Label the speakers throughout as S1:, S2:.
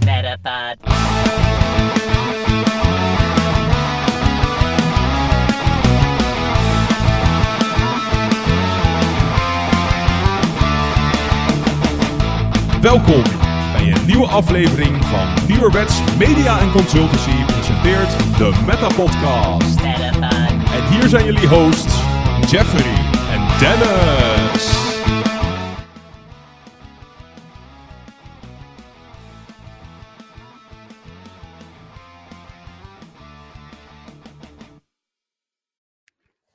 S1: Platypod.
S2: Welkom bij een nieuwe aflevering van Nieuwerwets Media en Consultancy presenteert de Meta Podcast.
S1: Platypod.
S2: En hier zijn jullie hosts Jeffrey en Dennis.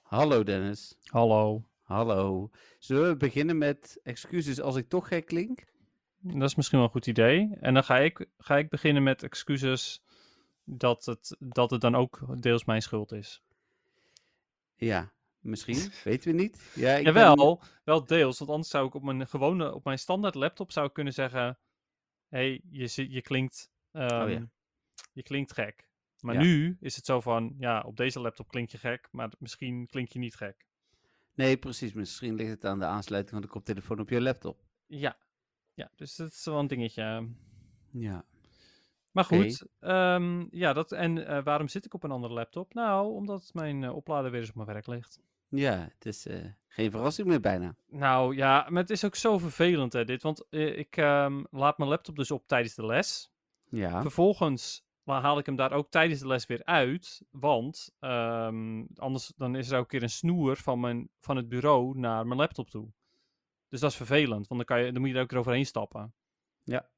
S3: Hallo Dennis.
S4: Hallo.
S3: Hallo. Zullen we beginnen met excuses als ik toch gek klink? Hm.
S4: Dat is misschien wel een goed idee. En dan ga ik, ga ik beginnen met excuses dat het, dat het dan ook deels mijn schuld is.
S3: Ja, misschien. Weten we niet. Ja, ik ben-
S4: Jawel, wel deels. Want anders zou ik op mijn gewone, op mijn standaard laptop zou ik kunnen zeggen... Hé, hey, je, zi- je, klinkt, ehm,
S3: Oh, ja.
S4: je klinkt gek. Maar
S3: Ja.
S4: nu is het zo van, ja, op deze laptop klink je gek, maar misschien klink je niet gek.
S3: Nee, precies. Misschien ligt het aan de aansluiting van de koptelefoon op je laptop.
S4: Ja, ja dus dat is wel een dingetje.
S3: Ja.
S4: Maar
S3: Oké.
S4: goed, ehm, ja, dat, en eh, waarom zit ik op een andere laptop? Nou, omdat mijn eh, oplader weer eens op mijn werk ligt.
S3: Ja, het is eh, geen verrassing meer bijna.
S4: Nou ja, maar het is ook zo vervelend hè, dit. Want eh, ik ehm, laat mijn laptop dus op tijdens de les.
S3: Ja.
S4: Vervolgens la- haal ik hem daar ook tijdens de les weer uit. Want ehm, anders dan is er ook een keer een snoer van, mijn, van het bureau naar mijn laptop toe. Dus dat is vervelend, want dan, kan je, dan moet je er ook eroverheen stappen.
S3: Ja.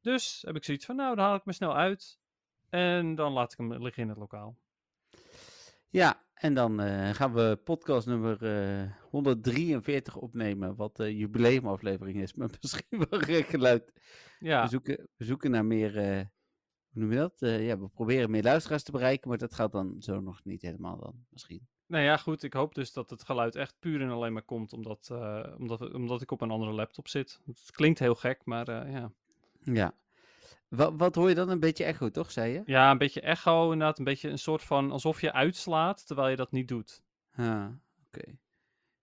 S4: Dus heb ik zoiets van, nou, dan haal ik me snel uit. En dan laat ik hem liggen in het lokaal.
S3: Ja, en dan eh, gaan we podcast nummer eh, 143 opnemen, wat de jubileumaflevering is, maar misschien wel gek geluid.
S4: Ja,
S3: We, zoeken, we zoeken naar meer, eh, hoe noem je dat? Eh, ja, we proberen meer luisteraars te bereiken, maar dat gaat dan zo nog niet helemaal dan, misschien.
S4: nou ja, goed. Ik hoop dus dat het geluid echt puur en alleen maar komt omdat, eh, omdat, omdat ik op een andere laptop zit. Het klinkt heel gek, maar eh, ja.
S3: Ja. Wat, wat hoor je dan? Een beetje echo, toch, zei je?
S4: Ja, een beetje echo inderdaad. Een beetje een soort van alsof je uitslaat terwijl je dat niet doet.
S3: Ah, oké.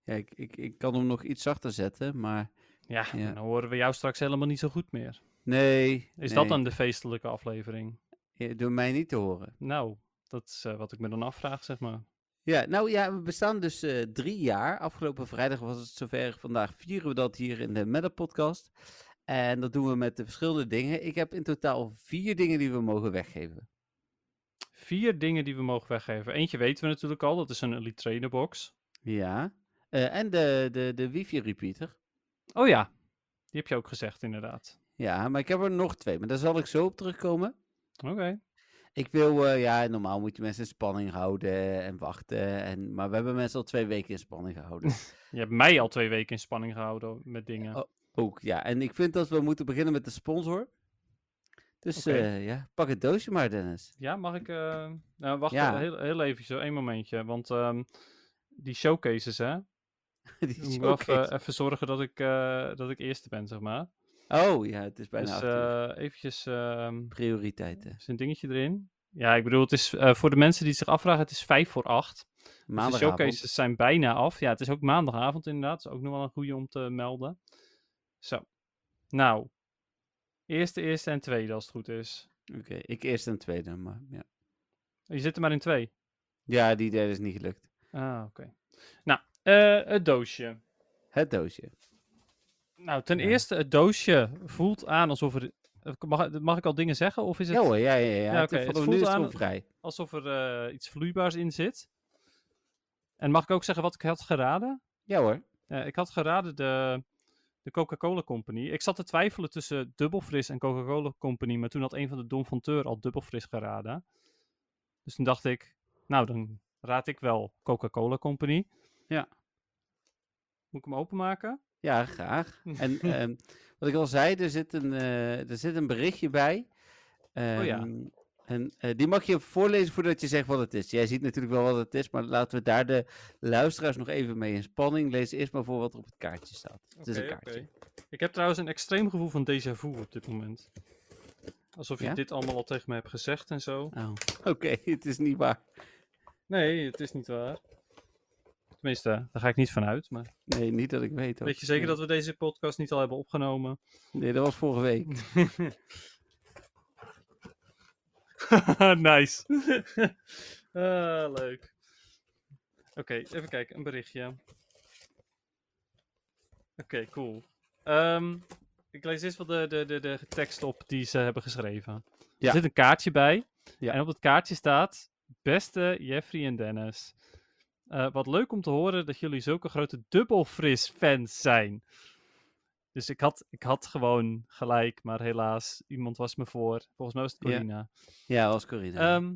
S3: Ja, ik, ik, ik kan hem nog iets zachter zetten, maar
S4: Ja,
S3: Ja.
S4: dan horen we jou straks helemaal niet zo goed meer.
S3: nee.
S4: Is
S3: nee,
S4: dat dan de feestelijke aflevering?
S3: eh, Door mij niet te horen.
S4: Nou, dat is eh, wat ik me dan afvraag, zeg maar.
S3: Ja, nou ja, we bestaan dus eh, drie jaar. Afgelopen vrijdag was het zover. Vandaag vieren we dat hier in de Meta Podcast. En dat doen we met de verschillende dingen. Ik heb in totaal vier dingen die we mogen weggeven.
S4: Vier dingen die we mogen weggeven. Eentje weten we natuurlijk al, dat is een Elite Trainer Box.
S3: Ja. Eh, en de, de, de wifi repeater.
S4: Oh ja, die heb je ook gezegd inderdaad.
S3: Ja, maar ik heb er nog twee. Maar daar zal ik zo op terugkomen.
S4: Oké.
S3: Ik wil, eh, ja, normaal moet je mensen in spanning houden en wachten. En, maar we hebben mensen al twee weken in spanning gehouden.
S4: Je hebt mij al twee weken in spanning gehouden met dingen.
S3: oh, Ook, ja. En ik vind dat we moeten beginnen met de sponsor. Dus
S4: Oké.
S3: eh, ja, pak het doosje maar, Dennis.
S4: Ja, mag ik... eh, nou, wacht
S3: Ja.
S4: heel, heel even, zo één momentje. Want ehm, die showcases, hè.
S3: Die
S4: Ik moet wel
S3: showcase.
S4: even, even zorgen dat ik, eh, dat ik eerste ben, zeg maar.
S3: Oh ja, het is bijna
S4: dus
S3: acht uur.
S4: eh, eventjes ehm
S3: Prioriteiten.
S4: zijn dingetje erin. Ja, ik bedoel, het is eh, voor de mensen die het zich afvragen, het is vijf voor acht. Dus de
S3: Maandagavond.
S4: showcases zijn bijna af. Ja, het is ook maandagavond inderdaad. Dat is ook nog wel een goede om te melden. Zo. Nou. Eerste, eerste en tweede als het goed is.
S3: Oké, ik eerst en tweede, maar ja.
S4: Je zit er maar in twee.
S3: Ja, die derde is niet gelukt.
S4: Ah, oké. Nou, eh, het doosje.
S3: Het doosje.
S4: Nou, ten
S3: Ja.
S4: eerste, het doosje voelt aan alsof er... eh, Mag, mag ik al dingen zeggen? Of is het...
S3: Ja hoor, ja, ja, ja.
S4: Ja,
S3: het-
S4: oké, het
S3: vanaf nu
S4: voelt
S3: is het
S4: aan-
S3: gewoon vrij.
S4: alsof er eh, iets vloeibaars in zit. En mag ik ook zeggen wat ik had geraden?
S3: Ja hoor.
S4: Eh, ik had geraden de, de Coca-Cola Company. Ik zat te twijfelen tussen Dubbelfris en Coca-Cola Company, maar toen had een van de Don van Teur al Dubbelfris geraden. Dus toen dacht ik, nou dan raad ik wel Coca-Cola Company.
S3: Ja.
S4: Moet ik hem openmaken?
S3: Ja, graag. En ehm, wat ik al zei, er zit een, eh, er zit een berichtje bij.
S4: Oh ja.
S3: Ehm, En eh, die mag je voorlezen voordat je zegt wat het is. Jij ziet natuurlijk wel wat het is, maar laten we daar de luisteraars nog even mee in spanning. Lees eerst maar voor wat er op het kaartje staat. Het is een kaartje.
S4: Ik heb trouwens een extreem gevoel van déjà vu op dit moment. Alsof je
S3: Ja?
S4: dit allemaal al tegen me hebt gezegd en zo.
S3: Oh, Oké, het is niet waar.
S4: Nee, het is niet waar. Tenminste, daar ga ik niet van uit. Maar
S3: Nee, niet dat ik weet. ook.
S4: weet je zeker
S3: Nee.
S4: dat we deze podcast niet al hebben opgenomen?
S3: Nee, dat was vorige week.
S4: nice. Ah, leuk. Oké, even kijken. Een berichtje. Oké, cool. Ehm, ik lees eerst wel de, de, de, de tekst op die ze hebben geschreven.
S3: Ja.
S4: Er zit een kaartje bij.
S3: Ja.
S4: En op dat kaartje staat... Beste Jeffrey en Dennis. eh, wat leuk om te horen dat jullie zulke grote dubbelfris-fans zijn. Dus ik had, ik had gewoon gelijk, maar helaas, iemand was me voor. Volgens mij was het
S3: Ja.
S4: Corina.
S3: Ja, was Corina.
S4: Ehm,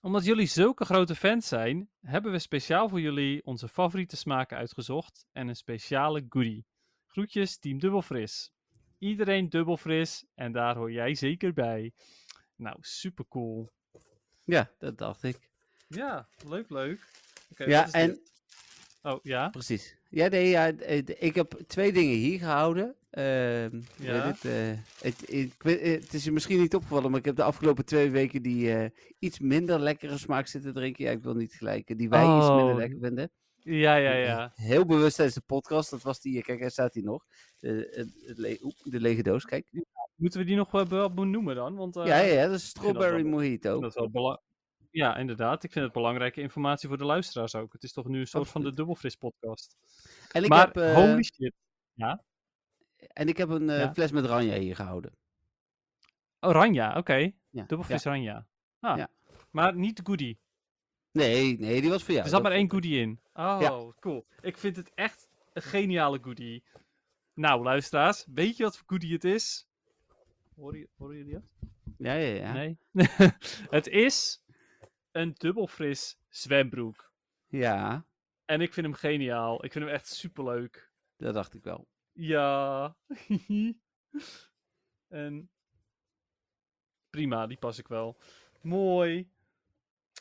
S4: omdat jullie zulke grote fans zijn, hebben we speciaal voor jullie onze favoriete smaken uitgezocht en een speciale goodie. Groetjes, Team Dubbelfris. Iedereen dubbelfris en daar hoor jij zeker bij. Nou, super cool.
S3: ja, dat dacht ik.
S4: Ja, leuk, leuk. Oké, wat
S3: ja,
S4: is
S3: en
S4: dit? Oh, ja.
S3: precies. Ja, nee, ja, eh, d- ik heb twee dingen hier gehouden. Ehm, hoe
S4: Ja.
S3: heet het, eh, het, ik weet- eh, het is je misschien niet opgevallen, maar ik heb de afgelopen twee weken die eh, iets minder lekkere smaak zitten drinken. Ja, ik wil niet gelijken. Die wij iets minder
S4: Oh,
S3: lekker vinden.
S4: Ja, ja,
S3: Eh,
S4: ja.
S3: Heel bewust tijdens de podcast. Dat was die. eh, Kijk, daar staat die nog. De, het- het le- oep, de lege doos. Kijk.
S4: Moeten we die nog wel wel benoemen dan? Want, eh,
S3: ja, ja, ja, dat is
S4: vind dat wel-
S3: strawberry mojito.
S4: Dat is wel bela- ja, inderdaad. Ik vind het belangrijke informatie voor de luisteraars ook. Het is toch nu een soort van de dubbelfris podcast.
S3: En ik,
S4: maar
S3: heb, eh,
S4: holy shit.
S3: en ik heb een eh,
S4: Ja.
S3: fles met ranja hier gehouden.
S4: Oranje, Oh, oké.
S3: Ja. ja.
S4: Dubbelfris oranje. Ah,
S3: Ja.
S4: Maar niet goodie.
S3: Nee, nee, die was voor jou.
S4: er zat
S3: Dat-
S4: maar één goodie in. Oh, cool. Ik vind het echt een geniale goodie. Nou, luisteraars, weet je wat voor goodie het is? Horen, je- horen jullie dat?
S3: Ja, ja, ja.
S4: Nee. het is een dubbelfris zwembroek.
S3: Ja,
S4: En ik vind hem geniaal. Ik vind hem echt superleuk.
S3: dat dacht ik wel.
S4: Ja. en prima, die pas ik wel. Mooi.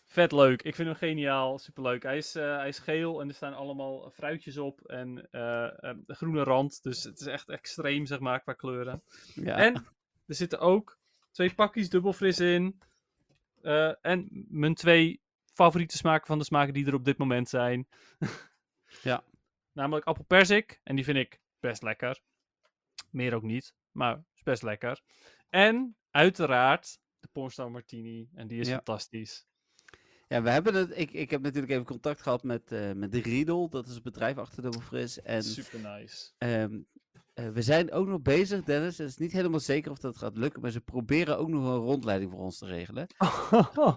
S4: Vet leuk. Ik vind hem geniaal. Superleuk. Hij is, eh, hij is geel en er staan allemaal fruitjes op en eh, eh, de groene rand. Dus het is echt extreem, zeg maar, qua kleuren.
S3: Ja.
S4: En er zitten ook twee pakjes dubbelfris in. Eh, en mijn twee favoriete smaken van de smaken die er op dit moment zijn.
S3: Ja.
S4: Namelijk appelperzik. En die vind ik best lekker. Meer ook niet, maar is best lekker. En uiteraard de Pornstar Martini. En die is
S3: Ja.
S4: fantastisch.
S3: ja, we hebben het. Ik, ik heb natuurlijk even contact gehad met, eh met Riedel. Dat is het bedrijf achter Double Fris. En
S4: Super nice.
S3: ehm, eh, we zijn ook nog bezig, Dennis. Het is niet helemaal zeker of dat gaat lukken. Maar ze proberen ook nog een rondleiding voor ons te regelen.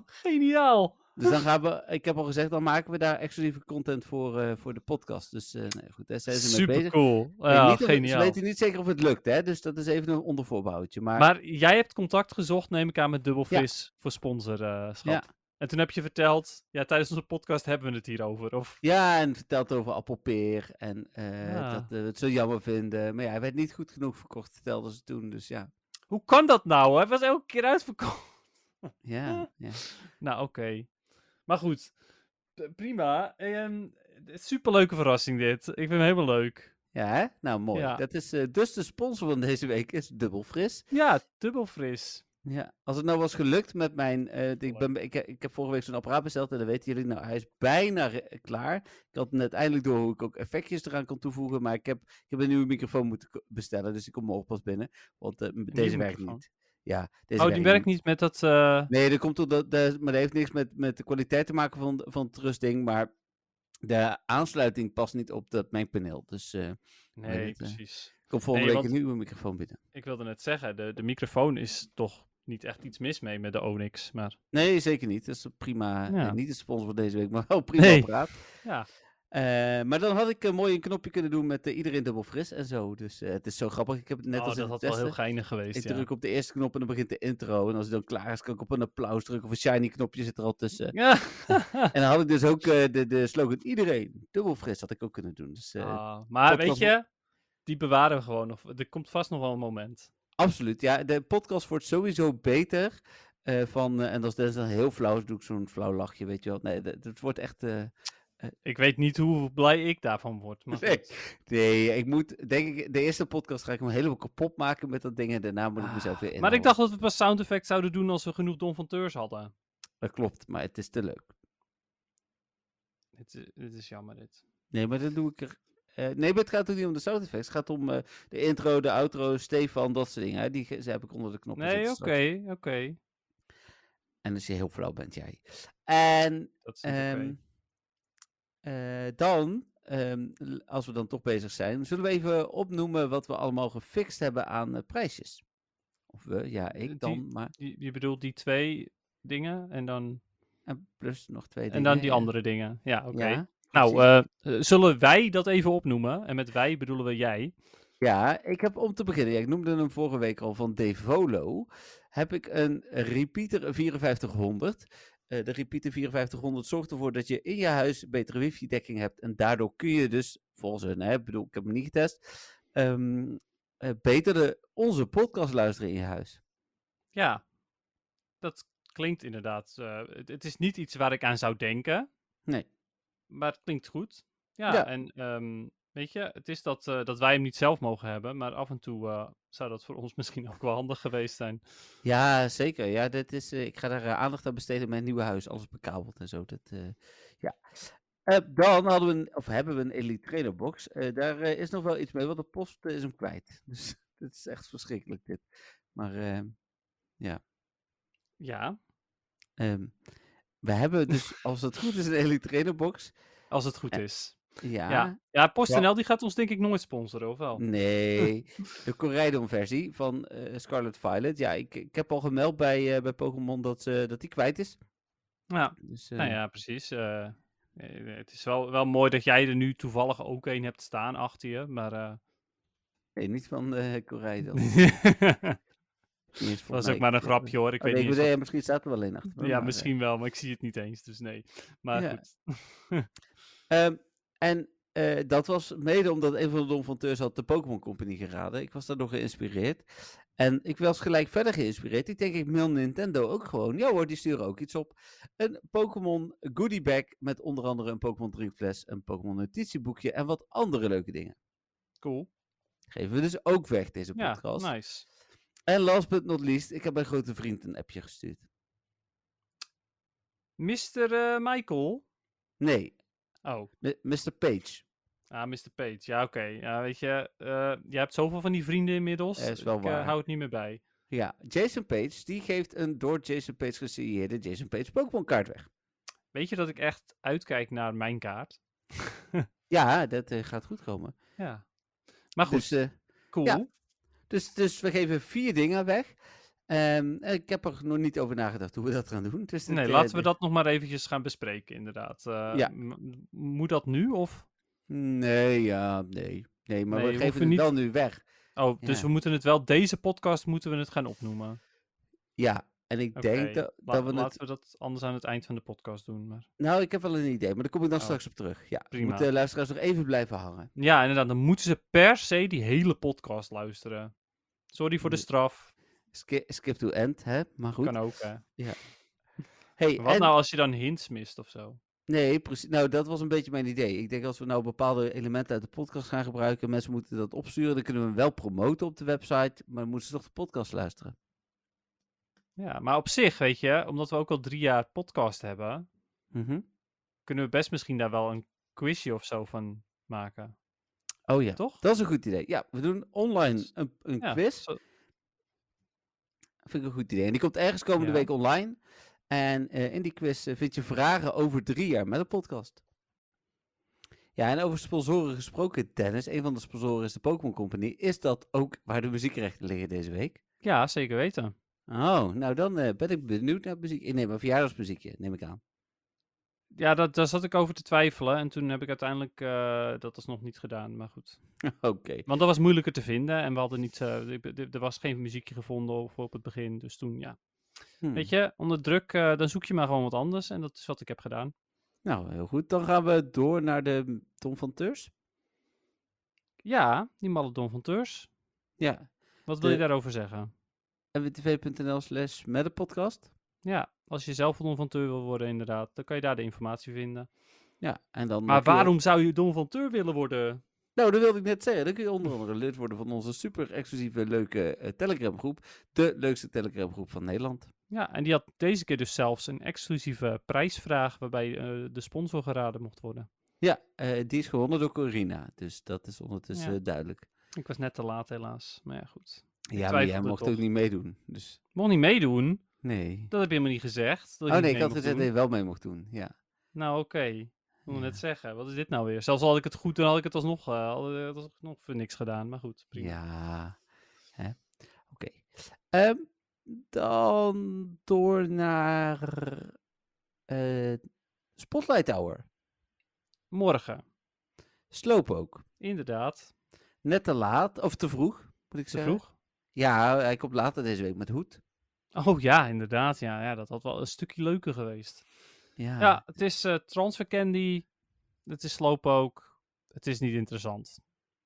S4: geniaal.
S3: Dus dan gaan we, ik heb al gezegd, dan maken we daar exclusieve content voor, eh, voor de podcast. Dus eh, nee, goed, daar zijn ze mee
S4: Super
S3: bezig.
S4: cool.
S3: Ik weet
S4: Ja,
S3: niet of-
S4: geniaal.
S3: Ze weten niet zeker of het lukt, hè? dus dat is even een ondervoorbehoudje. Maar,
S4: Maar jij hebt contact gezocht, neem ik aan, met Dubbelfris voor sponsorschap.
S3: Ja.
S4: En toen heb je verteld, ja, tijdens onze podcast hebben we het hierover. Of,
S3: ja, en vertelt over appelpeer en eh,
S4: Ja.
S3: dat we het zo jammer vinden. Maar ja, hij werd niet goed genoeg verkocht, vertelden ze toen. Dus ja,
S4: hoe kan dat nou? hè? Het was elke keer uitverkocht.
S3: ja, ja.
S4: Nou, oké. Maar goed, P- prima. Ehm, superleuke verrassing dit. Ik vind hem helemaal leuk.
S3: ja hè? nou mooi.
S4: Ja.
S3: Dat is, eh, dus de sponsor van deze week is Dubbel Fris.
S4: Ja, dubbelfris.
S3: Ja, als het nou was gelukt met mijn. eh, ik,
S4: Leuk.
S3: ben, ik, ik heb vorige week zo'n apparaat besteld en dat weten jullie. Nou, hij is bijna re- klaar. Ik had net eindelijk door hoe ik ook effectjes eraan kon toevoegen. Maar ik heb, ik heb een nieuwe microfoon moeten ko- bestellen. Dus die komt morgen pas binnen. Want eh, m- deze werkt
S4: microfoon?
S3: niet. Ja, deze
S4: oh, die werkt niet met dat... eh,
S3: Nee, dat komt omdat. dat- maar dat heeft niks met, met de kwaliteit te maken van, van het rusting. Maar de aansluiting past niet op dat mijn paneel. Dus eh
S4: Nee,
S3: dat, eh,
S4: precies.
S3: komt volgende
S4: Nee,
S3: week een nieuwe microfoon binnen.
S4: Ik wilde net zeggen, de, de microfoon is toch niet echt iets mis mee met de Onyx. Maar
S3: Nee, zeker niet. Dat is een prima. eh,
S4: Ja.
S3: niet de sponsor van deze week, maar wel een prima
S4: Nee.
S3: apparaat.
S4: ja,
S3: Eh, maar dan had ik eh, mooi een knopje kunnen doen met eh, iedereen dubbel fris en zo. Dus eh, het is zo grappig. Ik heb het net
S4: oh,
S3: als
S4: dat
S3: in het
S4: had wel heel
S3: testen.
S4: geinig geweest.
S3: Ik
S4: ja.
S3: druk op de eerste knop en dan begint de intro. En als het dan klaar is, kan ik op een applaus drukken. Of een shiny knopje zit er al tussen.
S4: Ja.
S3: En dan had ik dus ook eh, de, de slogan iedereen dubbel fris had ik ook kunnen doen. Dus eh,
S4: Ah, maar weet
S3: podcast-
S4: je, die bewaren we gewoon nog. Er komt vast nog wel een moment.
S3: absoluut. Ja, de podcast wordt sowieso beter. eh, van, eh, en als Dennis dan heel flauw is, doe ik zo'n flauw lachje, weet je wel. Nee, dat, dat wordt echt... eh,
S4: Ik weet niet hoe blij ik daarvan word. Maar
S3: Nee.
S4: goed.
S3: nee, ik moet... Denk ik, de eerste podcast ga ik me helemaal kapot maken met dat ding. En daarna moet ik mezelf weer
S4: Ah,
S3: in.
S4: maar ik dacht dat we pas sound effects zouden doen als we genoeg Don van Teurs hadden.
S3: Dat klopt, maar het is te leuk.
S4: Dit is, dit is jammer dit.
S3: Nee, maar dan doe ik er. eh, nee, maar het gaat ook niet om de sound effects. Het gaat om eh, de intro, de outro, Stefan, dat soort dingen. Hè? Die ge- ze heb ik onder de knop.
S4: Nee, oké, oké.
S3: En als je heel flauw bent, jij. En
S4: Dat is niet oké.
S3: Ehm, eh, dan, ehm, l- als we dan toch bezig zijn, zullen we even opnoemen wat we allemaal gefixt hebben aan eh, prijsjes. Of we, ja,
S4: Eh, die-
S3: ik dan, maar.
S4: Je, je bedoelt die twee dingen en dan,
S3: En plus nog twee
S4: en dan
S3: dingen,
S4: die
S3: ja.
S4: andere dingen. Ja, oké.
S3: Ja,
S4: nou,
S3: precies.
S4: eh, eh, zullen wij dat even opnoemen? En met wij bedoelen we jij.
S3: ja, ik heb om te beginnen, ja, ik noemde hem vorige week al van Devolo. Heb ik een repeater 5400. Eh, de repeater 5400 zorgt ervoor dat je in je huis betere wifi-dekking hebt. En daardoor kun je dus, volgens hun, hè, ik bedoel, ik heb hem niet getest, ehm, eh, beter de, onze podcast luisteren in je huis.
S4: Ja, dat klinkt inderdaad. eh, het, het is niet iets waar ik aan zou denken.
S3: Nee.
S4: Maar het klinkt goed. Ja,
S3: Ja.
S4: en ehm, weet je, het is dat, eh, dat wij hem niet zelf mogen hebben. Maar af en toe eh, zou dat voor ons misschien ook wel handig geweest zijn.
S3: Ja, zeker. Ja, dit is, eh, ik ga daar eh, aandacht aan besteden. Mijn nieuwe huis, alles bekabeld en zo. Dat, eh, ja. Eh, dan hadden we een, of hebben we een Elite Trainer Box. Eh, daar eh, is nog wel iets mee, want de post eh, is hem kwijt. Dus dit is echt verschrikkelijk dit. Maar ehm,
S4: Ja,
S3: ehm, we hebben dus, als het goed is, een Elite Trainer Box.
S4: als het goed
S3: Eh,
S4: is.
S3: Ja.
S4: Ja, ja PostNL die gaat ons denk ik nooit sponsoren, of wel?
S3: Nee, de Corridon versie van eh, Scarlet Violet. Ja, ik, ik heb al gemeld bij, eh, bij Pokémon dat, ze- dat die kwijt is.
S4: Ja,
S3: Dus,
S4: nou
S3: eh,
S4: ja, precies. eh, eh, het is wel, wel mooi dat jij er nu toevallig ook een hebt staan achter je, maar... eh,
S3: Nee, niet van eh Corridon. Niet eens
S4: dat
S3: volgens
S4: is
S3: mij,
S4: ook maar een
S3: ik- ik-
S4: grapje hoor, ik
S3: Oh,
S4: weet
S3: nee,
S4: niet eens
S3: bedoel,
S4: of-
S3: ja, misschien staat er wel een achter. hoor,
S4: Ja,
S3: maar, eh,
S4: misschien wel, maar ik zie het niet eens, dus nee. Maar
S3: Ja.
S4: goed.
S3: ehm, en eh, dat was mede omdat een van de donfonteurs had de Pokémon Company geraden. Ik was daardoor geïnspireerd. En ik was gelijk verder geïnspireerd. Ik denk, ik mail Nintendo ook gewoon. Ja hoor, die sturen ook iets op. Een Pokémon goodie bag met onder andere een Pokémon drinkfles, een Pokémon notitieboekje en wat andere leuke dingen.
S4: Cool.
S3: Geven we dus ook weg deze
S4: Ja,
S3: podcast.
S4: nice.
S3: En last but not least, ik heb mijn grote vriend een appje gestuurd.
S4: Mr. eh, Michael?
S3: Nee,
S4: Oh,
S3: M- Mr. Page.
S4: ah, Mr. Page. Ja, oké. Ja, weet je, eh jij hebt zoveel van die vrienden inmiddels.
S3: Ja, is wel
S4: ik eh,
S3: waar.
S4: hou het niet meer bij.
S3: Ja, Jason Page, die geeft een door Jason Page gesieerde Jason Page Pokémon kaart weg.
S4: Weet je dat ik echt uitkijk naar mijn kaart?
S3: Ja, dat eh, gaat goed komen.
S4: Ja. Maar goed,
S3: Dus, eh,
S4: cool.
S3: ja. dus, dus we geven vier dingen weg. Ehm, en ik heb er nog niet over nagedacht hoe we dat gaan doen. Dus dit,
S4: Nee,
S3: eh,
S4: laten we
S3: dit-
S4: dat nog maar eventjes gaan bespreken, inderdaad. Eh,
S3: Ja.
S4: m- Moet dat nu, of?
S3: Nee, ja, nee. Nee, maar
S4: Nee,
S3: we
S4: we
S3: geven
S4: hoeven
S3: het
S4: niet-
S3: wel nu weg.
S4: Oh, dus
S3: Ja.
S4: we moeten het wel, deze podcast moeten we het gaan opnoemen.
S3: Ja, en ik
S4: Oké,
S3: denk dat,
S4: la-
S3: dat we
S4: laten
S3: het...
S4: we dat anders aan het eind van de podcast doen. Maar...
S3: Nou, ik heb wel een idee, maar daar kom ik dan
S4: Oh,
S3: straks op terug. Ja, we
S4: prima.
S3: moeten de luisteraars nog even blijven hangen.
S4: Ja, inderdaad. Dan moeten ze per se die hele podcast luisteren. Sorry voor de
S3: Ja,
S4: straf.
S3: Skip, skip to end, hè? Maar goed.
S4: Kan ook, hè.
S3: Hey,
S4: Maar wat
S3: en-
S4: nou als je dan hints mist of zo?
S3: Nee, precies. Nou, dat was een beetje mijn idee. Ik denk als we nou bepaalde elementen uit de podcast gaan gebruiken, mensen moeten dat opsturen, dan kunnen we hem wel promoten op de website, maar dan moeten ze toch de podcast luisteren.
S4: Ja, maar op zich, weet je, omdat we ook al drie jaar podcast hebben,
S3: Mhm.
S4: kunnen we best misschien daar wel een quizje of zo van maken.
S3: Oh ja,
S4: Toch?
S3: dat is een goed idee. Ja, we doen online
S4: Dus-
S3: een, een
S4: Ja,
S3: quiz.
S4: zo-
S3: Vind ik een goed idee. En die komt ergens komende
S4: Ja.
S3: week online. En eh, in die quiz eh, vind je vragen over drie jaar met een podcast. Ja, en over sponsoren gesproken, Dennis. Een van de sponsoren is de Pokémon Company. Is dat ook waar de muziekrechten liggen deze week?
S4: ja, zeker weten.
S3: Oh, nou dan eh, ben ik benieuwd naar muziek. Ik neem een verjaardagsmuziekje, neem ik aan.
S4: Ja, dat, daar zat ik over te twijfelen. En toen heb ik uiteindelijk eh, dat alsnog niet gedaan. Maar goed.
S3: Oké.
S4: Want dat was moeilijker te vinden. En we hadden niet. eh, ik be- er was geen muziekje gevonden voor op het begin. Dus toen, ja.
S3: Hmm.
S4: Weet je, onder druk, eh, dan zoek je maar gewoon wat anders. En dat is wat ik heb gedaan.
S3: Nou, heel goed. Dan gaan we door naar de mm, Tom van Teurs.
S4: Ja, die malle Don van Teurs.
S3: Ja.
S4: Wat wil je
S3: De-
S4: daarover zeggen?
S3: mwtv.nl slash met de podcast.
S4: Ja, als je zelf een Don van Teur wil worden, inderdaad, dan kan je daar de informatie vinden.
S3: Ja, en dan...
S4: Maar
S3: kun je-
S4: waarom zou je Don van Teur willen worden?
S3: Nou, dat wilde ik net zeggen. Dan kun je onder andere lid worden van onze super exclusieve leuke eh, Telegram groep. De leukste Telegram groep van Nederland.
S4: Ja, en die had deze keer dus zelfs een exclusieve prijsvraag waarbij eh, de sponsor geraden mocht worden.
S3: Ja, eh, die is gewonnen door Corina. Dus dat is ondertussen
S4: Ja.
S3: eh, duidelijk.
S4: Ik was net te laat, helaas. Maar ja, goed.
S3: Ja, maar jij
S4: twijfelde
S3: mocht
S4: toch.
S3: ook niet meedoen. Dus
S4: Mocht niet meedoen.
S3: Nee.
S4: Dat heb je helemaal niet gezegd. dat je
S3: Oh nee,
S4: niet
S3: ik
S4: mee
S3: had
S4: mocht
S3: gezegd dat
S4: doen.
S3: je wel mee mocht doen. Ja.
S4: Nou, oké. Ik wil
S3: Ja.
S4: net zeggen, wat is dit nou weer? Zelfs al had ik het goed, dan had ik het alsnog, eh, had ik het alsnog voor niks gedaan. Maar goed, prima.
S3: Ja. Hè? Oké. Ehm, dan door naar eh, Spotlight Hour.
S4: Morgen,
S3: Sloop ook.
S4: inderdaad.
S3: Net te laat, of te vroeg, moet ik
S4: Te
S3: zeggen.
S4: vroeg.
S3: Ja, hij komt later deze week met hoed.
S4: Oh ja, inderdaad. Ja, ja, dat had wel een stukje leuker geweest.
S3: Ja.
S4: Ja, het is eh transfer candy. Het is slowpoke. Het is niet interessant.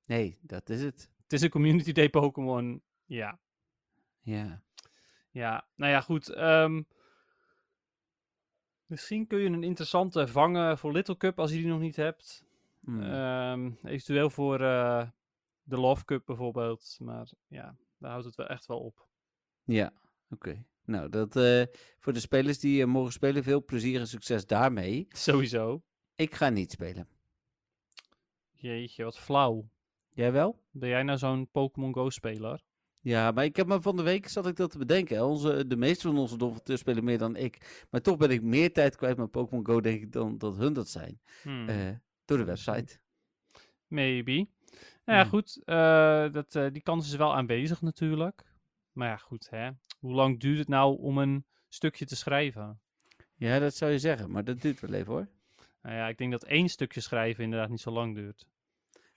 S3: Nee, dat is het.
S4: Het is een community day Pokémon. Ja,
S3: Ja.
S4: ja. Nou ja, goed. ehm, misschien kun je een interessante vangen voor Little Cup als je die nog niet hebt.
S3: Hmm.
S4: Ehm, eventueel voor eh, de Love Cup bijvoorbeeld. Maar ja, daar houdt het wel echt wel op.
S3: Ja, oké. Nou, dat, eh, voor de spelers die eh, mogen spelen, veel plezier en succes daarmee.
S4: Sowieso.
S3: Ik ga niet spelen.
S4: Jeetje, wat flauw.
S3: Jij wel?
S4: Ben jij nou zo'n Pokémon Go-speler?
S3: Ja, maar ik heb me van de week zat ik dat te bedenken. hè. Onze, de meeste van onze donfanteurs spelen meer dan ik. Maar toch ben ik meer tijd kwijt met Pokémon Go, denk ik, dan dat hun dat zijn.
S4: Hmm.
S3: Eh, door de
S4: dat is
S3: website.
S4: Maybe. Nou ja,
S3: Ja.
S4: goed. eh, dat, eh, die kans is wel aanwezig natuurlijk. Maar ja, goed. Hè? Hoe lang duurt het nou om een stukje te schrijven?
S3: Ja, dat zou je zeggen, maar dat duurt wel even hoor.
S4: Nou ja, ik denk dat één stukje schrijven inderdaad niet zo lang duurt.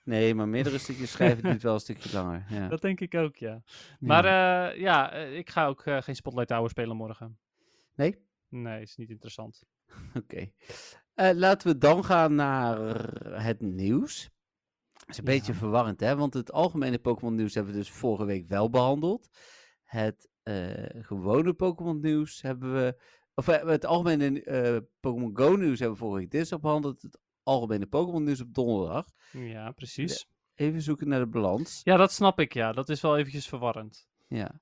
S3: Nee, maar meerdere stukjes schrijven duurt wel een stukje langer. Ja.
S4: Dat denk ik ook, ja. Maar eh, ja, eh, ik ga ook eh, geen Spotlight Tower spelen morgen.
S3: Nee?
S4: Nee, is niet interessant.
S3: Oké. Eh, laten we dan gaan naar het nieuws. Dat is een
S4: Ja.
S3: beetje verwarrend, hè? Want het algemene Pokémon nieuws hebben we dus vorige week wel behandeld. Het eh, gewone Pokémon nieuws hebben we... Of eh, het algemene eh, Pokémon Go nieuws hebben we vorige week dinsdag behandeld. Het algemene Pokémon nieuws op donderdag.
S4: Ja, precies.
S3: Even zoeken naar de balans.
S4: Ja, dat snap ik, ja. Dat is wel eventjes verwarrend.
S3: Ja,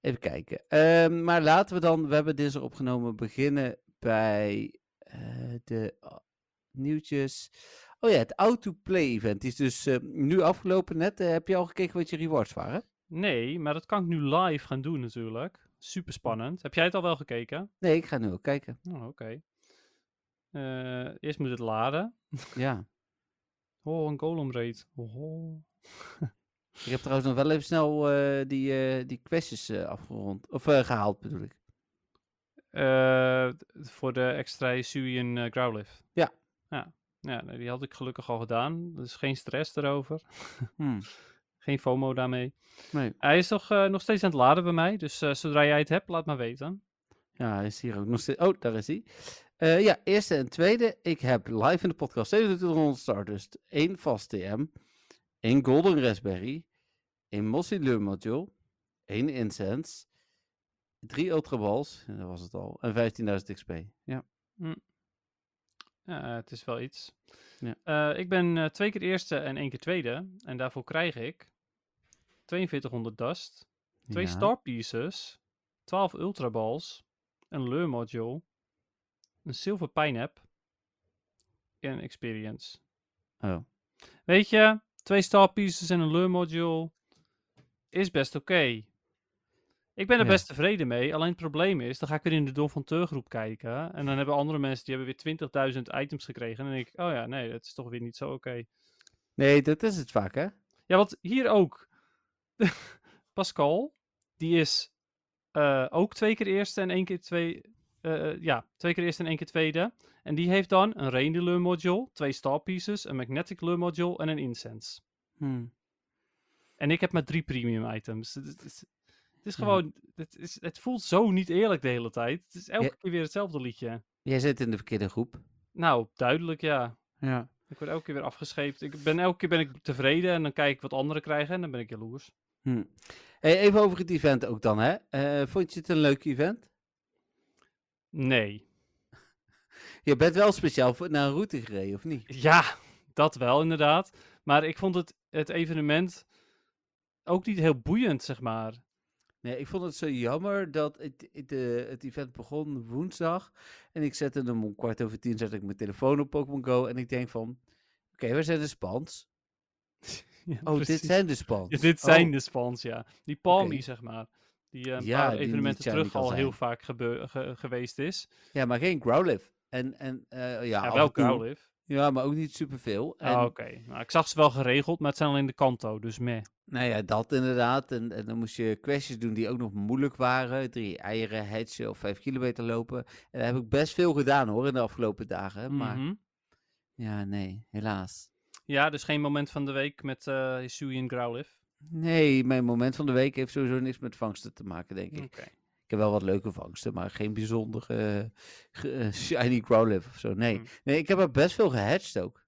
S3: even kijken. Ehm, maar laten we dan, we hebben deze opgenomen, beginnen bij eh, de a- nieuwtjes. Oh ja, het autoplay event die is dus eh, nu afgelopen net. Eh, heb je al gekeken wat je rewards waren?
S4: Nee, maar dat kan ik nu live gaan doen natuurlijk. Super spannend. Heb jij het al wel gekeken?
S3: Nee, ik ga nu ook kijken.
S4: Oh, oké. Eh, eerst moet het laden.
S3: Ja.
S4: Oh, een golem raid. Oh.
S3: Ik heb trouwens nog wel even snel eh, die, eh, die questjes eh, afgerond. Of eh, gehaald bedoel ik.
S4: Eh, d- voor de extra Yasui en eh, Growlithe.
S3: Ja.
S4: Ja, ja nee, die had ik gelukkig al gedaan. Dus geen stress erover.
S3: Hmm,
S4: Geen FOMO daarmee.
S3: Nee.
S4: Hij is nog, eh, nog steeds aan het laden bij mij. Dus eh, zodra jij het hebt, laat maar weten.
S3: Ja, hij is hier ook nog steeds. Oh, daar is hij. Eh, ja, eerste en tweede. Ik heb live in de podcast 2700 starters. één vast TM. één Golden Raspberry. één Mossy Lure Module. één Incense. drie Ultra Balls. en Dat was het al. En 15.000 XP. Ja.
S4: Ja, eh, het is wel iets.
S3: Ja.
S4: Eh, ik ben eh, twee keer eerste en één keer tweede. En daarvoor krijg ik 4200 dust. Twee
S3: ja.
S4: Star Pieces, 12 Ultra Balls, een Lure Module, een Silver Pineapp en Experience.
S3: Oh.
S4: Weet je, twee Star Pieces en een Lure Module is best oké. Ik ben er
S3: Ja.
S4: best tevreden mee, alleen het probleem is, dan ga ik weer in de Don van Teur groep kijken en dan hebben andere mensen, die hebben weer 20.000 items gekregen en dan denk ik, oh ja, nee, dat is toch weer niet zo oké.
S3: Nee, dat is het vaak, hè?
S4: Ja, want hier ook. Pascal, die is eh, ook twee keer eerste en één keer twee. eh, eh, ja, twee keer eerste en één keer tweede. En die heeft dan een Reindeer Lure Module, twee Star Pieces, een Magnetic Lure Module en een Incense.
S3: Hmm.
S4: En ik heb maar drie premium items. Het, het- het- het is
S3: Ja.
S4: gewoon. Het, is, het voelt zo niet eerlijk de hele tijd. Het is elke
S3: Ja.
S4: keer weer hetzelfde liedje.
S3: Jij zit in de verkeerde groep.
S4: Nou, duidelijk ja.
S3: Ja.
S4: Ik word elke keer weer afgescheept. Ik ben, elke keer ben ik tevreden en dan kijk ik wat anderen krijgen en dan ben ik jaloers.
S3: Hmm. Hey, even over het event ook dan, hè? Eh, vond je het een leuk event?
S4: Nee.
S3: Je bent wel speciaal voor, naar een route gereden, of niet?
S4: Ja, dat wel inderdaad. Maar ik vond het, het evenement ook niet heel boeiend, zeg maar.
S3: Nee, ik vond het zo jammer dat het, het, eh, het event begon woensdag. En ik zette hem om kwart over tien, zette ik mijn telefoon op Pokémon Go. En ik denk van, oké, waar zijn de spans?
S4: Ja,
S3: Oh,
S4: precies.
S3: dit zijn de spans.
S4: Ja, dit zijn
S3: Oh,
S4: de spans, ja. Die palmy,
S3: Oké.
S4: zeg maar. Die eh, een
S3: Ja,
S4: paar
S3: die- die
S4: evenementen
S3: Chadwick
S4: terug
S3: al
S4: al
S3: zei.
S4: heel vaak gebeu- ge- geweest is.
S3: Ja, maar geen Growlithe. En, en eh, ja,
S4: Ja,
S3: af en
S4: wel
S3: toe.
S4: Growlithe.
S3: Ja, maar ook niet superveel. En,
S4: Ah, Oké, nou, ik zag ze wel geregeld, maar het zijn alleen de kanto, dus meh.
S3: Nou ja, dat inderdaad. En, en dan moest je kwesties doen die ook nog moeilijk waren. Drie eieren, hetsen of vijf kilometer lopen. En daar heb ik best veel gedaan hoor, in de afgelopen dagen. Maar
S4: Mhm.
S3: ja, nee, helaas.
S4: Ja, dus geen moment van de week met eh Hisui en Growlithe.
S3: Nee, mijn moment van de week heeft sowieso niks met vangsten te maken, denk ik.
S4: Oké.
S3: Ik heb wel wat leuke vangsten, maar geen bijzondere eh, ge- eh, shiny growlithe of zo. Nee.
S4: Mm.
S3: nee, ik heb er best veel gehatcht ook.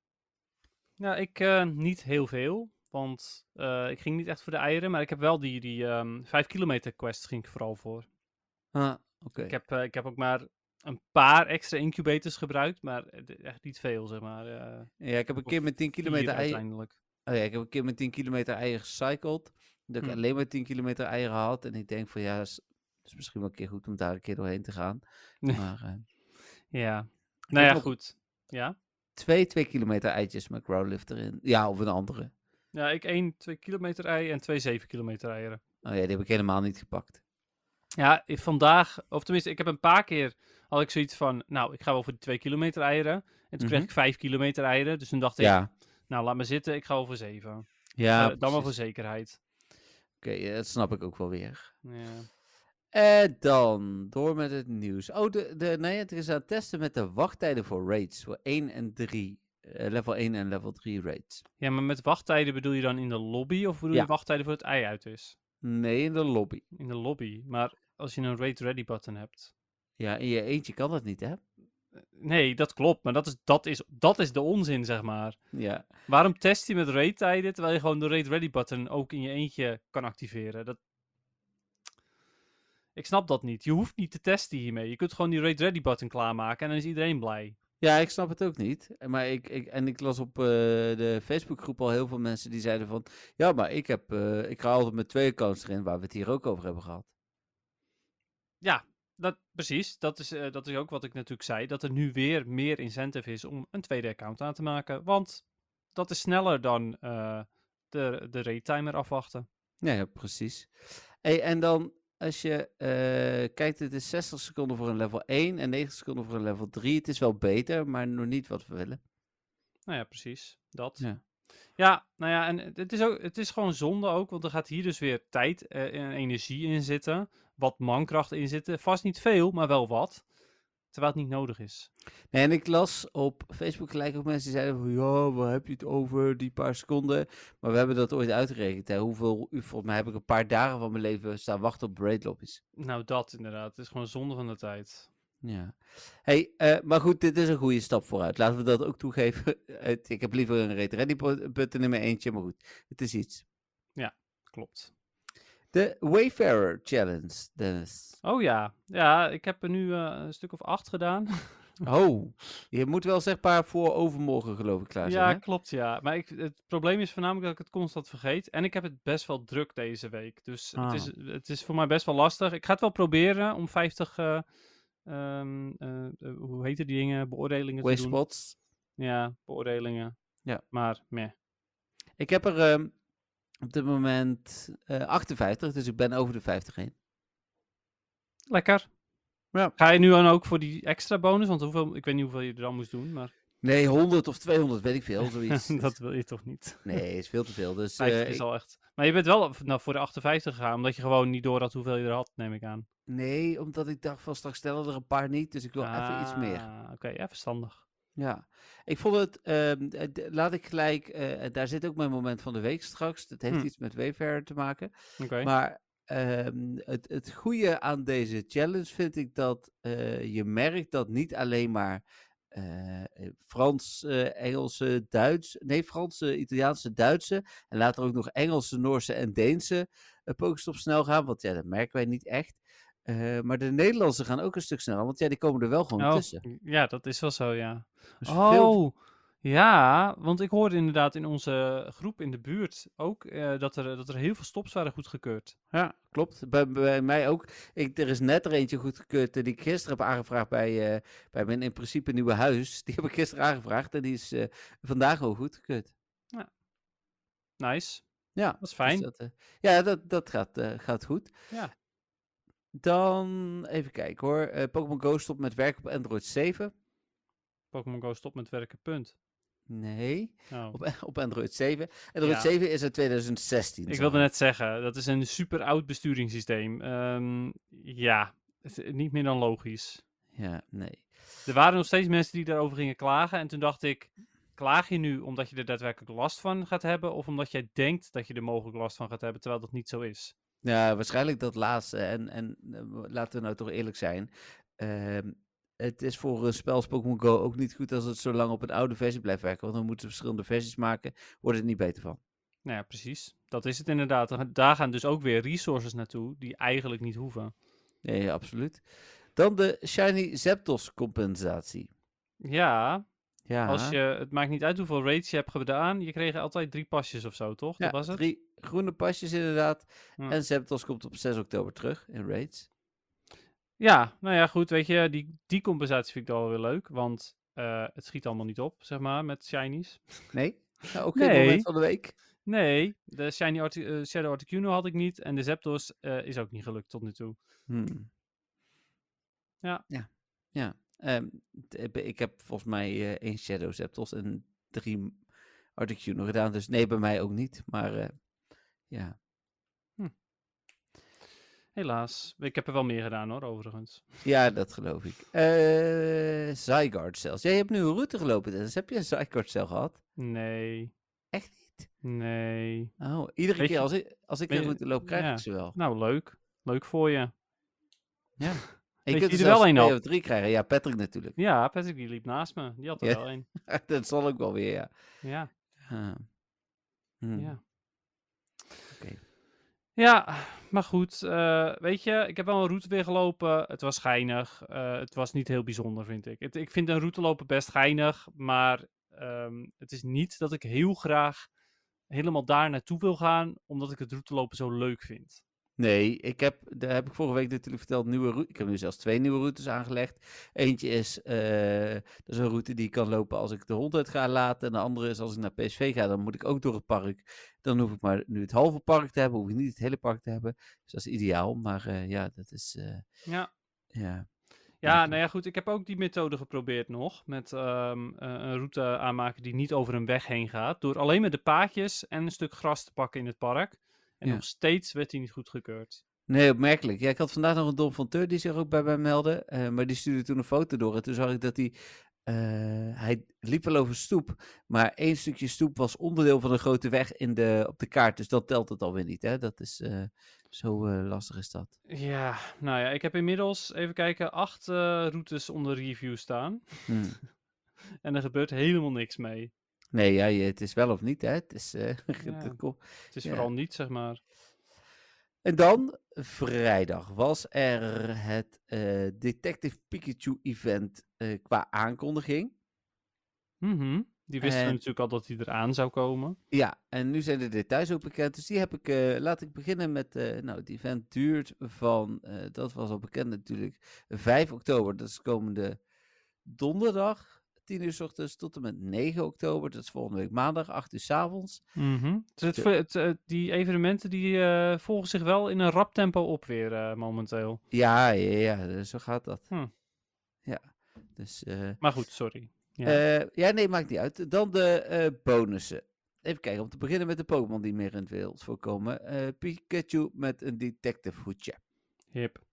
S4: Nou, ik eh, niet heel veel, want eh, ik ging niet echt voor de eieren, maar ik heb wel die, die ehm 5 kilometer quest ging ik vooral voor.
S3: Ah, oké.
S4: Ik, heb, eh, ik heb ook maar een paar extra incubators gebruikt, maar eh, d- echt niet veel, zeg maar. eh,
S3: Ja, ik heb een keer
S4: of
S3: met 10
S4: vier
S3: kilometer ei-
S4: uiteindelijk.
S3: Oh ja, ik heb een keer met 10 kilometer eieren gecycled. Dat ik
S4: Hm.
S3: alleen maar 10 kilometer eieren had. En ik denk van ja, is, is misschien wel een keer goed om daar een keer doorheen te gaan.
S4: Nee.
S3: Maar eh,
S4: Ja. Nou ja,
S3: nog-
S4: goed. Ja.
S3: twee 2 kilometer eitjes met growlift erin. Ja, of een andere.
S4: Ja, ik één 2 kilometer ei en twee 7 kilometer eieren.
S3: Oh ja, die heb ik helemaal niet gepakt.
S4: Ja, ik vandaag, of tenminste, ik heb een paar keer had ik zoiets van, nou, ik ga wel voor die 2 kilometer eieren. En toen kreeg
S3: Mhm.
S4: ik 5 kilometer eieren, dus toen dacht ik,
S3: Ja,
S4: nou, laat maar zitten, ik ga wel voor 7.
S3: ja
S4: Eh, dan wel
S3: precies.
S4: voor zekerheid.
S3: Oké, eh, dat snap ik ook wel weer.
S4: Ja.
S3: En dan door met het nieuws. Oh, de, de Niantic is aan het testen met de wachttijden voor raids. Voor 1 en 3. eh, level 1 en level 3 raids.
S4: ja, maar met wachttijden bedoel je dan in de lobby of bedoel
S3: Ja.
S4: je wachttijden voor het ei uit is?
S3: Nee, in de lobby.
S4: In de lobby. Maar als je een raid ready button hebt.
S3: Ja, in je eentje kan dat niet, hè?
S4: Nee, dat klopt. Maar dat is, dat is, dat is de onzin, zeg maar.
S3: Ja.
S4: Waarom test je met raid tijden terwijl je gewoon de raid ready button ook in je eentje kan activeren? Dat... Ik snap dat niet. Je hoeft niet te testen hiermee. Je kunt gewoon die raid ready button klaarmaken en dan is iedereen blij.
S3: Ja, ik snap het ook niet. Eh, Maar ik, ik, en ik las op eh, de Facebookgroep al heel veel mensen die zeiden van... Ja, maar ik, heb, eh, ik ga altijd met twee accounts erin, waar we het hier ook over hebben gehad.
S4: Dat, precies, dat is, eh, dat is ook wat ik natuurlijk zei. Dat er nu weer meer incentive is om een tweede account aan te maken. Want dat is sneller dan eh, de, de raid timer afwachten.
S3: Ja, ja precies. Hey, en dan, als je eh, kijkt, het is 60 seconden voor een level 1 en 90 seconden voor een level 3. Het is wel beter, maar nog niet wat we willen.
S4: Nou ja, precies. Dat.
S3: Ja.
S4: Ja, nou ja, en het- het is, ook, het is gewoon zonde ook, want er gaat hier dus weer tijd eh, en energie in zitten. Wat mankracht in zitten. Vast niet veel, maar wel wat. Terwijl het niet nodig is.
S3: Nee, en ik las op Facebook gelijk ook mensen die zeiden van... Ja, waar heb je het over, die paar seconden? Maar we hebben dat ooit uitgerekend. Hè? Hoeveel, uur- volgens mij heb ik een paar dagen van mijn leven staan wachten op braid lobbies.
S4: Nou, dat inderdaad. Het is gewoon zonde van de tijd.
S3: Ja. Hey, eh, maar goed, dit is een goede stap vooruit. Laten we dat ook toegeven. Het- ik heb liever een rate ready bu- button in mijn eentje, maar goed, het is iets.
S4: Klopt.
S3: De Wayfarer Challenge, Dennis.
S4: Oh ja, ja, ik heb er nu eh, een stuk of acht gedaan.
S3: Oh, je moet wel zegbaar voor overmorgen, geloof ik, klaar zijn.
S4: Ja,
S3: hè?
S4: klopt, ja. Maar ik, het probleem is voornamelijk dat ik het constant vergeet. En ik heb het best wel druk deze week. Dus
S3: Ah.
S4: het, is, het is voor mij best wel lastig. Ik ga het wel proberen om 50, eh, ehm, eh, eh, hoe heet die dingen, beoordelingen te doen.
S3: Wayspots.
S4: Ja, beoordelingen.
S3: Ja.
S4: Maar, meh.
S3: Ik heb er ehm, op dit moment eh, 58, dus ik ben over de 50 heen.
S4: Lekker.
S3: Ja.
S4: Ga je nu dan ook voor die extra bonus? Want hoeveel, ik weet niet hoeveel je er dan moest doen, maar
S3: Nee, 100 of 200, weet ik veel, zoiets.
S4: dat wil je toch niet?
S3: Nee, is veel te veel. Dus,
S4: 50
S3: eh,
S4: is
S3: ik-
S4: al echt... Maar je bent wel v- nou, voor de 58 gegaan, omdat je gewoon niet door had hoeveel je er had, neem ik aan.
S3: Nee, omdat ik dacht van straks stellen er een paar niet, dus ik wil even iets meer.
S4: Ah, Oké, ja, verstandig.
S3: Ja, ik vond het, ehm, eh, d- laat ik gelijk, eh, daar zit ook mijn moment van de week straks. Dat heeft
S4: Hm.
S3: iets met Wayfair te maken.
S4: Oké.
S3: Maar ehm, het, het goede aan deze challenge vind ik dat eh, je merkt dat niet alleen maar eh, eh, Frans, eh, Engelse, Duits, nee, Franse, Italiaanse, Duitse en later ook nog Engelse, Noorse en Deense uh, Pokestops snel gaan, want ja, dat merken wij niet echt. Eh, maar de Nederlandse gaan ook een stuk sneller, want ja, die komen er wel gewoon
S4: Oh,
S3: tussen.
S4: Ja, dat is wel zo, ja.
S3: Dus
S4: oh,
S3: veel
S4: ja, want ik hoorde inderdaad in onze groep in de buurt ook eh, dat, er, dat er heel veel stops waren goedgekeurd.
S3: Ja, klopt. Bij, bij mij ook. Ik, er is net er eentje goedgekeurd eh, die ik gisteren heb aangevraagd bij, eh, bij mijn in principe nieuwe huis. Die heb ik gisteren aangevraagd en die is eh, vandaag al goedgekeurd. Dus
S4: Nice,
S3: Ja,
S4: dat is
S3: dus
S4: fijn. dus
S3: dat, eh, ja, dat, dat gaat, eh, gaat goed.
S4: Ja.
S3: Dan even kijken hoor. Eh, Pokémon Go stopt met werken op Android 7.
S4: Pokémon Go stopt met werken, punt.
S3: Nee,
S4: Oh.
S3: op, op Android 7. Android
S4: Ja.
S3: 7 is uit 2016.
S4: Ik
S3: zeg
S4: wilde
S3: maar.
S4: net zeggen, dat is een super oud besturingssysteem. Ehm, ja, het is niet meer dan logisch.
S3: Ja, nee.
S4: Er waren nog steeds mensen die daarover gingen klagen. En toen dacht ik, klaag je nu omdat je er daadwerkelijk last van gaat hebben? Of omdat jij denkt dat je er mogelijk last van gaat hebben, terwijl dat niet zo is?
S3: Ja, waarschijnlijk dat laatste. En, en eh, laten we nou toch eerlijk zijn. ehm, het is voor een spel als Pokémon Go ook niet goed als het zo lang op een oude versie blijft werken. Want dan moeten ze verschillende versies maken. Wordt het niet beter van.
S4: Nou ja, precies. Dat is het inderdaad. Dan ga- Daar gaan dus ook weer resources naartoe die eigenlijk niet hoeven.
S3: Nee, absoluut. Dan de Shiny Zapdos compensatie.
S4: Ja,
S3: Ja,
S4: als je, het maakt niet uit hoeveel raids je hebt gedaan. Je kreeg altijd drie pasjes of zo, toch?
S3: ja,
S4: dat was het? Hm.
S3: drie groene pasjes inderdaad.
S4: Ja.
S3: En Zapdos komt op 6 oktober terug in Raids.
S4: Ja, nou ja, goed. Weet je, die, die compensatie vind ik dan wel weer leuk. Want eh, het schiet allemaal niet op, zeg maar, met shinies.
S3: Nee? Nou, ook
S4: Nee.
S3: geen moment van de week.
S4: Nee, de Shiny Arti- eh, Shadow Articuno had ik niet. En de Zapdos eh, is ook niet gelukt tot nu toe.
S3: Hmm.
S4: Ja.
S3: Ja. ja. Ehm, t- ik ben- ik heb volgens mij eh, één Shadow Zapdos en drie Articuno gedaan. Dus nee, bij mij ook niet. Maar eh, ja.
S4: Helaas. Ik heb er wel meer gedaan hoor, overigens.
S3: ja, dat geloof ik. Eh Zygarde zelfs. Jij hebt nu een route gelopen, Dennis. Heb je een Zygarde cel gehad?
S4: Nee,
S3: Echt niet?
S4: nee.
S3: Oh, iedere
S4: Weet
S3: keer
S4: je-
S3: als ik, als ik
S4: weet
S3: een
S4: je-
S3: route loop, krijg
S4: ja.
S3: ik ze wel.
S4: Nou, leuk. Leuk voor je.
S3: Ja.
S4: je
S3: Ik
S4: die
S3: kunt
S4: er
S3: er
S4: wel
S3: wel
S4: een
S3: één
S4: had?
S3: op. drie krijgen. Ja, Patrick natuurlijk.
S4: Ja, Patrick die liep naast me. Die had er
S3: Ja.
S4: wel een.
S3: dat zal ook wel weer, ja.
S4: Ja,
S3: Ah. Hmm.
S4: ja.
S3: Oké.
S4: Hmm. Ja, maar goed. eh, weet je, ik heb wel een route weer gelopen. Het was geinig. eh, het was niet heel bijzonder, vind ik. Het, ik vind een route lopen best geinig. Maar ehm, het is niet dat ik heel graag helemaal daar naartoe wil gaan. Omdat ik het route lopen zo leuk vind.
S3: Nee, ik heb, daar heb ik vorige week natuurlijk verteld, nieuwe route. Ik heb nu zelfs twee nieuwe routes aangelegd. Eentje is, eh, dat is een route die ik kan lopen als ik de hond uit ga laten. En de andere is als ik naar PSV ga, dan moet ik ook door het park. Dan hoef ik maar nu het halve park te hebben, hoef ik niet het hele park te hebben. Dus dat is ideaal, maar eh, ja, dat is, eh,
S4: Ja.
S3: ja.
S4: Ja,
S3: Eigenlijk.
S4: nou ja, goed. Ik heb ook die methode geprobeerd nog. Met ehm, eh, een route aanmaken die niet over een weg heen gaat. Door alleen maar de paadjes en een stuk gras te pakken in het park. En
S3: Ja.
S4: nog steeds werd die niet goedgekeurd.
S3: Nee, opmerkelijk. Ja, ik had vandaag nog een Don van Teur die zich ook bij mij meldde. eh, maar die stuurde toen een foto door. En toen zag ik dat hij... eh, hij liep wel over stoep. Maar één stukje stoep was onderdeel van een grote weg in de, op de kaart. Dus dat telt het alweer niet. Hè? Dat is... eh, zo eh, lastig is dat.
S4: Ja, nou ja, ik heb inmiddels, even kijken, acht eh, routes onder review staan.
S3: Hmm.
S4: En er gebeurt helemaal niks mee.
S3: Nee, ja, je- het is wel of niet. Hè? Het is, eh,
S4: Ja.
S3: dat komt-
S4: Het is
S3: Ja.
S4: vooral niet, zeg maar.
S3: En dan, vrijdag, was er het eh, Detective Pikachu event eh, qua aankondiging.
S4: Mhm. Die wisten we
S3: En-
S4: natuurlijk al dat die eraan zou komen.
S3: Ja, en nu zijn de details ook bekend. Dus die heb ik. eh, laat ik beginnen met. eh, nou, het event duurt van. eh, dat was al bekend natuurlijk. 5 oktober, dat is komende donderdag. 10 uur s ochtends tot en met 9 oktober. Dat is volgende week maandag, 8 uur s avonds.
S4: Mhm. Dus het,
S3: Ja.
S4: ver- het, eh, die evenementen die eh, volgen zich wel in een rap tempo op weer eh, momenteel.
S3: Ja, ja, ja, eh, zo gaat dat.
S4: Hm.
S3: Ja, dus. eh,
S4: Maar goed, sorry. Ja.
S3: eh, ja, nee, maakt niet uit. Dan de eh, bonussen. Even kijken, om te beginnen met de Pokémon die meer in het wereld voorkomen. Eh, Pikachu met een detective hoedje.
S4: Hip.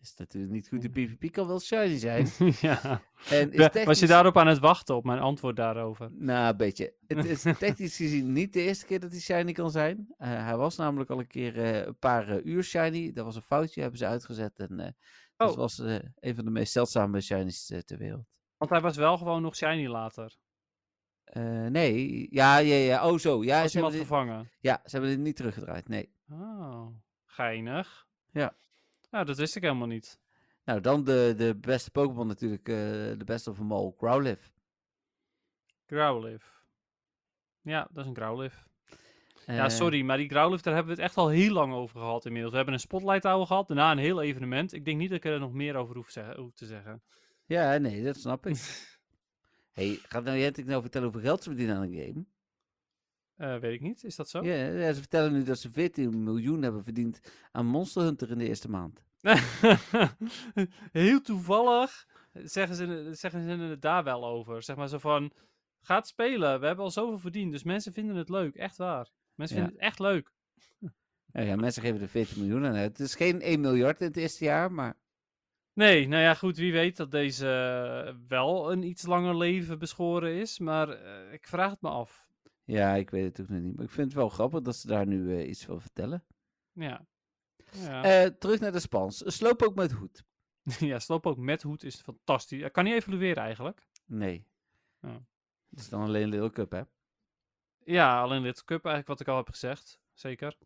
S3: Is natuurlijk niet goed. De PvP kan wel shiny zijn.
S4: ja.
S3: En is
S4: Ja, Was je
S3: technisch-
S4: daarop aan het wachten op mijn antwoord daarover?
S3: Nou, een beetje. Het is technisch gezien niet de eerste keer dat hij shiny kan zijn. Eh, hij was namelijk al een keer eh, een paar eh, uur shiny. Dat was een foutje, hebben ze uitgezet. En eh, dat
S4: Oh.
S3: was eh, een van de meest zeldzame shinies eh, ter wereld.
S4: Want hij was wel gewoon nog shiny later.
S3: Eh, nee, ja, ja, ja. Oh, zo. Ja,
S4: Als
S3: ze hebben,
S4: iemand
S3: dit,
S4: gevangen.
S3: ja, ze hebben dit niet teruggedraaid. Nee.
S4: Oh, geinig.
S3: Ja.
S4: Nou, dat wist ik helemaal niet.
S3: Nou, dan de, de beste Pokémon natuurlijk. eh, de beste van Mol, Growlithe.
S4: Growlithe. Ja, dat is een Growlithe. ja,
S3: Eh,
S4: sorry, maar die Growlithe, daar hebben we het echt al heel lang over gehad inmiddels. We hebben een spotlight hour gehad, daarna een heel evenement. Ik denk niet dat ik er nog meer over hoef, zeggen- hoef te zeggen.
S3: Ja, nee, dat snap ik. hey, gaat nou Jentik nou vertellen hoeveel geld ze verdienen aan een game?
S4: Eh, weet ik niet, is dat zo?
S3: Ja, ja, ze vertellen nu dat ze 14 miljoen hebben verdiend aan Monster Hunter in de eerste maand.
S4: Heel toevallig zeggen ze, zeggen ze het daar wel over. Zeg maar zo van, ga het spelen. We hebben al zoveel verdiend. Dus mensen vinden het leuk. Echt waar. Mensen
S3: Ja.
S4: vinden het echt leuk.
S3: Ja, ja, mensen geven er 40 miljoen aan. uit. Het is geen 1 miljard in het eerste jaar, maar
S4: Nee, nou ja, goed. Wie weet dat deze eh, wel een iets langer leven beschoren is. Maar eh, ik vraag het me af.
S3: ja, ik weet het ook nog niet. Maar ik vind het wel grappig dat ze daar nu eh, iets van vertellen.
S4: Ja. Ja,
S3: Eh, terug naar de Spans. Sloop ook met hoed.
S4: ja Slowpoke met hoed is fantastisch. Hij kan niet evolueren eigenlijk.
S3: Nee.
S4: Oh.
S3: Dat is dan alleen Little Cup, hè?
S4: Ja, alleen dit cup eigenlijk wat ik al heb gezegd. Zeker.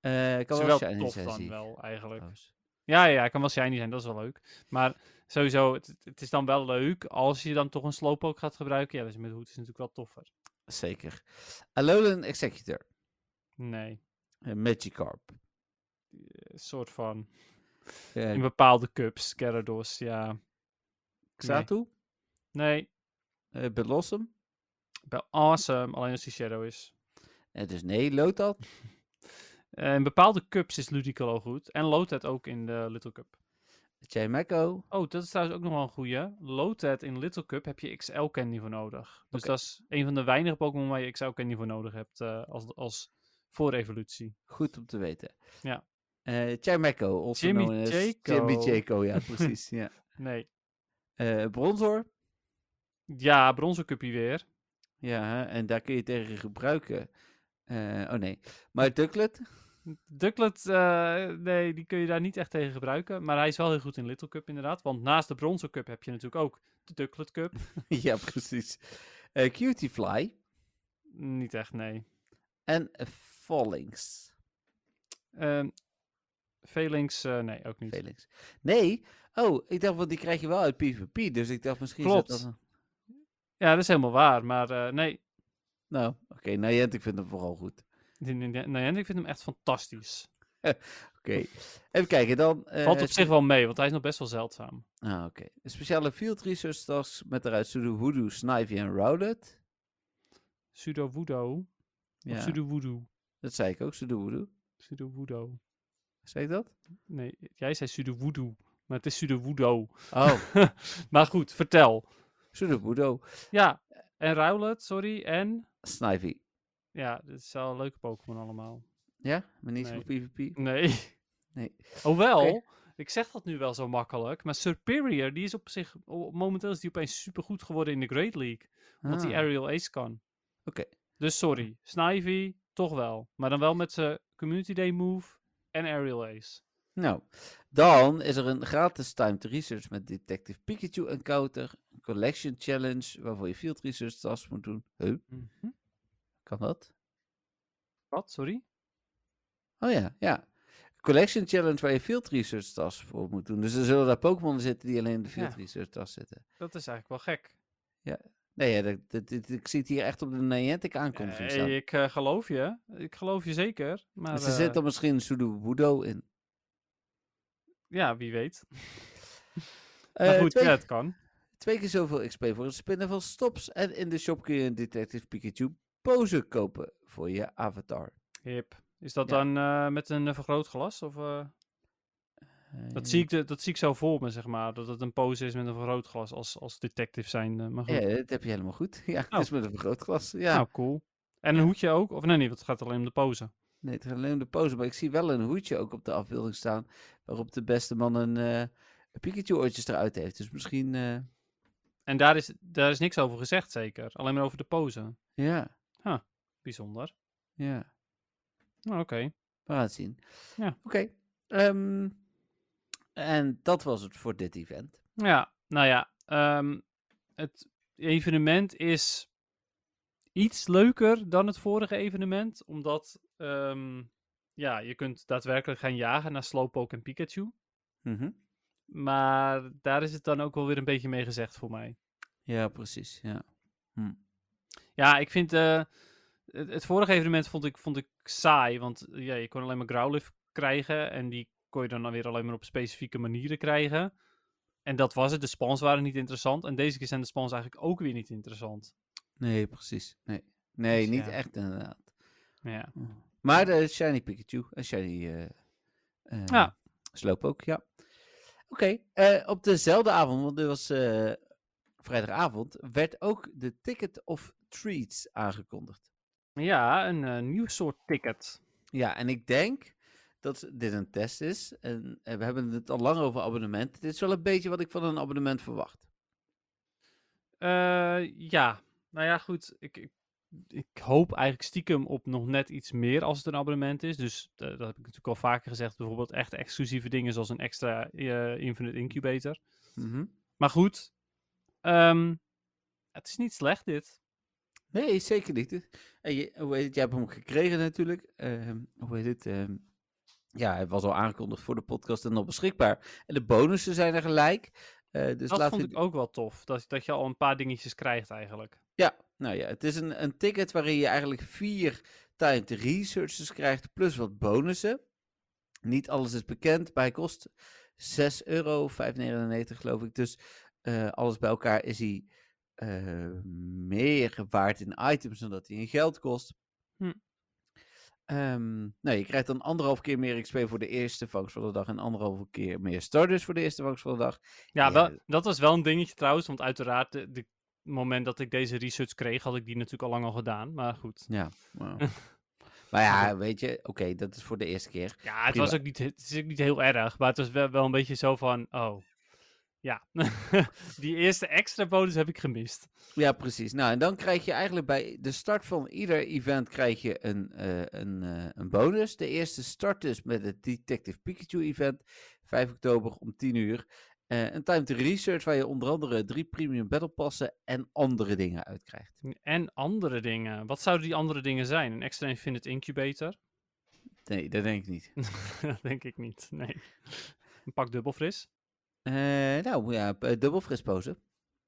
S3: Eh ik
S4: Is
S3: kan wel
S4: wel
S3: shiny
S4: tof
S3: zijn, zie
S4: dan
S3: ik,
S4: wel eigenlijk.
S3: trouwens.
S4: Ja, ja, hij kan wel shiny zijn, dat is wel leuk. Maar sowieso, het, het is dan wel leuk als je dan toch een slowpoke gaat gebruiken. Ja, dus met hoed is natuurlijk wel toffer.
S3: Zeker. Alolan Executor.
S4: Nee,
S3: Eh, Magikarp.
S4: een soort van.
S3: Eh,
S4: In bepaalde cups, Gyarados, ja.
S3: Xatu.
S4: Nee,
S3: eh, Blossom.
S4: wel awesome, alleen als die shadow is.
S3: Eh, dus nee, Lotat.
S4: Eh, in bepaalde cups is Ludicolo goed. En Lotet ook in de Little Cup.
S3: Chimeco.
S4: Oh, dat is trouwens ook nog wel een goeie. Lotet in Little Cup heb je XL Candy voor nodig. Dus
S3: Oké.
S4: dat is een van de weinige Pokémon waar je XL Candy voor nodig hebt eh, als, als voor evolutie.
S3: Goed om te weten.
S4: Ja.
S3: Eh Chimeco. also
S4: Jimmy
S3: known as
S4: Jaco.
S3: Jimmy Jaco, ja, precies. ja.
S4: Nee.
S3: Eh Bronzor.
S4: Ja, bronzen cuppie weer.
S3: Ja, en daar kun je tegen gebruiken. Eh, oh nee. Maar Ducklet.
S4: Ducklet, eh, nee, die kun je daar niet echt tegen gebruiken. Maar hij is wel heel goed in Little Cup inderdaad. Want naast de bronzen cup heb je natuurlijk ook de Ducklet Cup.
S3: ja, precies. Eh Cutiefly.
S4: niet echt, nee.
S3: En Fallings.
S4: Ehm Velinx, eh, nee, ook niet.
S3: Felix. Nee. Oh, ik dacht, want die krijg je wel uit PvP. Dus ik dacht misschien... zit
S4: Klopt.
S3: dat een-
S4: Ja, dat is helemaal waar. Maar eh, nee,
S3: Nou, oké. Nayent, ik vind hem vooral goed.
S4: die- die- die- nee, ik vind hem echt fantastisch.
S3: Oké. Even kijken, dan... eh,
S4: Valt op
S3: spe-
S4: zich wel mee, want hij is nog best wel zeldzaam.
S3: Ah, oké. Een speciale field research task met daaruit Sudowoodoo, Snivy en Rowlet.
S4: Sudowoodo.
S3: Ja,
S4: Of Sudowoodo.
S3: dat zei ik ook, Sudowoodoo.
S4: Sudowoodo.
S3: Zei ik dat?
S4: Nee, jij zei Sudowoodo. Maar het is Sudowoodo.
S3: Oh,
S4: maar goed, vertel.
S3: Sudowoodoo,
S4: Ja, en Rowlet, sorry. En.
S3: Snivy.
S4: Ja, dit is wel een leuke Pokémon allemaal.
S3: Ja, maar niet voor PvP.
S4: Nee. Mm,
S3: Nee.
S4: Hoewel, ik zeg dat nu wel zo makkelijk. Maar Superior, die is op zich. o- Momenteel is die opeens supergoed geworden in de Great League. Omdat die
S3: Ah,
S4: Aerial Ace kan.
S3: Oké.
S4: Dus sorry, Snivy, toch wel. Maar dan wel met zijn Community Day move en Aerial Ace.
S3: Nou, dan is er een gratis timed research met Detective Pikachu Encounter. Een collection challenge waarvoor je field research tasks moet doen. Huh, kan dat?
S4: Wat, sorry?
S3: Oh ja, ja. Collection challenge waar je field research tasks voor moet doen. Dus er zullen daar Pokémon zitten die alleen in de field
S4: Ja.
S3: research tas zitten.
S4: Dat is eigenlijk wel gek.
S3: Nee, ja, dat, dat- dit- ik zie het hier echt op de Niantic aankondiging staan.
S4: Eh, ik eh, geloof je. Ik geloof je zeker. Maar
S3: Dus er
S4: eh,
S3: zit dan misschien Sudowoodoo in.
S4: ja, wie weet. maar
S3: Eh,
S4: goed,
S3: twee,
S4: ja, het kan.
S3: twee keer zoveel XP voor het spinnen van stops. En in de shop kun je een Detective Pikachu pose kopen voor je avatar.
S4: Hip. Is dat
S3: Ja.
S4: dan eh, met een eh, vergrootglas? Of, eh,
S3: Eh,
S4: dat, zie ik de, dat zie ik zo voor me, zeg maar. Dat het een pose is met een vergrootglas als, als detective zijn. eh, maar goed.
S3: Ja, dat heb je helemaal goed. Ja, het
S4: Oh.
S3: is met een vergrootglas. Ja,
S4: Nou, cool. En een hoedje ook? Of nee, nee, want het gaat alleen om de pose.
S3: nee, het gaat alleen om de pose. Maar ik zie wel een hoedje ook op de afbeelding staan. Waarop de beste man een eh, Pikachu-oortjes eruit heeft. Dus misschien, eh,
S4: En daar is, daar is niks over gezegd, zeker. Alleen maar over de pose.
S3: ja,
S4: Bijzonder.
S3: ja.
S4: Nou, Oké.
S3: We gaan het zien.
S4: Ja.
S3: Oké. ehm, en dat was het voor dit event.
S4: Ja, nou ja. ehm, het evenement is iets leuker dan het vorige evenement. Omdat ehm, ja, je kunt daadwerkelijk gaan jagen naar Slowpoke en Pikachu. Mhm. Maar daar is het dan ook wel weer een beetje mee gezegd voor mij.
S3: Ja, precies. Ja.
S4: Ja, ik vind eh, het, het vorige evenement vond ik, vond ik saai. Want eh, ja, je kon alleen maar Growlithe krijgen. En die kon je dan dan weer alleen maar op specifieke manieren krijgen. En dat was het. De spans waren niet interessant. En deze keer zijn de spans eigenlijk ook weer niet interessant.
S3: Nee, precies. Nee, nee
S4: Dus
S3: niet
S4: ja.
S3: echt inderdaad.
S4: Ja,
S3: Maar de Shiny Pikachu en Shiny eh eh,
S4: Ja.
S3: Sloop ook, ja. Oké, eh, op dezelfde avond, want dit was eh, vrijdagavond, werd ook de Ticket of Treats aangekondigd.
S4: Ja, een eh, nieuw soort ticket.
S3: Ja, en ik denk dat dit een test is. En eh, we hebben het al lang over abonnementen. Dit is wel een beetje wat ik van een abonnement verwacht.
S4: Eh, ja, nou ja, goed. Ik, ik, ik hoop eigenlijk stiekem op nog net iets meer als het een abonnement is. Dus eh, dat heb ik natuurlijk al vaker gezegd. Bijvoorbeeld echt exclusieve dingen zoals een extra eh, Infinite Incubator.
S3: Mhm.
S4: Maar goed, ehm, het is niet slecht dit.
S3: Nee, zeker niet. En je, hoe heet het, jij hebt hem gekregen natuurlijk. Ehm, hoe heet het? ehm, ja, hij was al aangekondigd voor de podcast en nog beschikbaar. En de bonussen zijn er gelijk. Eh, dus
S4: dat
S3: laten
S4: vond
S3: we
S4: ik ook wel tof. Dat, dat je al een paar dingetjes krijgt eigenlijk.
S3: Ja, nou ja, het is een, een ticket waarin je eigenlijk vier timed researches krijgt, plus wat bonussen. Niet alles is bekend, maar hij kost 6 euro, 5,99 geloof ik. Dus eh, alles bij elkaar is hij eh, meer waard in items dan dat hij in geld kost.
S4: Hm.
S3: Ehm, nou, je krijgt dan anderhalf keer meer XP voor de eerste vangst van de dag en anderhalve keer meer starters voor de eerste vangst van de dag.
S4: Ja,
S3: Ja,
S4: wel,
S3: dat-
S4: dat was wel een dingetje trouwens. Want uiteraard, de, de moment dat ik deze research kreeg, had ik die natuurlijk al lang al gedaan. Maar goed.
S3: Ja, wauw. maar ja, weet je, oké, dat is voor de eerste keer.
S4: Ja, het,
S3: Prima.
S4: was ook niet, het is ook niet heel erg. Maar het was wel, wel een beetje zo van, oh. Ja, die eerste extra bonus heb ik gemist.
S3: Ja, precies. Nou, en dan krijg je eigenlijk bij de start van ieder event krijg je een, eh, een, eh, een bonus. De eerste start dus met het Detective Pikachu event, 5 oktober om 10 uur. Eh, een time to research waar je onder andere drie premium battle passen en andere dingen uitkrijgt.
S4: En andere dingen. Wat zouden die andere dingen zijn? Een extra Infinite Incubator?
S3: Nee, dat denk ik niet.
S4: Dat denk ik niet, nee. Een pak dubbelfris.
S3: Eh, nou ja, p- eh, dubbel frispozen.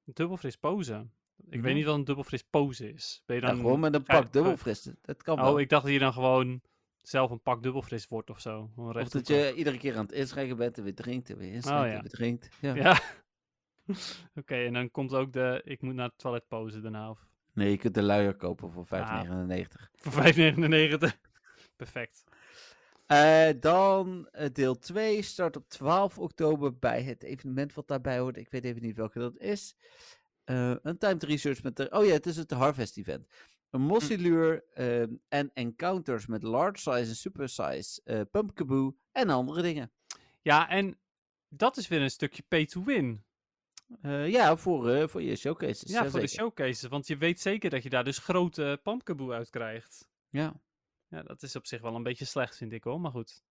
S4: Een dubbelfris pose. Ik
S3: Mhm.
S4: weet niet wat een dubbelfris pose is. Ben je
S3: Ja,
S4: dan...
S3: gewoon met een
S4: ga je-
S3: pak dubbel fris. Dat kan wel.
S4: Oh, ik dacht dat je dan gewoon zelf een pak dubbelfris wordt of zo. Een
S3: Of dat
S4: rechthoekig.
S3: je iedere keer aan het inschrijven bent en weer drinkt en weer inschrijft
S4: ja.
S3: en weer drinkt. Ja.
S4: Ja. Oké, en dan komt ook de... Ik moet naar het toilet pose daarna. Of...
S3: Nee, je kunt de luier kopen voor 5,99.
S4: Voor 5,99. Perfect.
S3: Eh, dan eh, deel 2 start op 12 oktober bij het evenement wat daarbij hoort. Ik weet even niet welke dat is. Eh, een timed research met de... Oh ja, het is het Harvest Event.
S4: Hm.
S3: Een Mossy-lure ehm, en encounters met large size en super size eh pumpkaboo en andere dingen.
S4: Ja, en dat is weer een stukje pay to win.
S3: Eh, ja, voor, eh, voor je showcases.
S4: ja, voor de
S3: jazeker.
S4: showcases. Want je weet zeker dat je daar dus grote pumpkaboe uit krijgt.
S3: Ja.
S4: Ja, dat is op zich wel een beetje slecht, vind ik hoor. Maar goed.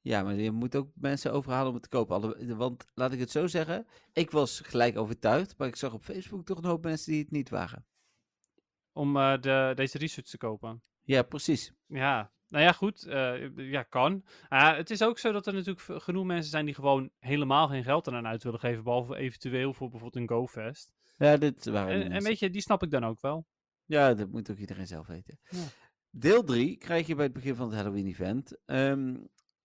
S3: ja, maar je moet ook mensen overhalen om het te kopen. Alle- Want laat ik het zo zeggen, ik was gelijk overtuigd, maar ik zag op Facebook toch een hoop mensen die het niet waren.
S4: Om eh, de, deze research te kopen.
S3: Ja, precies.
S4: Ja, nou ja, goed. eh, ja, kan. Ah, het is ook zo dat er natuurlijk v- genoeg mensen zijn die gewoon helemaal geen geld eraan uit willen geven. Behalve eventueel voor bijvoorbeeld een GoFest.
S3: Ja, dit waren de
S4: En, en
S3: mensen.
S4: weet je, die snap ik dan ook wel.
S3: Ja, dat moet ook iedereen zelf weten.
S4: Ja.
S3: Deel 3 krijg je bij het begin van het Halloween-event ehm,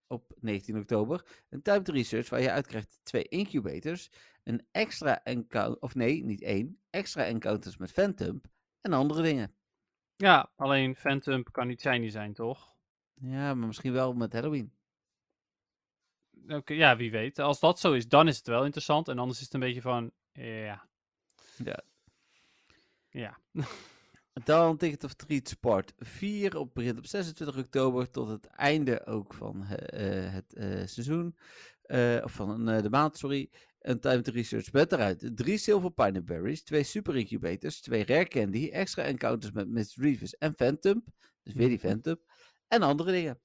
S3: op 19 oktober. Een timed research waar je uitkrijgt twee incubators, een extra encounter, of nee, niet één, extra encounters met Phantom en andere dingen.
S4: Ja, alleen Phantom kan niet shiny zijn, toch?
S3: Ja, maar misschien wel met Halloween.
S4: Oké, ja, wie weet. Als dat zo is, dan is het wel interessant. En anders is het een beetje van, ja.
S3: Ja.
S4: Ja.
S3: Dan Ticket of Treats part 4 op, begint op 26 oktober tot het einde ook van eh, eh, het eh, seizoen. Eh, of van eh, de maand, sorry. Een Time to Research bed eruit. Drie Silver Pineberries, twee Super Incubators, twee Rare Candy, extra encounters met Miss Reeves en Phantom. Dus weer die Phantom. En andere dingen.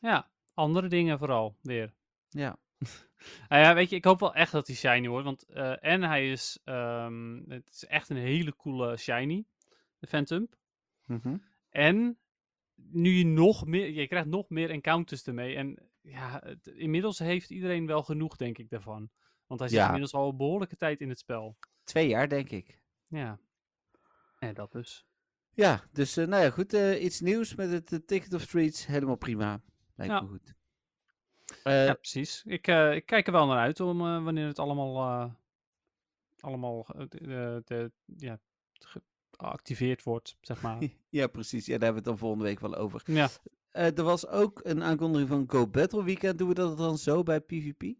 S4: Ja, andere dingen vooral, weer.
S3: Ja.
S4: Nou ja, weet je, ik hoop wel echt dat hij shiny wordt. Want, eh, en hij is, ehm, het is echt een hele coole shiny, de Phantom. En nu je nog meer, je krijgt nog meer encounters ermee. En ja, het- inmiddels heeft iedereen wel genoeg, denk ik, daarvan. Want hij zit
S3: Ja.
S4: inmiddels al een behoorlijke tijd in het spel.
S3: Twee jaar, denk ik.
S4: Ja. Ja, dat dus.
S3: Ja, dus eh, nou ja, goed. eh, iets nieuws met het eh, Ticket of Treats. Helemaal prima. Lijkt
S4: Ja.
S3: me goed. Eh,
S4: ja, precies. Ik, eh, ik kijk er wel naar uit om eh, wanneer het allemaal, eh, allemaal eh, de- de- de- ja, geactiveerd wordt, zeg maar.
S3: Ja, precies. Ja, daar hebben we het dan volgende week wel over.
S4: ja,
S3: eh, er was ook een aankondiging van Go Battle Weekend. Doen we dat dan zo bij PvP? Oké,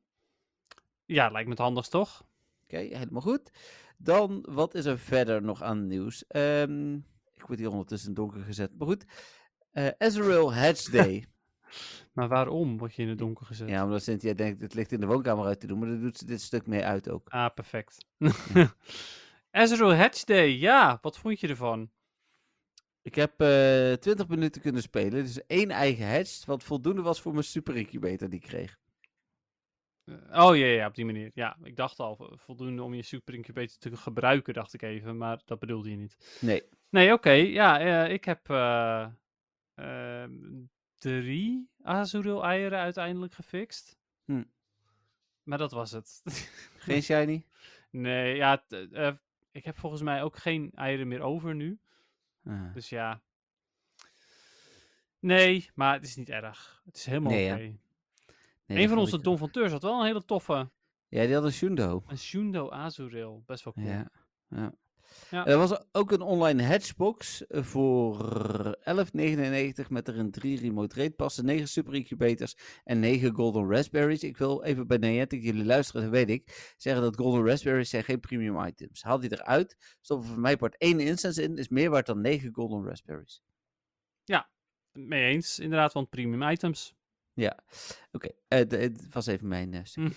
S4: Ja, lijkt me het handigst toch?
S3: helemaal goed. Dan, wat is er verder nog aan nieuws? Ehm, ik word hier ondertussen donker gezet, maar goed. Eh Ezreal Hedge Day.
S4: Maar waarom word je in het donker gezet?
S3: ja, omdat Cynthia denkt, het ligt in de woonkamer uit te doen. Maar daar doet ze dit stuk mee uit ook.
S4: Ah, perfect. Ezreal Hatch Day, ja. Wat vond je ervan?
S3: Ik heb eh 20 minuten kunnen spelen. Dus één eigen hedge, wat voldoende was voor mijn super incubator die ik kreeg.
S4: Eh, Oh ja, ja, op die manier. Ja, ik dacht al, vo- voldoende om je super incubator te gebruiken, dacht ik even. Maar dat bedoelde je niet.
S3: Nee.
S4: Nee, oké. ja, eh, ik heb eh, ehm, drie Azuril eieren uiteindelijk gefixt.
S3: Hm.
S4: Maar dat was het.
S3: Geen shiny?
S4: nee, ja, t- eh, ik heb volgens mij ook geen eieren meer over nu.
S3: Ah.
S4: Dus ja. Nee, maar het is niet erg. Het is helemaal
S3: Nee,
S4: oké.
S3: hè? Nee,
S4: een
S3: dat
S4: van
S3: vond
S4: onze
S3: ik-
S4: Donfonteurs had wel een hele toffe.
S3: Ja, die had een Shundo.
S4: Een Shundo Azuril. Best wel cool.
S3: Ja. ja.
S4: Ja.
S3: Er was ook een online hedgebox eh, voor 11,99 met erin drie remote rate passen, 9 super incubators en 9 golden raspberries. Ik wil even bij Niantic, jullie luisteren, dat weet ik, zeggen dat golden raspberries zijn geen premium items. Haal die eruit, stop er voor mij part 1 instance in, is meer waard dan 9 golden raspberries.
S4: Mee eens, inderdaad, want premium items.
S3: Ja, oké. eh, d- Het was even mijn eh, stuk.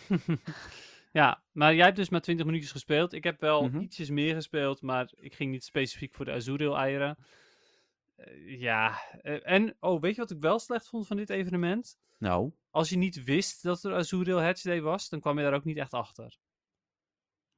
S4: ja, maar jij hebt dus maar 20 minuutjes gespeeld. Ik heb wel
S3: Mhm.
S4: ietsjes meer gespeeld, maar ik ging niet specifiek voor de Azuril eieren. Eh, ja, eh, en oh, weet je wat ik wel slecht vond van dit evenement?
S3: Nou,
S4: Als je niet wist dat er Azuril Hatch Day was, dan kwam je daar ook niet echt achter.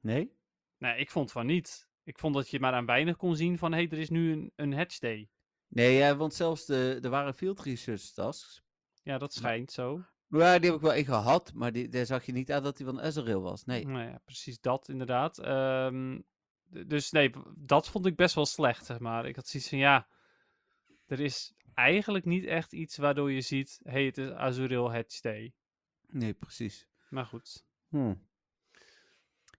S3: nee?
S4: Nee, ik vond van niet. Ik vond dat je maar aan weinig kon zien van, hé, hey, er is nu een, een hatch day.
S3: Nee, ja, want zelfs de, er waren field research tasks.
S4: Ja, dat schijnt zo.
S3: Maar die heb ik wel één gehad, maar die, daar zag je niet aan dat die van Ezreal was. Nee.
S4: Nou ja, precies dat inderdaad. Ehm, d- dus nee, b- dat vond ik best wel slecht, zeg maar. Ik had zoiets van, ja, er is eigenlijk niet echt iets waardoor je ziet, hé, hey, het is Azuril hatch day.
S3: Nee, precies.
S4: Maar goed.
S3: Hm.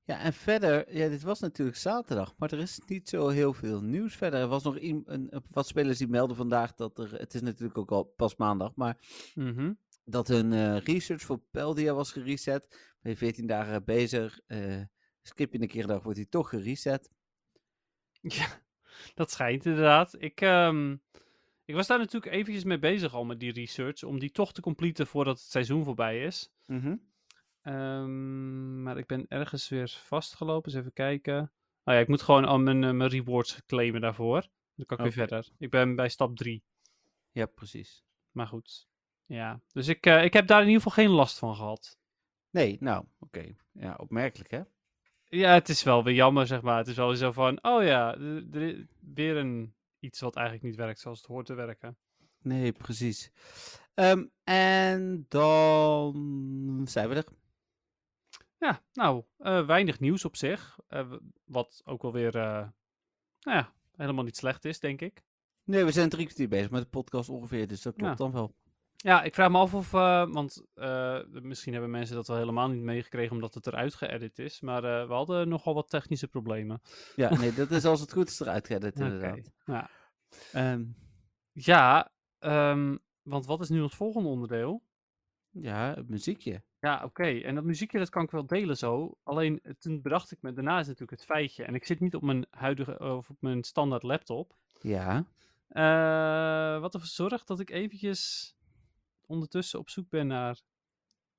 S3: Ja, en verder, ja, dit was natuurlijk zaterdag, maar er is niet zo heel veel nieuws verder. Er was nog iem- een, een- wat spelers die melden vandaag dat er, het is natuurlijk ook al pas maandag, maar
S4: Mhm.
S3: dat hun eh, research voor Peldia was gereset. Ben je 14 dagen bezig, eh, skip je een keer een dag, wordt hij toch gereset.
S4: Ja, dat schijnt inderdaad. Ik, ehm, ik was daar natuurlijk eventjes mee bezig al met die research, om die toch te completen voordat het seizoen voorbij is.
S3: Mhm.
S4: Ehm, maar ik ben ergens weer vastgelopen. Eens even kijken. Oh ja, ik moet gewoon al mijn, eh, mijn rewards claimen daarvoor. Dan kan
S3: Oké.
S4: ik weer verder. Ik ben bij stap 3.
S3: Ja, precies.
S4: Maar goed. Ja, dus ik, eh, ik heb daar in ieder geval geen last van gehad.
S3: Nee, nou, oké. Ja, opmerkelijk hè?
S4: Ja, het is wel weer jammer, zeg maar. Het is wel weer zo van, oh ja, er er is weer een, iets wat eigenlijk niet werkt zoals het hoort te werken.
S3: Nee, precies. Ehm, en dan zijn we er.
S4: Ja, nou, eh, weinig nieuws op zich. Eh, w- wat ook wel weer, eh, nou ja, helemaal niet slecht is, denk ik.
S3: Nee, we zijn drie kwartier bezig met de podcast ongeveer, dus dat klopt
S4: Ja.
S3: dan wel.
S4: Ja, ik vraag me af of, eh, want eh, misschien hebben mensen dat wel helemaal niet meegekregen omdat het eruit geëdit is, maar eh, we hadden nogal wat technische problemen.
S3: Ja, nee, dat is als het goed is eruit geëdit
S4: Oké,
S3: inderdaad.
S4: ja.
S3: Ehm,
S4: Ja, ehm, want wat is nu ons volgende onderdeel?
S3: ja, het muziekje.
S4: Ja, oké, en dat muziekje dat kan ik wel delen zo, alleen eh, toen bedacht ik me, daarna is natuurlijk het feitje, en ik zit niet op mijn huidige, of op mijn standaard laptop,
S3: Ja.
S4: Eh, wat ervoor zorgt dat ik eventjes ondertussen op zoek ben naar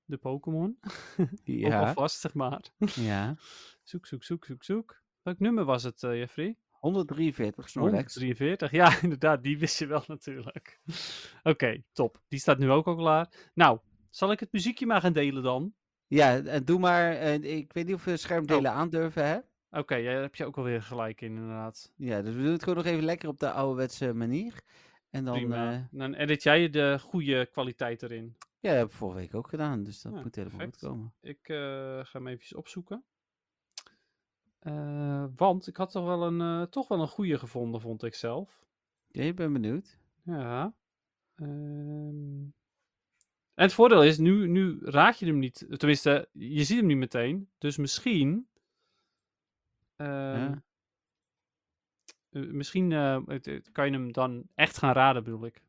S4: de Pokémon, Ook
S3: Ja.
S4: alvast zeg maar.
S3: ja.
S4: Zoek, zoek, zoek, zoek, zoek. Welk nummer was het, eh Jeffrey?
S3: 143 Snorlax.
S4: 143. Ja, inderdaad, die wist je wel natuurlijk. Oké, top. Die staat nu ook al klaar. Nou, zal ik het muziekje maar gaan delen dan?
S3: Ja, en doe maar. eh, ik weet niet of we
S4: Oh.
S3: schermdelen aandurven, hè?
S4: Oké, ja, daar heb je ook alweer gelijk in, inderdaad.
S3: Ja, dus we doen het gewoon nog even lekker op de ouderwetse manier. En dan,
S4: Prima.
S3: eh,
S4: Dan edit jij de goede kwaliteit erin.
S3: ja, dat heb ik vorige week ook gedaan, dus dat
S4: Ja,
S3: moet helemaal
S4: perfect.
S3: goed komen.
S4: Ik eh, ga hem eventjes opzoeken. Eh, want ik had toch wel, een, eh, toch wel een goede gevonden, vond ik zelf.
S3: Ja, ik ben benieuwd.
S4: Ja. ehm. En het voordeel is, nu, nu raak je hem niet. Tenminste, je ziet hem niet meteen. Dus misschien. ehm,
S3: Ja.
S4: eh, Misschien eh, het- het- kan je hem dan echt gaan raden, bedoel ik.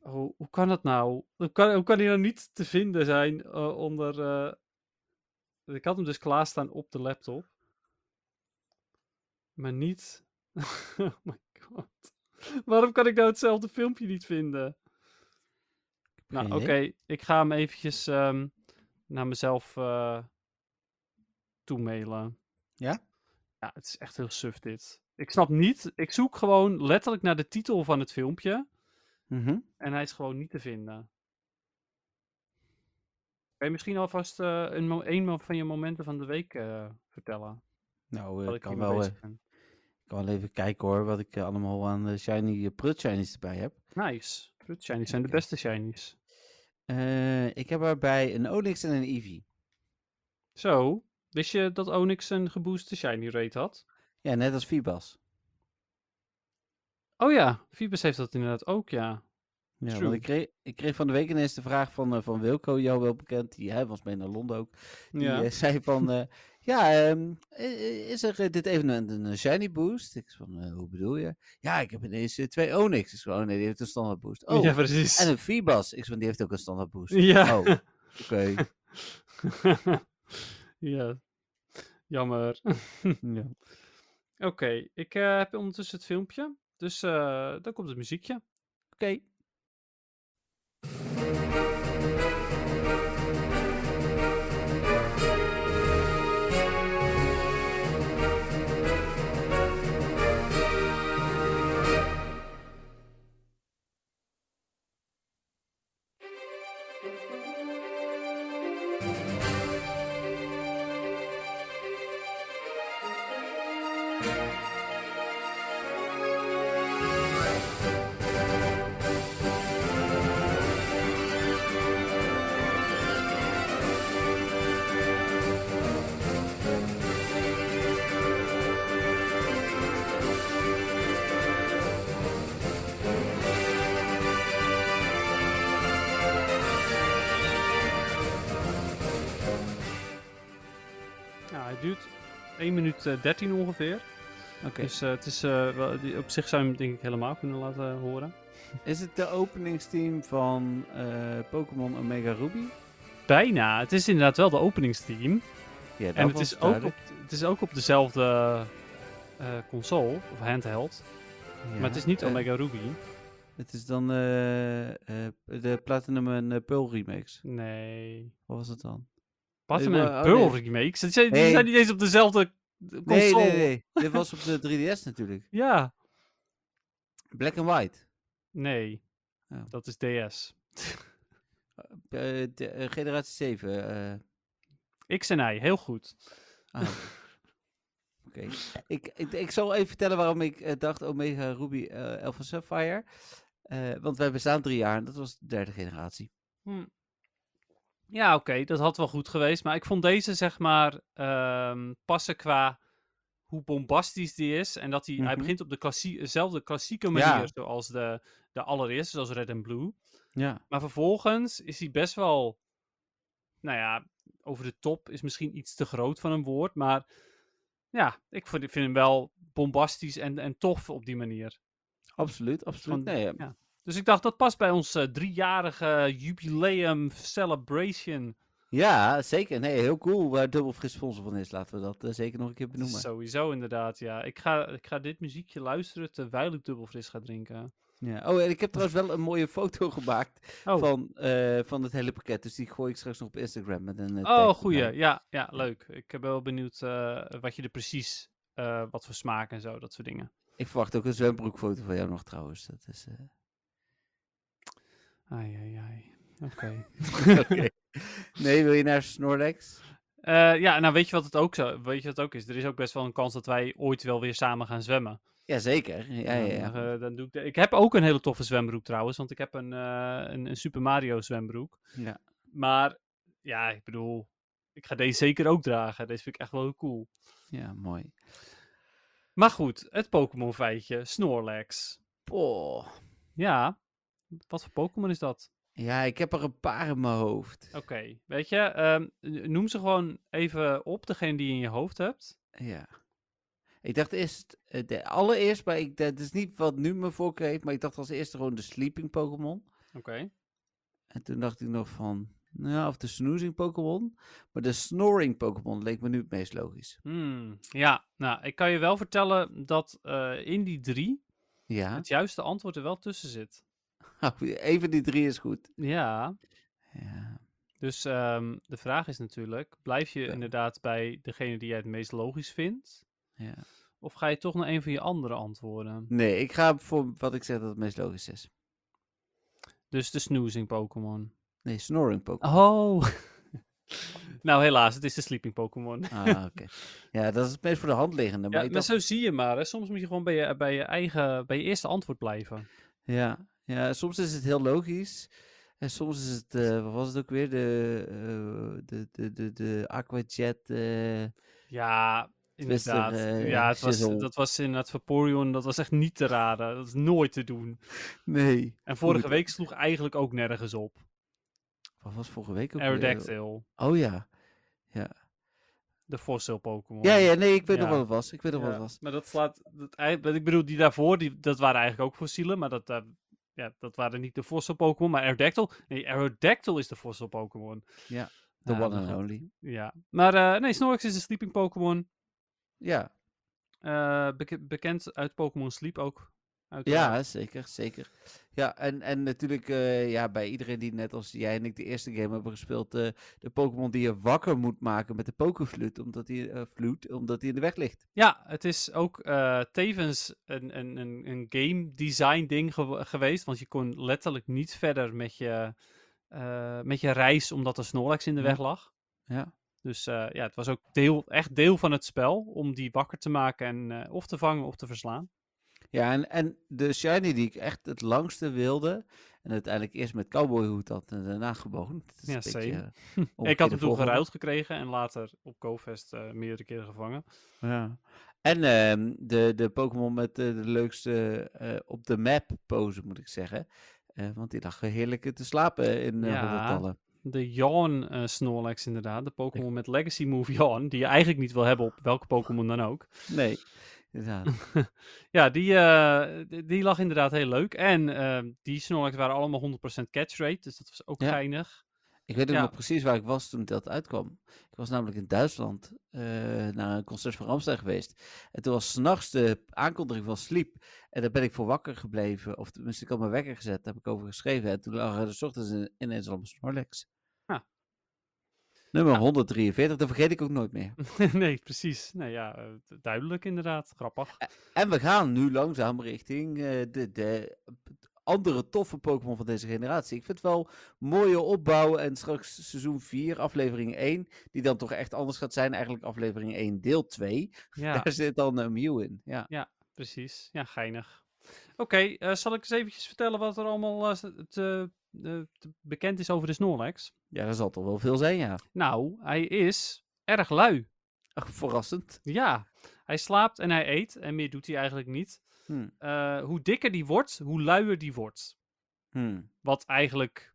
S4: hoe, hoe kan dat nou? Hoe kan, hoe kan die nou niet te vinden zijn eh, onder... eh, Ik had hem dus klaarstaan op de laptop. Maar niet... oh my god. Waarom kan ik nou hetzelfde filmpje niet vinden? Nou,
S3: geen
S4: oké.
S3: idee.
S4: ik ga hem eventjes ehm, naar mezelf eh toemailen.
S3: Ja?
S4: Ja, het is echt heel suf dit. Ik snap niet... Ik zoek gewoon letterlijk naar de titel van het filmpje...
S3: Mhm.
S4: En hij is gewoon niet te vinden. Kan je misschien alvast eh, een, mo- een mo- van je momenten van de week eh, vertellen?
S3: Nou, eh,
S4: Terwijl
S3: ik kan
S4: hiermee
S3: wel, eh,
S4: bezig ben.
S3: ik kan wel even kijken hoor, wat ik eh, allemaal aan de shiny eh, prut shinies erbij heb.
S4: Nice. Fruit shinies zijn de
S3: Oké.
S4: beste shinies.
S3: Eh, ik heb erbij een Onyx en een Eevee.
S4: Zo, wist je dat Onyx een gebooste shiny rate had?
S3: Ja, net als Vibas.
S4: Oh ja, Phoebus heeft dat inderdaad ook, ja.
S3: Ja, want
S4: True.
S3: ik kreeg, ik kreeg van de week ineens de vraag van, eh, van Wilco, jou wel bekend, die, hij was mee naar Londen ook. Die
S4: ja.
S3: eh, zei van, eh, ja, ehm, i- i- is er eh, dit evenement een eh, shiny boost? Ik zei van, eh, hoe bedoel je? Ja, ik heb ineens eh, twee Onyx. Ik zei, oh nee, die heeft een standaard boost. Oh,
S4: ja, precies.
S3: en een Vibas. Ik zei van, die heeft ook een standaard boost.
S4: Ja.
S3: Oh, oké. Oh.
S4: ja. Jammer.
S3: ja.
S4: Oké, ik eh, heb ondertussen het filmpje. Dus eh, dan komt het muziekje.
S3: Oké.
S4: Nou, het duurt 1 minuut eh, 13 ongeveer.
S3: Oké.
S4: Dus eh, het is, eh, wel- die- op zich zou je hem denk ik helemaal kunnen laten horen.
S3: Is het de openingsteam van eh, Pokémon Omega Ruby?
S4: Bijna. Het is inderdaad wel de openingsteam.
S3: Ja, dat
S4: en het
S3: was
S4: is, ook op,
S3: duidelijk.
S4: het is ook op dezelfde eh, console, of handheld.
S3: Ja,
S4: Maar het is niet
S3: eh,
S4: Omega Ruby.
S3: Het is dan eh, eh, de Platinum en eh, Pearl remakes.
S4: Nee.
S3: Wat was het dan?
S4: Platinum
S3: maar-
S4: en
S3: oh,
S4: Pearl
S3: nee.
S4: remakes. Die zijn, die
S3: Nee.
S4: zijn niet eens op dezelfde console.
S3: Nee, nee, nee. Dit was op de 3DS natuurlijk.
S4: Ja.
S3: Black and White.
S4: Nee.
S3: Oh.
S4: Dat is DS.
S3: Eh, de, eh, generatie 7. eh,
S4: X en Y, heel goed.
S3: ah, oké. Oké. Ik, ik, ik zal even vertellen waarom ik eh, dacht Omega Ruby eh Alpha Sapphire. Eh, want wij bestaan drie jaar en dat was de derde generatie.
S4: Ja, oké, dat had wel goed geweest. Maar ik vond deze, zeg maar, ehm, passen qua hoe bombastisch die is. En dat hij, hij
S3: Mhm.
S4: begint op de klassie, dezelfde klassieke manier
S3: Ja.
S4: zoals de, de allereerste, zoals Red and Blue.
S3: Ja.
S4: Maar vervolgens is hij best wel, nou ja, over de top is misschien iets te groot van een woord. Maar ja, ik vind, ik vind hem wel bombastisch en, en tof op die manier.
S3: Absoluut, absoluut.
S4: Van-
S3: Nee, ja.
S4: ja. Dus ik dacht, dat past bij ons eh, driejarige jubileum celebration.
S3: Ja, zeker. Nee, heel cool waar Dubbel Fris sponsor van is. Laten we dat eh, zeker nog een keer benoemen.
S4: Sowieso inderdaad, ja. Ik ga, ik ga dit muziekje luisteren terwijl ik dubbelfris ga drinken.
S3: Ja. Oh, en ik heb trouwens wel een mooie foto gemaakt
S4: Oh,
S3: van, eh, van het hele pakket. Dus die gooi ik straks nog op Instagram met een eh, tag
S4: oh
S3: erbij.
S4: goeie. Ja, ja, leuk. Ik ben wel benieuwd eh, wat je er precies, eh, wat voor smaak en zo, dat soort dingen.
S3: Ik verwacht ook een zwembroekfoto van jou nog trouwens. Dat is, eh,
S4: Ai, ai, ai. Oké.
S3: Oké. Nee, wil je naar Snorlax?
S4: Eh, ja, nou weet je wat het ook zo, weet je wat het ook is? Er is ook best wel een kans dat wij ooit wel weer samen gaan zwemmen.
S3: Jazeker. Ja, ja,
S4: Dan,
S3: ja.
S4: eh, dan doe ik, de- ik heb ook een hele toffe zwembroek trouwens, want ik heb een, eh, een, een Super Mario zwembroek.
S3: Ja.
S4: Maar ja, ik bedoel, ik ga deze zeker ook dragen. Deze vind ik echt wel heel cool.
S3: ja mooi.
S4: Maar goed, het Pokémon feitje, Snorlax.
S3: Oh.
S4: Ja, wat voor Pokémon is dat?
S3: Ja, ik heb er een paar in mijn hoofd.
S4: Oké, weet je, ehm, n- noem ze gewoon even op, degene die je in je hoofd hebt.
S3: Ja. Ik dacht eerst, eh, de, allereerst, maar ik, dat is niet wat nu mijn voorkeur heeft, maar ik dacht als eerste gewoon de Sleeping Pokémon.
S4: Oké.
S3: En toen dacht ik nog van, nou ja, of de snoezing Pokémon. Maar de snoring Pokémon leek me nu het meest logisch.
S4: Hmm, ja, nou, ik kan je wel vertellen dat eh, in die drie
S3: Ja,
S4: het juiste antwoord er wel tussen zit.
S3: even die drie is goed.
S4: Ja.
S3: Ja,
S4: Dus ehm, de vraag is natuurlijk, blijf je
S3: Ja.
S4: inderdaad bij degene die jij het meest logisch vindt?
S3: ja.
S4: Of ga je toch naar een van je andere antwoorden?
S3: Nee, ik ga voor wat ik zeg dat het meest logisch is.
S4: Dus de snoezing Pokémon.
S3: Nee, snoring Pokémon.
S4: Oh! nou, helaas, het is de sleeping Pokémon.
S3: Ah, oké. Ja, dat is het meest voor de hand liggende. Maar
S4: Ja,
S3: ja,
S4: maar zo zie je maar. Hè. Soms moet je gewoon bij je, bij je eigen, bij je eerste antwoord blijven.
S3: ja, ja, soms is het heel logisch. En soms is het, eh, wat was het ook weer? De, eh, de, de, de, de Aquajet. eh,
S4: Ja,
S3: Twister,
S4: inderdaad.
S3: eh,
S4: ja, het was,
S3: shizzle.
S4: dat was inderdaad Vaporeon, dat was echt niet te raden. Dat is nooit te doen.
S3: nee.
S4: En vorige week sloeg eigenlijk ook nergens op.
S3: Wat was vorige week ook weer?
S4: Aerodactyl,
S3: Oh ja.
S4: de fossil Pokémon.
S3: Ja, ja, nee, ik weet nog
S4: Ja.
S3: wat het was. Ik weet nog
S4: Ja,
S3: wat het was.
S4: Maar dat slaat. Dat, ei- wat ik bedoel, die daarvoor, die, dat waren eigenlijk ook fossielen. Maar dat, eh, ja, dat waren niet de fossil Pokémon. Maar Aerodactyl. Nee, Aerodactyl is de fossil Pokémon.
S3: Ja, The
S4: de
S3: one and only.
S4: Ja. Maar eh, nee, Snorlax is een sleeping Pokémon.
S3: Ja,
S4: Eh, beke- bekend uit Pokémon Sleep ook. uiteraard.
S3: ja, zeker, zeker. Ja, en, en natuurlijk eh, ja, bij iedereen die net als jij en ik de eerste game hebben gespeeld, eh, de Pokémon die je wakker moet maken met de Pokéfluit, omdat die, eh, vloed, omdat die in de weg ligt.
S4: Ja, het is ook eh, tevens een, een, een, een game design ding gew- geweest. Want je kon letterlijk niet verder met je, eh, met je reis omdat er Snorlax in de
S3: Ja.
S4: weg lag.
S3: Ja.
S4: Dus eh, ja, het was ook deel, echt deel van het spel om die wakker te maken en eh, of te vangen of te verslaan.
S3: Ja, en, en de Shiny die ik echt het langste wilde, en uiteindelijk eerst met cowboyhoed had en daarna gewoon. Het is
S4: Ja,
S3: een
S4: same.
S3: beetje,
S4: ik had
S3: omgekeerde
S4: hem toen
S3: volgorde.
S4: geruild gekregen en later op GoFest eh, meerdere keren gevangen.
S3: Ja. En ehm, de, de Pokémon met eh, de leukste eh, op de map pose, moet ik zeggen. Eh, want die lag heerlijk te slapen in eh
S4: Ja.
S3: honderdtallen.
S4: De Yawn eh, Snorlax inderdaad, de Pokémon met Legacy Move Yawn, die je eigenlijk niet wil hebben op welke Pokémon dan ook.
S3: Nee. Ja,
S4: Ja, die, eh, d- die lag inderdaad heel leuk. En eh, die Snorlax waren allemaal 100% catch rate, dus dat was ook
S3: Ja.
S4: geinig.
S3: ik weet ook
S4: Ja.
S3: nog precies waar ik was toen dat uitkwam. Ik was namelijk in Duitsland eh, naar een concert van Ramstein geweest. En toen was s'nachts de aankondiging van Sleep. En daar ben ik voor wakker gebleven. Of tenminste, ik had mijn wekker gezet. Daar heb ik over geschreven. En toen lag er s ochtends in- ineens allemaal Snorlax.
S4: Ah.
S3: Nummer 143, dat vergeet ik ook nooit meer.
S4: nee, precies. Nou ja, eh, d- duidelijk inderdaad. Grappig.
S3: En we gaan nu langzaam richting eh, de, de andere toffe Pokémon van deze generatie. Ik vind het wel mooie opbouw. En straks seizoen 4, aflevering 1, die dan toch echt anders gaat zijn. Eigenlijk aflevering 1, deel 2.
S4: Ja,
S3: Daar zit dan een Mew in. Ja.
S4: precies. Ja, geinig. Oké, eh, zal ik eens eventjes vertellen wat er allemaal eh, te- te- eh, te bekend is over de Snorlax?
S3: ja, dat zal toch wel veel zijn, ja.
S4: Nou, hij is erg lui.
S3: Ach, verrassend.
S4: Ja, hij slaapt en hij eet en meer doet hij eigenlijk niet.
S3: Hm,
S4: Eh, hoe dikker die wordt, hoe luier die wordt.
S3: hm.
S4: Wat eigenlijk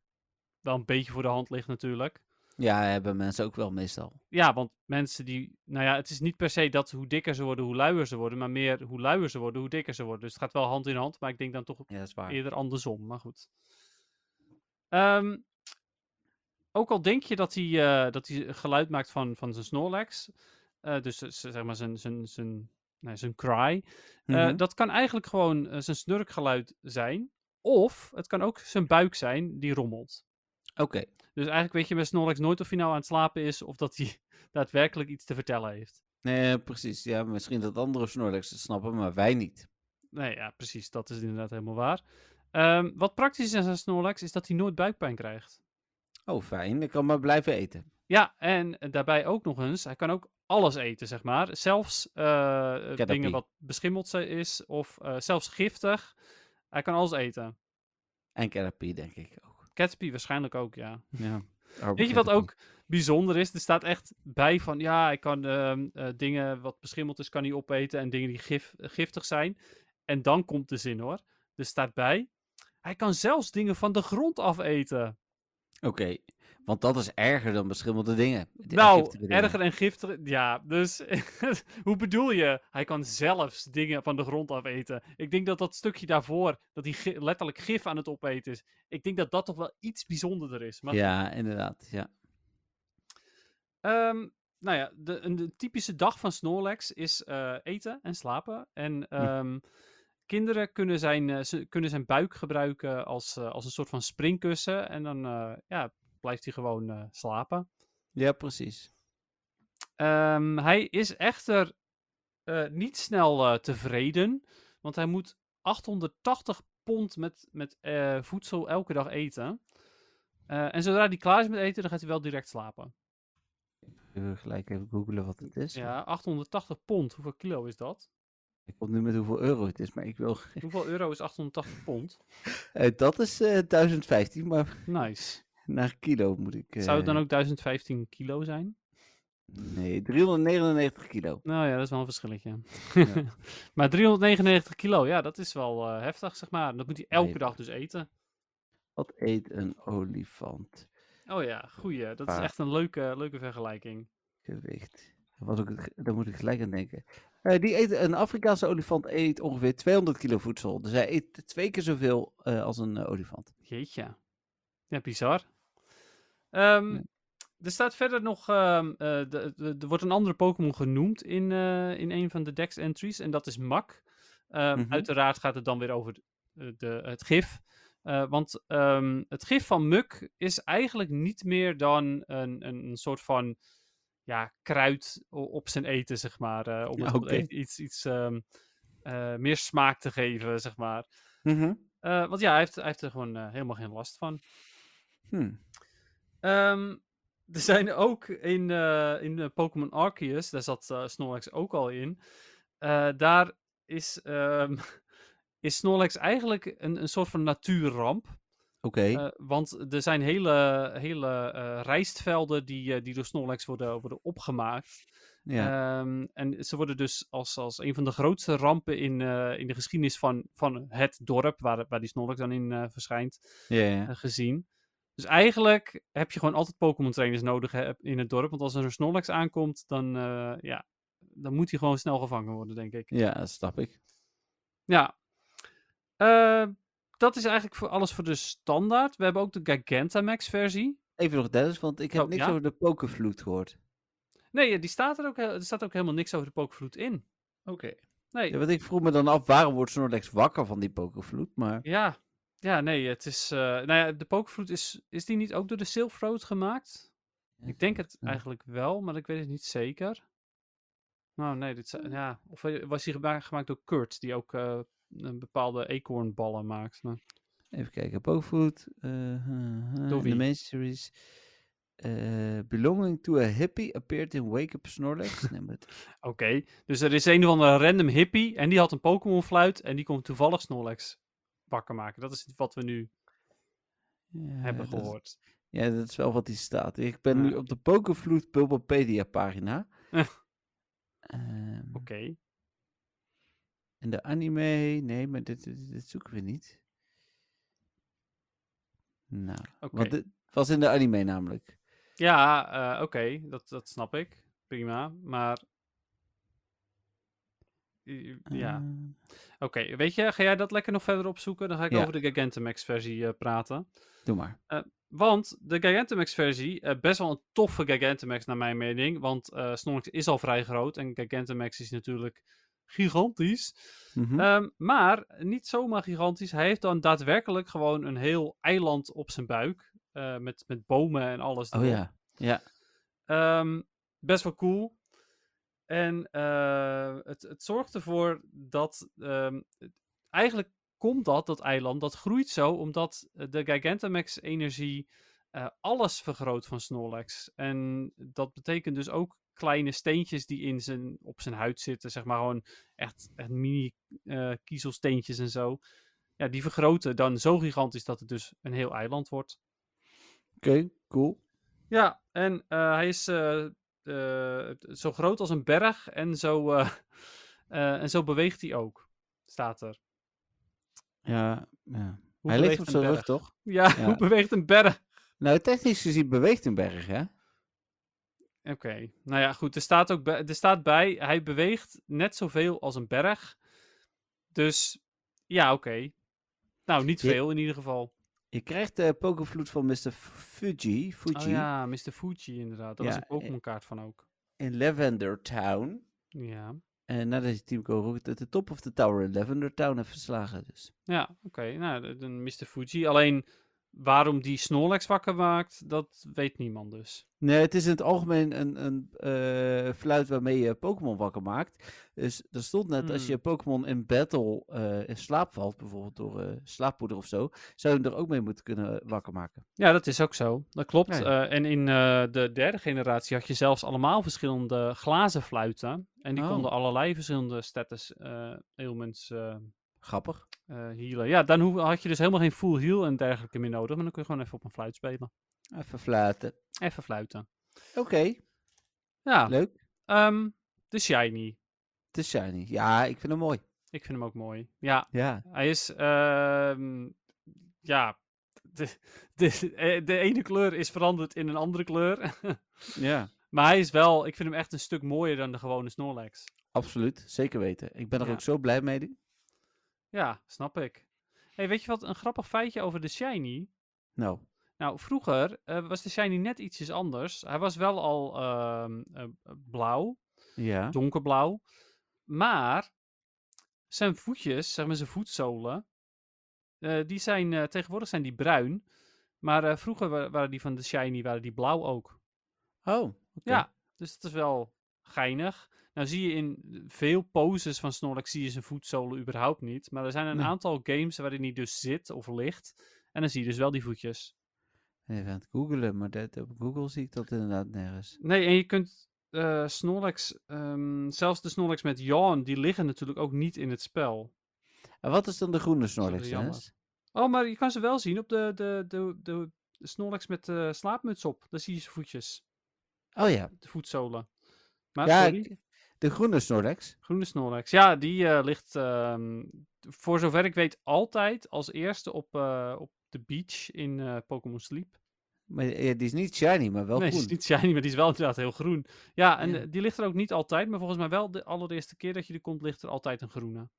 S4: wel een beetje voor de hand ligt natuurlijk.
S3: Ja, hebben mensen ook wel meestal.
S4: Ja, want mensen die. Nou ja, het is niet per se dat hoe dikker ze worden, hoe luier ze worden. Maar meer hoe luier ze worden, hoe dikker ze worden. Dus het gaat wel hand in hand. Maar ik denk dan toch
S3: Ja, dat is waar.
S4: eerder andersom. Maar goed. Ehm, ook al denk je dat hij, eh, dat hij geluid maakt van, van zijn Snorlax. eh, dus z- zeg maar zijn, zijn, zijn, nou, zijn cry. eh,
S3: Mhm.
S4: dat kan eigenlijk gewoon eh, zijn snurkgeluid zijn. Of het kan ook zijn buik zijn die rommelt.
S3: Oké.
S4: Dus eigenlijk weet je bij Snorlax nooit of hij nou aan het slapen is of dat hij daadwerkelijk iets te vertellen heeft.
S3: Nee, Eh, precies. Ja, misschien dat andere Snorlax het snappen, maar wij niet.
S4: Nee, ja, precies. Dat is inderdaad helemaal waar. Ehm, wat praktisch is aan Snorlax is dat hij nooit buikpijn krijgt.
S3: Oh, fijn. Ik kan maar blijven eten.
S4: Ja, en daarbij ook nog eens, hij kan ook alles eten, zeg maar. Zelfs eh, eh, dingen
S3: Caterpie.
S4: wat beschimmeld zijn is of eh, zelfs giftig. Hij kan alles eten.
S3: En Caterpie, denk ik Oh, ook.
S4: Caterpie waarschijnlijk ook, ja.
S3: Ja.
S4: Weet je wat ook bijzonder is? Er staat echt bij van ja, ik kan ehm, eh, dingen wat beschimmeld is, kan hij opeten en dingen die gif, eh, giftig zijn. En dan komt de zin hoor. Er staat bij, hij kan zelfs dingen van de grond af eten.
S3: Oké, want dat is erger dan beschimmelde dingen. De-
S4: nou,
S3: giftige dingen.
S4: erger en giftiger. Ja, dus hoe bedoel je? Hij kan zelfs dingen van de grond af eten. Ik denk dat dat stukje daarvoor, dat hij gi- letterlijk gif aan het opeten is. Ik denk dat dat toch wel iets bijzonderder is. Maar
S3: Ja, inderdaad. Ja.
S4: Ehm, nou ja, de, een de typische dag van Snorlax is eh, eten en slapen. En ehm, kinderen kunnen zijn, eh, ze- kunnen zijn buik gebruiken als, eh, als een soort van springkussen. En dan eh, ja, blijft hij gewoon eh, slapen.
S3: ja, precies.
S4: Ehm, hij is echter eh, niet snel eh, tevreden. Want hij moet 880 pond met, met eh, voedsel elke dag eten. Eh, en zodra hij klaar is met eten, dan gaat hij wel direct slapen.
S3: Even gelijk even googlen wat het is.
S4: Ja, 880 pond. Hoeveel kilo is dat?
S3: Ik kom nu met hoeveel euro het is, maar ik wil.
S4: Hoeveel euro is 880 pond?
S3: Eh, dat is eh 1015, maar
S4: Nice.
S3: naar kilo moet ik.
S4: Zou het dan
S3: eh,
S4: ook 1015 kilo zijn?
S3: Nee, 399 kilo.
S4: Nou ja, dat is wel een verschilletje.
S3: Ja.
S4: maar 399 kilo, ja, dat is wel eh, heftig, zeg maar. Dat moet hij elke
S3: Nee.
S4: dag dus eten.
S3: Wat eet een olifant?
S4: Oh ja, goeie. Dat is
S3: Ah.
S4: echt een leuke, leuke vergelijking.
S3: Gewicht. Wat ook, het- daar moet ik gelijk aan denken. Eh, die eet, een Afrikaanse olifant eet ongeveer 200 kilo voedsel. Dus hij eet twee keer zoveel eh, als een eh, olifant.
S4: Jeetje. Ja, bizar. Ehm,
S3: Ja.
S4: Er staat verder nog, ehm, eh, de- de- er wordt een andere Pokémon genoemd in, eh, in een van de Dex entries en dat is Mak. Ehm,
S3: Mhm.
S4: Uiteraard gaat het dan weer over de, de- het gif. Eh, want ehm, het gif van Muk is eigenlijk niet meer dan een, een, een soort van ja, kruid o- op zijn eten, zeg maar. eh, om
S3: Ja,
S4: het op
S3: oké.
S4: het eten iets, iets ehm, eh, meer smaak te geven, zeg maar. Eh, want ja, hij heeft, hij heeft er gewoon eh, helemaal geen last van.
S3: Hm.
S4: Ehm, er zijn ook in, eh, in eh, Pokémon Arceus, daar zat eh, Snorlax ook al in. eh, daar is, ehm, is Snorlax eigenlijk een, een soort van natuurramp.
S3: Oké.
S4: Eh, want er zijn hele, hele eh, rijstvelden die, eh, die door Snorlax worden, worden opgemaakt.
S3: ja.
S4: Ehm, en ze worden dus als, als een van de grootste rampen in, eh, in de geschiedenis van, van het dorp, waar, waar die Snorlax dan in eh, verschijnt,
S3: ja, ja.
S4: eh, gezien. Dus eigenlijk heb je gewoon altijd Pokémon trainers nodig hè, in het dorp. Want als er een Snorlax aankomt, dan, eh, ja, dan moet hij gewoon snel gevangen worden, denk ik.
S3: Ja, dat snap ik.
S4: Ja. Eh, dat is eigenlijk voor alles voor de standaard. We hebben ook de Gigantamax versie.
S3: Even nog Dennis, want ik heb
S4: Oh,
S3: niks
S4: ja?
S3: over de pokervloed gehoord.
S4: Nee, eh, die staat er, ook, he- er staat ook helemaal niks over de Pokévloed in.
S3: Oké.
S4: Nee,
S3: Ja, want ik vroeg me dan af, waarom wordt Snorlax wakker van die pokervloed? Maar
S4: Ja, ja nee, het is. eh, nou ja, de pokervloed is. Is die niet ook door de Silk Road gemaakt?
S3: Ja,
S4: Ik denk het
S3: ja.
S4: eigenlijk wel, maar ik weet het niet zeker. Nou, nee, dit, zou- ja. Of eh, was die gema- gemaakt door Kurt, die ook eh, een bepaalde eekhoornballen maakt? nou. Maar...
S3: even kijken. Pokervloed. eh, huh, huh,
S4: Door
S3: in
S4: wie?
S3: de main series. eh, belonging to a hippie appeared in Wake Up Snorlax. nee, maar dat-
S4: Oké, dus er is een of andere random hippie en die had een Pokémon fluit en die kon toevallig Snorlax wakker maken. Dat is wat we nu
S3: ja,
S4: hebben
S3: dat-
S4: gehoord.
S3: ja, dat is wel wat die staat. Ik ben nu
S4: Ja.
S3: op de pokervloed Bulbapedia pagina.
S4: Eh.
S3: Ehm,
S4: Oké.
S3: En de anime, nee, maar dit, dit, dit zoeken we niet. Nou,
S4: Oké.
S3: want het was in de anime namelijk.
S4: Ja, eh, oké, dat, dat snap ik. Prima, maar. I- Ja,
S3: Eh,
S4: oké. Weet je, ga jij dat lekker nog verder opzoeken? Dan ga ik
S3: Ja.
S4: over de Gigantamax-versie eh, praten.
S3: doe maar.
S4: Want de Gigantamax-versie, eh, best wel een toffe Gigantamax naar mijn mening. Want eh Snorlax is al vrij groot en Gigantamax is natuurlijk gigantisch.
S3: Mhm.
S4: Ehm, maar niet zomaar gigantisch. Hij heeft dan daadwerkelijk gewoon een heel eiland op zijn buik. eh, met, met bomen en alles.
S3: oh
S4: erop.
S3: ja, ja.
S4: Ehm, best wel cool. En eh, het, het zorgt ervoor dat. ehm, het- eigenlijk komt dat, dat eiland, dat groeit zo, omdat eh, de Gigantamax-energie eh, alles vergroot van Snorlax. En dat betekent dus ook kleine steentjes die in zijn, op zijn huid zitten, zeg maar gewoon echt, echt mini-kiezelsteentjes en zo. Ja, die vergroten dan zo gigantisch dat het dus een heel eiland wordt.
S3: Oké, cool.
S4: Ja, en eh, hij is eh, eh, zo groot als een berg en zo, eh, eh, en zo beweegt hij ook, staat er.
S3: Ja, ja.
S4: Hoe
S3: Hij ligt
S4: beweegt
S3: op
S4: een
S3: zijn rug,
S4: berg?
S3: toch?
S4: Ja,
S3: Ja.
S4: hoe beweegt een berg?
S3: Nou, technisch gezien beweegt een berg, hè?
S4: Oké, nou ja, goed. Er staat, ook bij, er staat bij, hij beweegt net zoveel als een berg. Dus ja, oké. Nou, niet
S3: Je-
S4: veel in ieder geval.
S3: Je krijgt de pokervloed van Mr. Fuji, Fuji
S4: Oh ja, Mr. Fuji inderdaad. Daar
S3: Ja,
S4: was een
S3: eh.
S4: Pokémon kaart van ook.
S3: in Lavender Town.
S4: Ja,
S3: En nadat je Team Rocket de, de top of the tower in Lavender Town heeft verslagen. Dus.
S4: ja oké. Nou, de- de Mr. Fuji. Alleen waarom die Snorlax wakker maakt, dat weet niemand dus.
S3: Nee, het is in het algemeen een, een eh, fluit waarmee je Pokémon wakker maakt. Dus er stond net, als je
S4: Hmm.
S3: Pokémon in battle eh, in slaap valt, bijvoorbeeld door eh, slaappoeder of zo, zou je hem er ook mee moeten kunnen wakker maken.
S4: Ja, dat is ook zo. Dat klopt.
S3: Ja,
S4: Eh, en in eh, de derde generatie had je zelfs allemaal verschillende glazen fluiten. En die
S3: Oh.
S4: konden allerlei verschillende status eh ailments eh,
S3: Grappig.
S4: eh, healen. Ja, dan hoe- had je dus helemaal geen full heal en dergelijke meer nodig. Maar dan kun je gewoon even op een fluit spelen.
S3: Even fluiten.
S4: Even fluiten.
S3: Oké,
S4: Ja,
S3: leuk.
S4: ehm, de shiny.
S3: Het is shiny. Ja, ik vind hem mooi.
S4: Ik vind hem ook mooi. Ja,
S3: Ja.
S4: hij is... ehm, ja, de, de, eh, de ene kleur is veranderd in een andere kleur.
S3: Ja.
S4: maar hij is wel... Ik vind hem echt een stuk mooier dan de gewone Snorlax.
S3: Absoluut, zeker weten. Ik ben er
S4: Ja.
S3: ook zo blij mee.
S4: Ja, snap ik. hey, weet je wat? Een grappig feitje over de Shiny.
S3: Nou,
S4: Nou, vroeger eh, was de Shiny net ietsjes anders. Hij was wel al ehm, eh, blauw,
S3: ja.
S4: donkerblauw. Maar zijn voetjes, zeg maar zijn voetzolen, eh, die zijn, eh, tegenwoordig zijn die bruin. Maar eh, vroeger wa- waren die van de Shiny waren die blauw ook.
S3: Oh, oké.
S4: Ja, dus dat is wel geinig. Nou zie je in veel poses van Snorlax zie je zijn voetzolen überhaupt niet. Maar er zijn een
S3: Nee.
S4: aantal games waarin hij dus zit of ligt. En dan zie je dus wel die voetjes.
S3: Even aan het googelen, maar dat, op Google zie ik dat inderdaad nergens.
S4: Nee, en je kunt eh, Snorlax, ehm, zelfs de Snorlax met Yawn, die liggen natuurlijk ook niet in het spel.
S3: En wat is dan de groene Snorlax,
S4: jammer.
S3: Dennis?
S4: Oh, maar je kan ze wel zien op de, de, de, de, de Snorlax met de slaapmuts op. Daar zie je zijn voetjes,
S3: Oh ja.
S4: de voetzolen. Maar
S3: ja,
S4: Ah, sorry,
S3: ik- de groene Snorlax.
S4: groene Snorlax. Ja, die eh, ligt, ehm, voor zover ik weet, altijd als eerste op, eh, op de beach in eh, Pokémon Sleep.
S3: Maar ja, die is niet shiny, maar wel
S4: nee, die
S3: groen.
S4: is niet shiny, maar die is wel inderdaad heel groen. Ja, en
S3: Ja.
S4: eh, die ligt er ook niet altijd, maar volgens mij wel de allereerste keer dat je er komt, ligt er altijd een groene.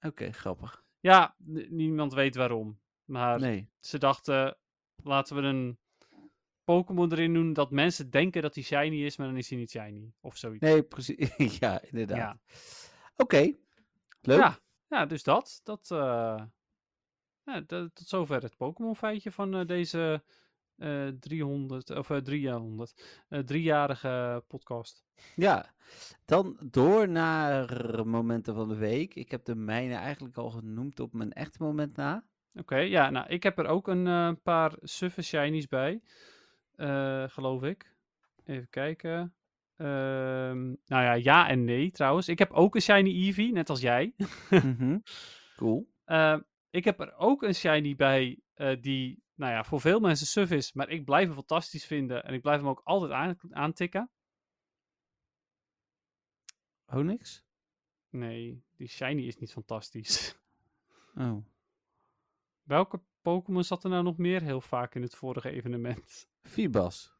S3: Oké, grappig.
S4: Ja, n- niemand weet waarom. Maar
S3: Nee.
S4: ze dachten, laten we een Pokémon erin doen dat mensen denken dat hij shiny is, maar dan is hij niet shiny. Of zoiets.
S3: Nee, precies. ja, inderdaad.
S4: Ja.
S3: Oké. Leuk.
S4: Ja, ja, dus dat. dat eh, ja, d- tot zover het Pokémon feitje van eh, deze eh 300, of eh 300, eh, driejarige podcast.
S3: Ja, dan door naar momenten van de week. Ik heb de mijne eigenlijk al genoemd op mijn echte moment na.
S4: Oké, ja, nou, ik heb er ook een eh, paar suffe shinies bij, eh, geloof ik. Even kijken. Ehm, nou ja, ja en nee trouwens. Ik heb ook een shiny Eevee, net als jij.
S3: Mhm. Cool.
S4: Ehm, ik heb er ook een shiny bij eh, die, nou ja, voor veel mensen suf is, maar ik blijf hem fantastisch vinden en ik blijf hem ook altijd aan, aantikken.
S3: Oh, niks?
S4: Nee, die shiny is niet fantastisch.
S3: Oh.
S4: Welke Pokémon zat er nou nog meer heel vaak in het vorige evenement?
S3: Fibas.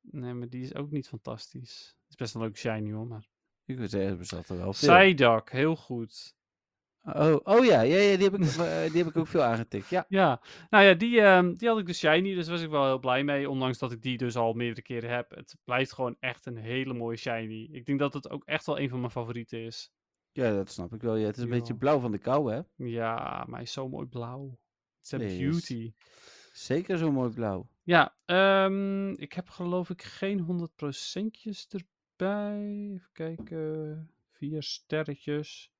S4: Nee, maar die is ook niet fantastisch. Het is best een leuk shiny hoor, maar...
S3: Ik wil zeggen, er bestaat er wel veel.
S4: Psyduck, heel goed.
S3: Oh, oh ja, ja, ja die, heb ik, eh, die heb ik ook veel aangetikt. Ja,
S4: Ja, nou ja, die, ehm, die had ik dus shiny, dus was ik wel heel blij mee. Ondanks dat ik die dus al meerdere keren heb. Het blijft gewoon echt een hele mooie shiny. Ik denk dat het ook echt wel een van mijn favorieten is.
S3: ja dat snap ik wel. Ja, het is een
S4: Ja.
S3: beetje blauw van de kou, hè?
S4: Ja, maar hij is zo mooi blauw. Het is een
S3: Yes.
S4: beauty.
S3: Zeker zo mooi blauw.
S4: Ja, ehm, ik heb geloof ik geen 100 procentjes erbij. Even kijken. Vier sterretjes.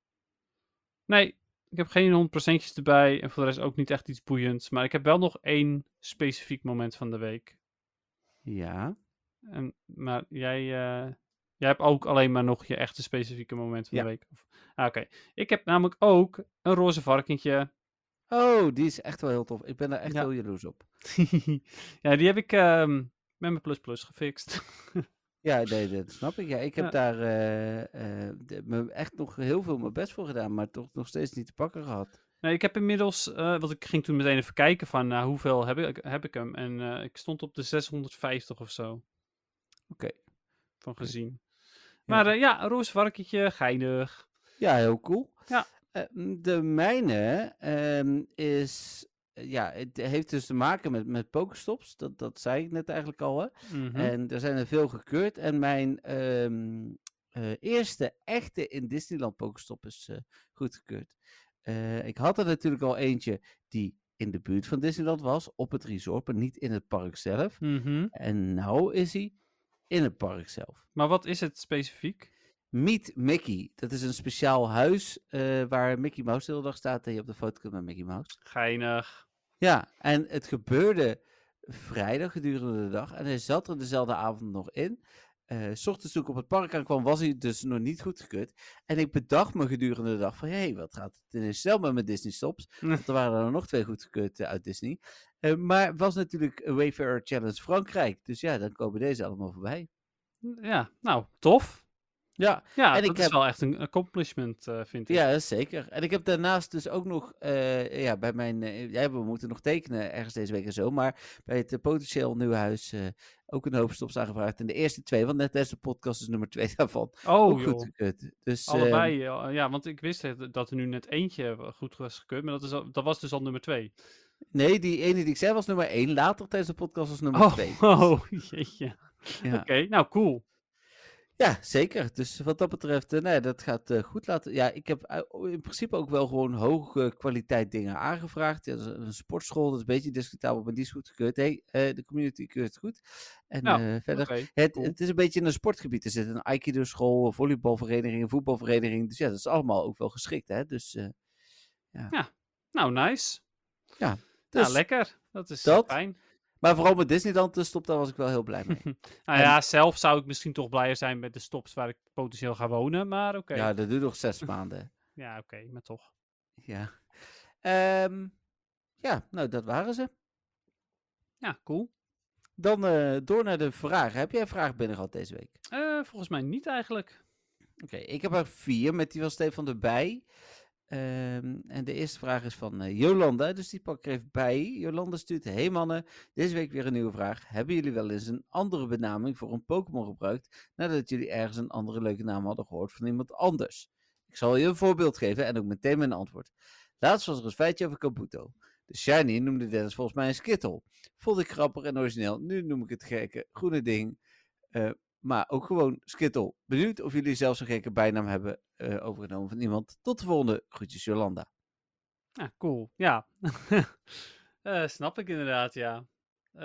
S4: Nee, ik heb geen 100 procentjes erbij. En voor de rest ook niet echt iets boeiends. Maar ik heb wel nog één specifiek moment van de week.
S3: Ja.
S4: En, maar jij, eh, jij hebt ook alleen maar nog je echte specifieke moment van
S3: Ja.
S4: de week. Of- Ah, Oké. Ik heb namelijk ook een roze varkentje.
S3: Oh, die is echt wel heel tof. Ik ben daar echt
S4: Ja.
S3: heel jaloers op.
S4: ja, die heb ik ehm, met mijn plus plus gefixt.
S3: Ja, nee, dat snap ik. Ja, ik heb
S4: Ja.
S3: daar eh, eh, de- me echt nog heel veel mijn best voor gedaan, maar toch nog steeds niet te pakken gehad.
S4: Nee, ik heb inmiddels, eh, want ik ging toen meteen even kijken van nou, hoeveel heb ik, heb ik hem. En eh, ik stond op de 650 of zo.
S3: Oké.
S4: Van gezien. Maar eh, ja, roos varkentje, geinig.
S3: Ja, heel cool.
S4: Ja.
S3: Eh, m, de mijne ehm, is. eh, Ja, het heeft dus te maken met, met pokestops. Dat, dat zei ik net eigenlijk al. Hè?
S4: Mhm.
S3: En er zijn er veel gekeurd. En mijn ehm, eh, eerste echte in Disneyland pokestop is eh, goedgekeurd. Eh, ik had er natuurlijk al eentje die in de buurt van Disneyland was. Op het resort, maar niet in het park zelf.
S4: Mhm.
S3: En nou is hij in het park zelf.
S4: Maar wat is het specifiek?
S3: Meet Mickey. Dat is een speciaal huis eh, waar Mickey Mouse de hele dag staat en je op de foto kunt met Mickey Mouse.
S4: Geinig.
S3: Ja, en het gebeurde vrijdag gedurende de dag en hij zat er dezelfde avond nog in. Eh, S ochtends toen ik op het park aankwam was hij dus nog niet goedgekeurd. En ik bedacht me gedurende de dag van, hé, hey, wat gaat het ineens snel met mijn Disney stops? Want er waren er nog twee goedgekeurd eh, uit Disney. Eh, maar het was natuurlijk Wayfarer Challenge Frankrijk. Dus ja, dan komen deze allemaal voorbij.
S4: Ja, nou, tof.
S3: Ja,
S4: Ja,
S3: En
S4: dat
S3: ik
S4: is
S3: heb-
S4: wel echt een accomplishment, eh, vind ik.
S3: Ja, dat is zeker. En ik heb daarnaast dus ook nog eh, ja, bij mijn. eh, ja, we moeten nog tekenen ergens deze week en zo. Maar bij het eh, potentieel nieuwe huis eh, ook een hoop stops aangevraagd. En de eerste twee, want net tijdens de podcast is nummer twee daarvan.
S4: Oh,
S3: ook
S4: joh.
S3: goedgekeurd. Dus, eh,
S4: Allebei, ja, ja, want ik wist het- dat er nu net eentje wa- goed was gekeurd, maar dat, is al- dat was dus al nummer twee.
S3: ehm, nee, die ene die ik zei was nummer één. Later tijdens de podcast was nummer
S4: Oh,
S3: twee.
S4: oh, jeetje.
S3: Ja.
S4: Oké, nou cool.
S3: Ja, zeker. Dus wat dat betreft, eh, nee, dat gaat eh, goed laten. Ja, ik heb eh, o- in principe ook wel gewoon hoge kwaliteit dingen aangevraagd. Ja, dat is een sportschool, dat is een beetje discutabel, maar die is goed gekeurd. Hey, eh, de community keurt het goed. En
S4: Nou,
S3: eh,
S4: Oké,
S3: verder. Het,
S4: cool.
S3: het is een beetje in een sportgebied. Er zit een Aikido-school, een volleybalvereniging, een voetbalvereniging. Dus ja, dat is allemaal ook wel geschikt. Hè? Dus, eh,
S4: Nou, nice.
S3: dus-
S4: nou, lekker. Dat is
S3: dat.
S4: fijn.
S3: Maar vooral met Disneyland eh, stop, daar was ik wel heel blij mee.
S4: Nou ja, zelf zou ik misschien toch blijer zijn met de stops waar ik potentieel ga wonen, maar oké.
S3: Ja,
S4: Ja,
S3: dat duurt nog zes maanden.
S4: oké, maar toch.
S3: Ja. Ehm, ja, nou, dat waren ze.
S4: Ja, cool.
S3: Dan eh, door naar de vragen. Heb jij een vraag binnen gehad deze week?
S4: Eh, volgens mij niet eigenlijk.
S3: Oké, ik heb er vier met die van Stefan erbij. Ehm, en de eerste vraag is van eh, Jolanda, dus die pak ik er even bij. Jolanda stuurt, hey mannen, deze week weer een nieuwe vraag. Hebben jullie wel eens een andere benaming voor een Pokémon gebruikt, nadat jullie ergens een andere leuke naam hadden gehoord van iemand anders? Ik zal je een voorbeeld geven en ook meteen mijn antwoord. Laatst was er een feitje over Kabuto. De Shiny noemde Dennis volgens mij een Skittle. Vond ik grappig en origineel. Nu noem ik het gekke groene ding. eh, maar ook gewoon Skittle. Benieuwd of jullie zelfs een gekke bijnaam hebben eh, overgenomen van iemand. Tot de volgende. Groetjes Jolanda.
S4: Ja, Ah, cool. Ja. Eh, snap ik inderdaad, ja. Eh,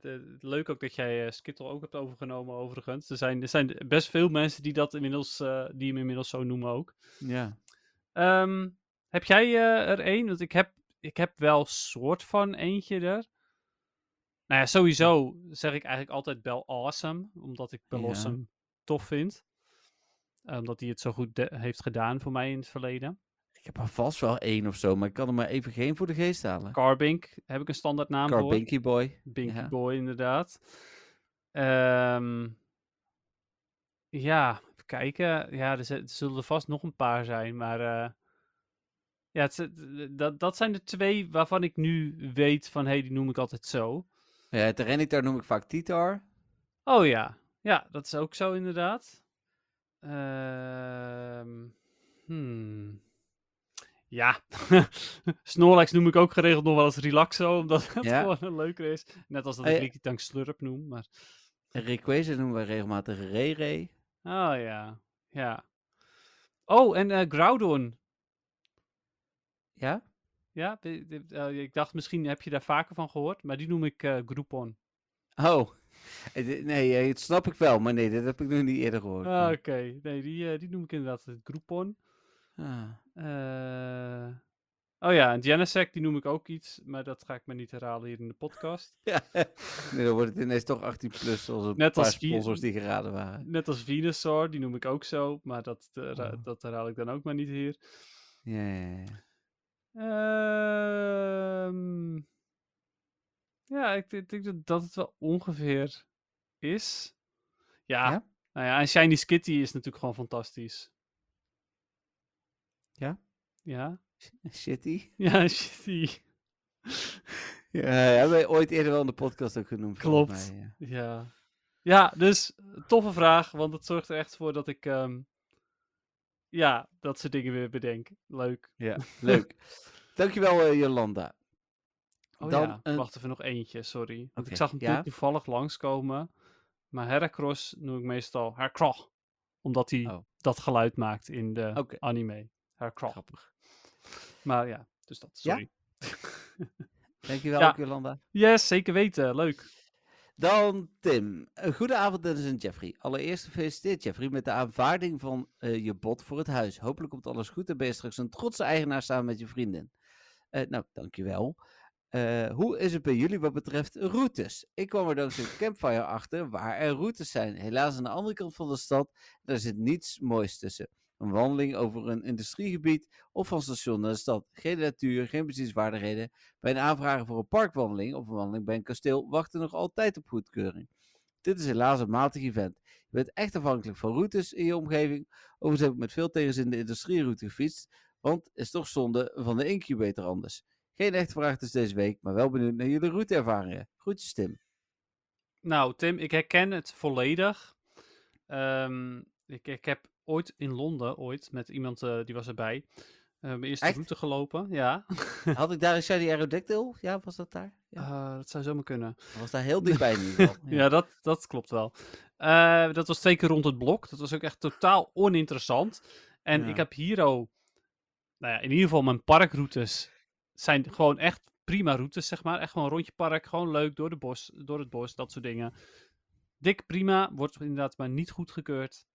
S4: de- leuk ook dat jij eh, Skittle ook hebt overgenomen, overigens. Er zijn, er zijn best veel mensen die, dat inmiddels, eh, die hem inmiddels zo noemen ook.
S3: Ja.
S4: Ehm, heb jij eh, er één? Want ik heb, ik heb wel soort van eentje er. Nou ja, sowieso zeg ik eigenlijk altijd Bel Awesome, omdat ik Bel
S3: Ja.
S4: Awesome tof vind. Eh, Omdat hij het zo goed de- heeft gedaan voor mij in het verleden.
S3: Ik heb er vast wel één of zo, maar ik kan er maar even geen voor de geest halen.
S4: Carbink heb ik een standaard naam voor.
S3: Carbinky Boy.
S4: Binky
S3: Ja.
S4: Boy, inderdaad. Ehm, ja, even kijken. Ja, er, zi- er zullen er vast nog een paar zijn, maar... eh, ja, het, zi- d- dat, dat zijn de twee waarvan ik nu weet van... Hé, hey, die noem ik altijd zo.
S3: Ja, Terrenitar noem ik vaak Titar.
S4: Oh ja, ja, dat is ook zo inderdaad. Ehm, hmm. Ja, Snorlax noem ik ook geregeld nog wel eens Relaxo, omdat het
S3: Ja.
S4: gewoon een leuker is. Net als dat
S3: Ah,
S4: ik
S3: ja.
S4: Rikkitank Slurp noem, maar...
S3: Rayquaza noemen we regelmatig Rere.
S4: Oh ja, ja. Oh, en eh Groudon.
S3: Ja?
S4: Ja, de- de- eh, ik dacht misschien heb je daar vaker van gehoord, maar die noem ik eh Groupon.
S3: Oh. Eh, dit- Nee, eh, dat snap ik wel, maar nee, dat heb ik nog niet eerder gehoord.
S4: Ah,
S3: maar-
S4: Oké, nee, die, eh, die noem ik inderdaad eh, Groupon.
S3: Ah.
S4: Eh, Oh ja, en Genesec, die noem ik ook iets, maar dat ga ik me niet herhalen hier in de podcast.
S3: Ja. Nee, dan wordt het ineens toch 18 plus, zoals een
S4: Net
S3: paar
S4: als vier-
S3: sponsors die geraden waren.
S4: Net als Venusaur, die noem ik ook zo, maar dat, eh, ra-
S3: Oh.
S4: dat herhaal ik dan ook maar niet hier.
S3: Ja, ja, ja.
S4: Ehm, ja, ik denk- denk dat dat het wel ongeveer is. Ja,
S3: Ja?
S4: nou ja, en Shiny Skitty is natuurlijk gewoon fantastisch.
S3: Ja?
S4: Ja,
S3: Shitty.
S4: Ja, shitty.
S3: Ja, hebben we ooit eerder wel in de podcast ook genoemd. volgens
S4: Klopt.
S3: mij, ja.
S4: Ja. Ja, dus toffe vraag, want het zorgt er echt voor dat ik, ehm, ja, dat soort dingen weer bedenk. Leuk.
S3: Ja, leuk. Dankjewel, eh, Jolanda.
S4: Oh
S3: Dan
S4: ja,
S3: een-
S4: wacht even nog eentje, sorry. Want
S3: Oké,
S4: ik zag hem
S3: ja.
S4: toe- toevallig langskomen. Maar Heracross noem ik meestal Heracross. Omdat hij
S3: Oh.
S4: dat geluid maakt in de
S3: Oké.
S4: anime. Heracross.
S3: Grappig.
S4: Maar ja, dus dat,
S3: Ja?
S4: sorry.
S3: Dankjewel,
S4: Ja.
S3: ook, Jolanda.
S4: Yes, zeker weten. Leuk.
S3: Dan Tim. Eh, Goedenavond, Dennis en Jeffrey. Allereerst gefeliciteerd, Jeffrey, met de aanvaarding van eh, je bod voor het huis. Hopelijk komt alles goed en ben je straks een trotse eigenaar samen met je vriendin. Eh nou, dankjewel. Eh hoe is het bij jullie wat betreft routes? Ik kwam er dankzij Campfire achter waar er routes zijn. Helaas aan de andere kant van de stad, daar zit niets moois tussen. Een wandeling over een industriegebied of van station naar de stad. Geen natuur, geen bezienswaardigheden. Bij een aanvraag voor een parkwandeling of een wandeling bij een kasteel wachten nog altijd op goedkeuring. Dit is helaas een matig event. Je bent echt afhankelijk van routes in je omgeving. Overigens heb ik met veel tegenzin de industrieroute gefietst, want is toch zonde van de incubator anders. Geen echte vraag dus deze week, maar wel benieuwd naar jullie routeervaringen. Groetjes Tim.
S4: Nou, Tim, ik herken het volledig. Ehm, ik, ik heb ooit in Londen, ooit, met iemand eh, die was erbij, eh, mijn eerste
S3: Echt?
S4: route gelopen. Ja,
S3: Had ik daar een shiny aerodactyl? Ja, was dat daar? Ja.
S4: Eh, dat zou zomaar kunnen.
S3: Was daar heel dichtbij in ieder geval.
S4: Ja, dat, dat klopt wel. Eh, dat was twee keer rond het blok. Dat was ook echt totaal oninteressant. En
S3: Ja.
S4: ik heb hier al, nou ja, in ieder geval mijn parkroutes zijn gewoon echt prima routes, zeg maar. Echt gewoon rondje park, gewoon leuk, door, de bos, door het bos, dat soort dingen. Dik prima, wordt inderdaad maar niet goedgekeurd.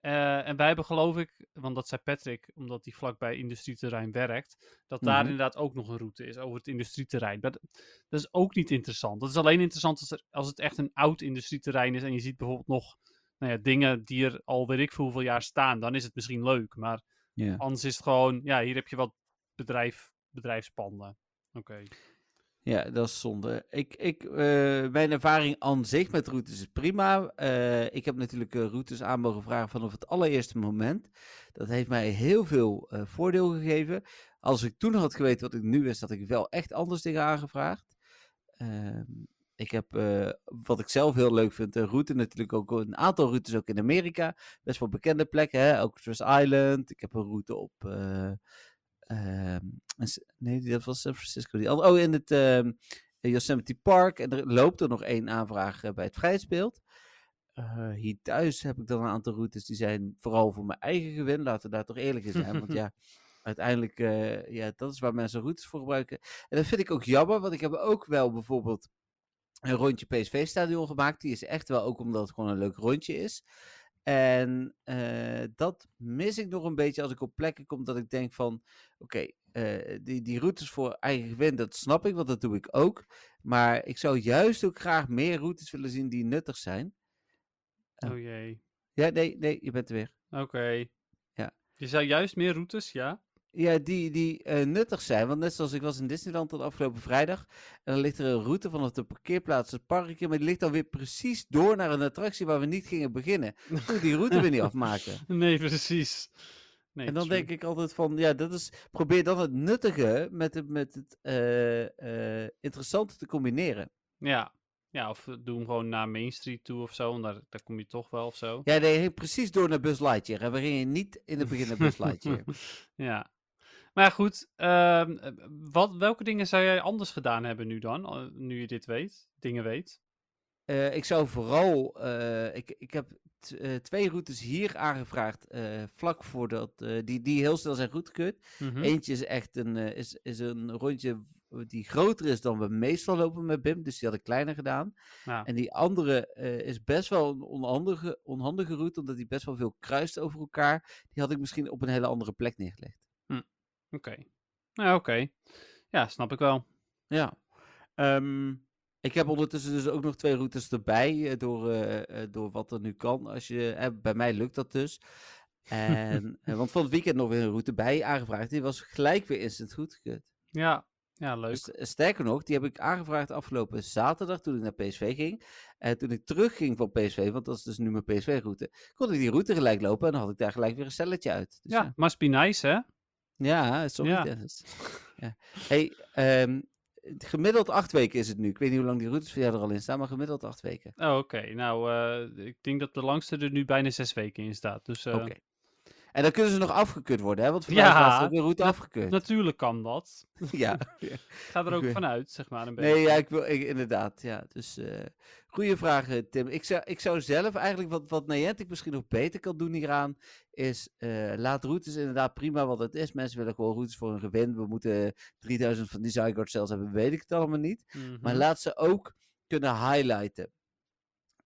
S4: Eh en wij hebben geloof ik, want dat zei Patrick, omdat hij vlakbij industrieterrein werkt, dat daar
S3: Mhm.
S4: inderdaad ook nog een route is over het industrieterrein. Maar d- dat is ook niet interessant. Dat is alleen interessant als, er- als het echt een oud industrieterrein is en je ziet bijvoorbeeld nog nou ja, dingen die er al weet ik veel hoeveel jaar staan. Dan is het misschien leuk, maar
S3: Ja.
S4: anders is het gewoon, ja, hier heb je wat bedrijf, bedrijfspanden. Oké.
S3: Ja, dat is zonde. Ik, ik, eh, mijn ervaring aan zich met routes is prima. Eh, ik heb natuurlijk eh, routes aan mogen vragen vanaf het allereerste moment. Dat heeft mij heel veel eh, voordeel gegeven. Als ik toen had geweten wat ik nu wist, had ik wel echt anders dingen aangevraagd. Ehm, ik heb, eh, wat ik zelf heel leuk vind, een route natuurlijk ook, een aantal routes ook in Amerika. Best wel bekende plekken, hè? ook Stress Island. Ik heb een route op... eh, ehm, en s- nee, die- dat was San Francisco. Die andere- oh, in het ehm, Yosemite Park. En er loopt er nog één aanvraag eh, bij het Vrijspeelt. Eh, hier thuis heb ik dan een aantal routes die zijn vooral voor mijn eigen gewin. Laten we daar toch eerlijk in zijn. want ja, uiteindelijk, eh, ja, dat is waar mensen routes voor gebruiken. En dat vind ik ook jammer, want ik heb ook wel bijvoorbeeld een rondje PSV-stadion gemaakt. Die is echt wel ook omdat het gewoon een leuk rondje is. En eh, dat mis ik nog een beetje als ik op plekken kom dat ik denk van, oké, eh, die, die routes voor eigen gewin, dat snap ik, want dat doe ik ook. Maar ik zou juist ook graag meer routes willen zien die nuttig zijn. Ja.
S4: Oh jee.
S3: Ja, nee, nee, je bent er weer.
S4: Oké.
S3: Ja.
S4: Je zei juist meer routes, ja?
S3: Ja, die, die eh, nuttig zijn. Want net zoals ik was in Disneyland tot afgelopen vrijdag. En dan ligt er een route vanaf de parkeerplaats het park in. Maar die ligt dan weer precies door naar een attractie waar we niet gingen beginnen. Moet ik die route weer niet afmaken.
S4: Nee, precies. Nee,
S3: en dan denk ik altijd van, ja, dat is, probeer dan het nuttige met het, met het eh, eh, interessante te combineren.
S4: Ja. ja, of eh, doe hem gewoon naar Main Street toe of zo, want daar, daar kom je toch wel of zo.
S3: Ja, nee, je ging precies door naar Buzz Lightyear. En we gingen niet in het begin naar Buzz Lightyear.
S4: Ja. Maar goed, ehm, eh, wat, welke dingen zou jij anders gedaan hebben nu dan, eh, nu je dit weet, dingen weet?
S3: Eh, ik zou vooral, eh, ik, ik heb t- eh, twee routes hier aangevraagd, eh, vlak voordat, eh, die, die heel snel zijn goedgekeurd.
S4: Mhm.
S3: Eentje is echt een, eh, is, is een rondje w- die groter is dan we meestal lopen met BIM, dus die had ik kleiner gedaan.
S4: Ja.
S3: En die andere eh, is best wel een onhandige, onhandige route, omdat die best wel veel kruist over elkaar. Die had ik misschien op een hele andere plek neergelegd.
S4: Oké. Nou, ja, oké. Ja, snap ik wel.
S3: Ja. Ehm, ik heb ondertussen dus ook nog twee routes erbij eh, door, eh, eh, door wat er nu kan. Als je, eh, bij mij lukt dat dus. En, eh, want van het weekend nog weer een route bij aangevraagd. Die was gelijk weer instant goedgekeurd.
S4: Ja, ja leuk.
S3: Dus, eh, Sterker nog, die heb ik aangevraagd afgelopen zaterdag toen ik naar PSV ging. En toen ik terugging van PSV, want dat is dus nu mijn PSV-route, kon ik die route gelijk lopen en dan had ik daar gelijk weer een celletje uit. Dus,
S4: ja, must be nice, hè?
S3: eh, Ja, sorry
S4: Ja.
S3: Dennis. Ja. Hey, ehm, gemiddeld acht weken is het nu. Ik weet niet hoe lang die routes voor jou er al in staan, maar gemiddeld acht weken.
S4: Oh, Oké, nou, eh, ik denk dat de langste er nu bijna zes weken in staat. Dus eh,
S3: Oké. En dan kunnen ze nog afgekeurd worden, hè? Want vandaag
S4: Ja,
S3: was ook de route
S4: dat-
S3: afgekeurd.
S4: natuurlijk kan dat.
S3: ja.
S4: Ik ga er
S3: Ik
S4: ook
S3: weet-
S4: vanuit, zeg maar. Een beetje.
S3: Nee, ja, ik wil, ik- inderdaad. Ja. Dus eh goede vraag, eh, Tim. Ik zou, ik zou zelf eigenlijk, wat, wat Niantic misschien nog beter kan doen hieraan, is eh, laat routes inderdaad prima wat het is. Mensen willen gewoon routes voor hun gewin. We moeten 3000 van die Zygarde zelfs hebben, weet ik het allemaal niet.
S4: Mhm.
S3: Maar laat ze ook kunnen highlighten.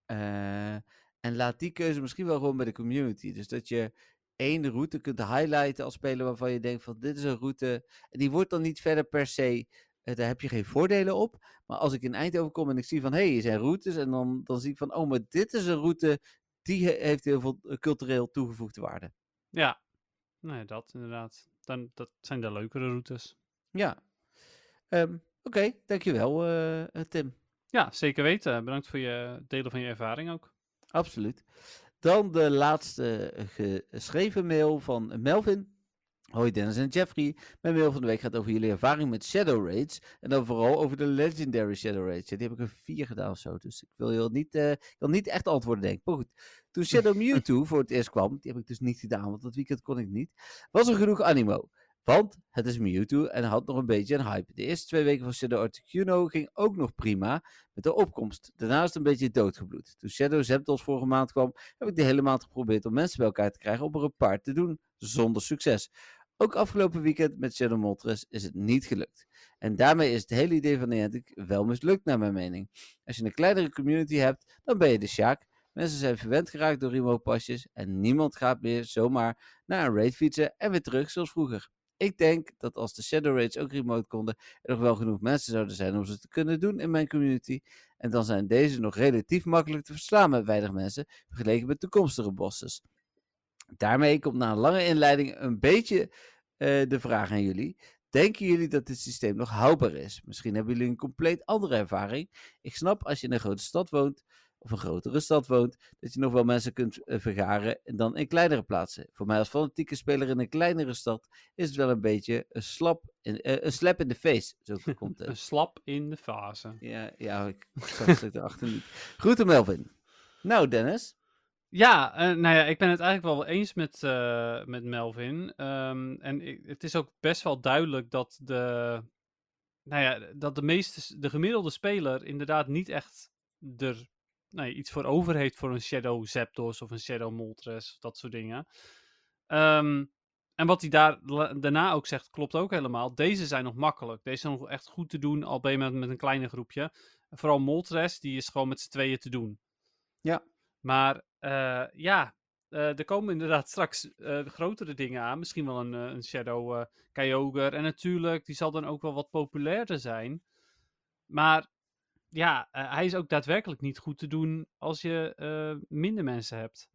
S3: Eh, en laat die keuze misschien wel gewoon bij de community. Dus dat je één route kunt highlighten als speler waarvan je denkt van dit is een route. En die wordt dan niet verder per se, eh, daar heb je geen voordelen op. Maar als ik in Eindhoven kom en ik zie van hé, hey, hier zijn routes. En dan, dan zie ik van oh, maar dit is een route die he- heeft heel veel eh, cultureel toegevoegde waarde.
S4: Nou Ja, nee, dat inderdaad. Dan, dat zijn de leukere routes.
S3: Ja. Ehm, Oké, dankjewel eh, eh, Tim.
S4: Ja, zeker weten. Bedankt voor je delen van je ervaring ook.
S3: Absoluut. Dan de laatste eh, geschreven mail van Melvin. Hoi Dennis en Jeffrey. Mijn mail van de week gaat over jullie ervaring met Shadow Raids. En dan vooral over de Legendary Shadow Raids. Ja, die heb ik er vier gedaan of zo. Dus ik wil heel niet, eh, ik wil niet echt antwoorden, denk ik. Maar goed. Toen Shadow Mewtwo voor het eerst kwam, die heb ik dus niet gedaan, want dat weekend kon ik niet. Was er genoeg animo. Want het is Mewtwo en had nog een beetje een hype. De eerste twee weken van Shadow Articuno ging ook nog prima met de opkomst. Daarna is het een beetje doodgebloed. Toen Shadow Zapdos vorige maand kwam, heb ik de hele maand geprobeerd om mensen bij elkaar te krijgen om er een paar te doen, zonder succes. Ook afgelopen weekend met Shadow Moltres is het niet gelukt. En daarmee is het hele idee van Niantic wel mislukt naar mijn mening. Als je een kleinere community hebt, dan ben je de Sjaak. Mensen zijn verwend geraakt door remote pasjes en niemand gaat meer zomaar naar een raid fietsen en weer terug zoals vroeger. Ik denk dat als de Shadow Raids ook remote konden, er nog wel genoeg mensen zouden zijn om ze te kunnen doen in mijn community. En dan zijn deze nog relatief makkelijk te verslaan met weinig mensen, vergeleken met toekomstige bosses. Daarmee komt na een lange inleiding een beetje eh, de vraag aan jullie. Denken jullie dat dit systeem nog houdbaar is? Misschien hebben jullie een compleet andere ervaring. Ik snap als je in een grote stad woont, of een grotere stad woont, dat je nog wel mensen kunt eh, vergaren dan in kleinere plaatsen. Voor mij als fanatieke speler in een kleinere stad is het wel een beetje een, slap in, eh, een slap in de face. Zo komt het.
S4: Een slap in de fase.
S3: Ja, ja ik zag het erachter niet. Groeten Melvin. Nou Dennis,
S4: Ja, eh, nou ja, ik ben het eigenlijk wel eens met, eh, met Melvin. Ehm, en ik- het is ook best wel duidelijk dat de, nou ja, dat de, meeste, s- de gemiddelde speler inderdaad niet echt er nou ja, iets voor over heeft voor een Shadow Zapdos of een Shadow Moltres, of dat soort dingen. Ehm, en wat hij daar la- daarna ook zegt, klopt ook helemaal. Deze zijn nog makkelijk. Deze zijn nog echt goed te doen, al ben je met, met een kleiner groepje. Vooral Moltres, die is gewoon met z'n tweeën te doen. Maar eh, ja, eh, er komen inderdaad straks eh, grotere dingen aan. Misschien wel een, eh, een Shadow eh Kyogre. En natuurlijk, die zal dan ook wel wat populairder zijn. Maar ja, eh, hij is ook daadwerkelijk niet goed te doen als je eh, minder mensen hebt.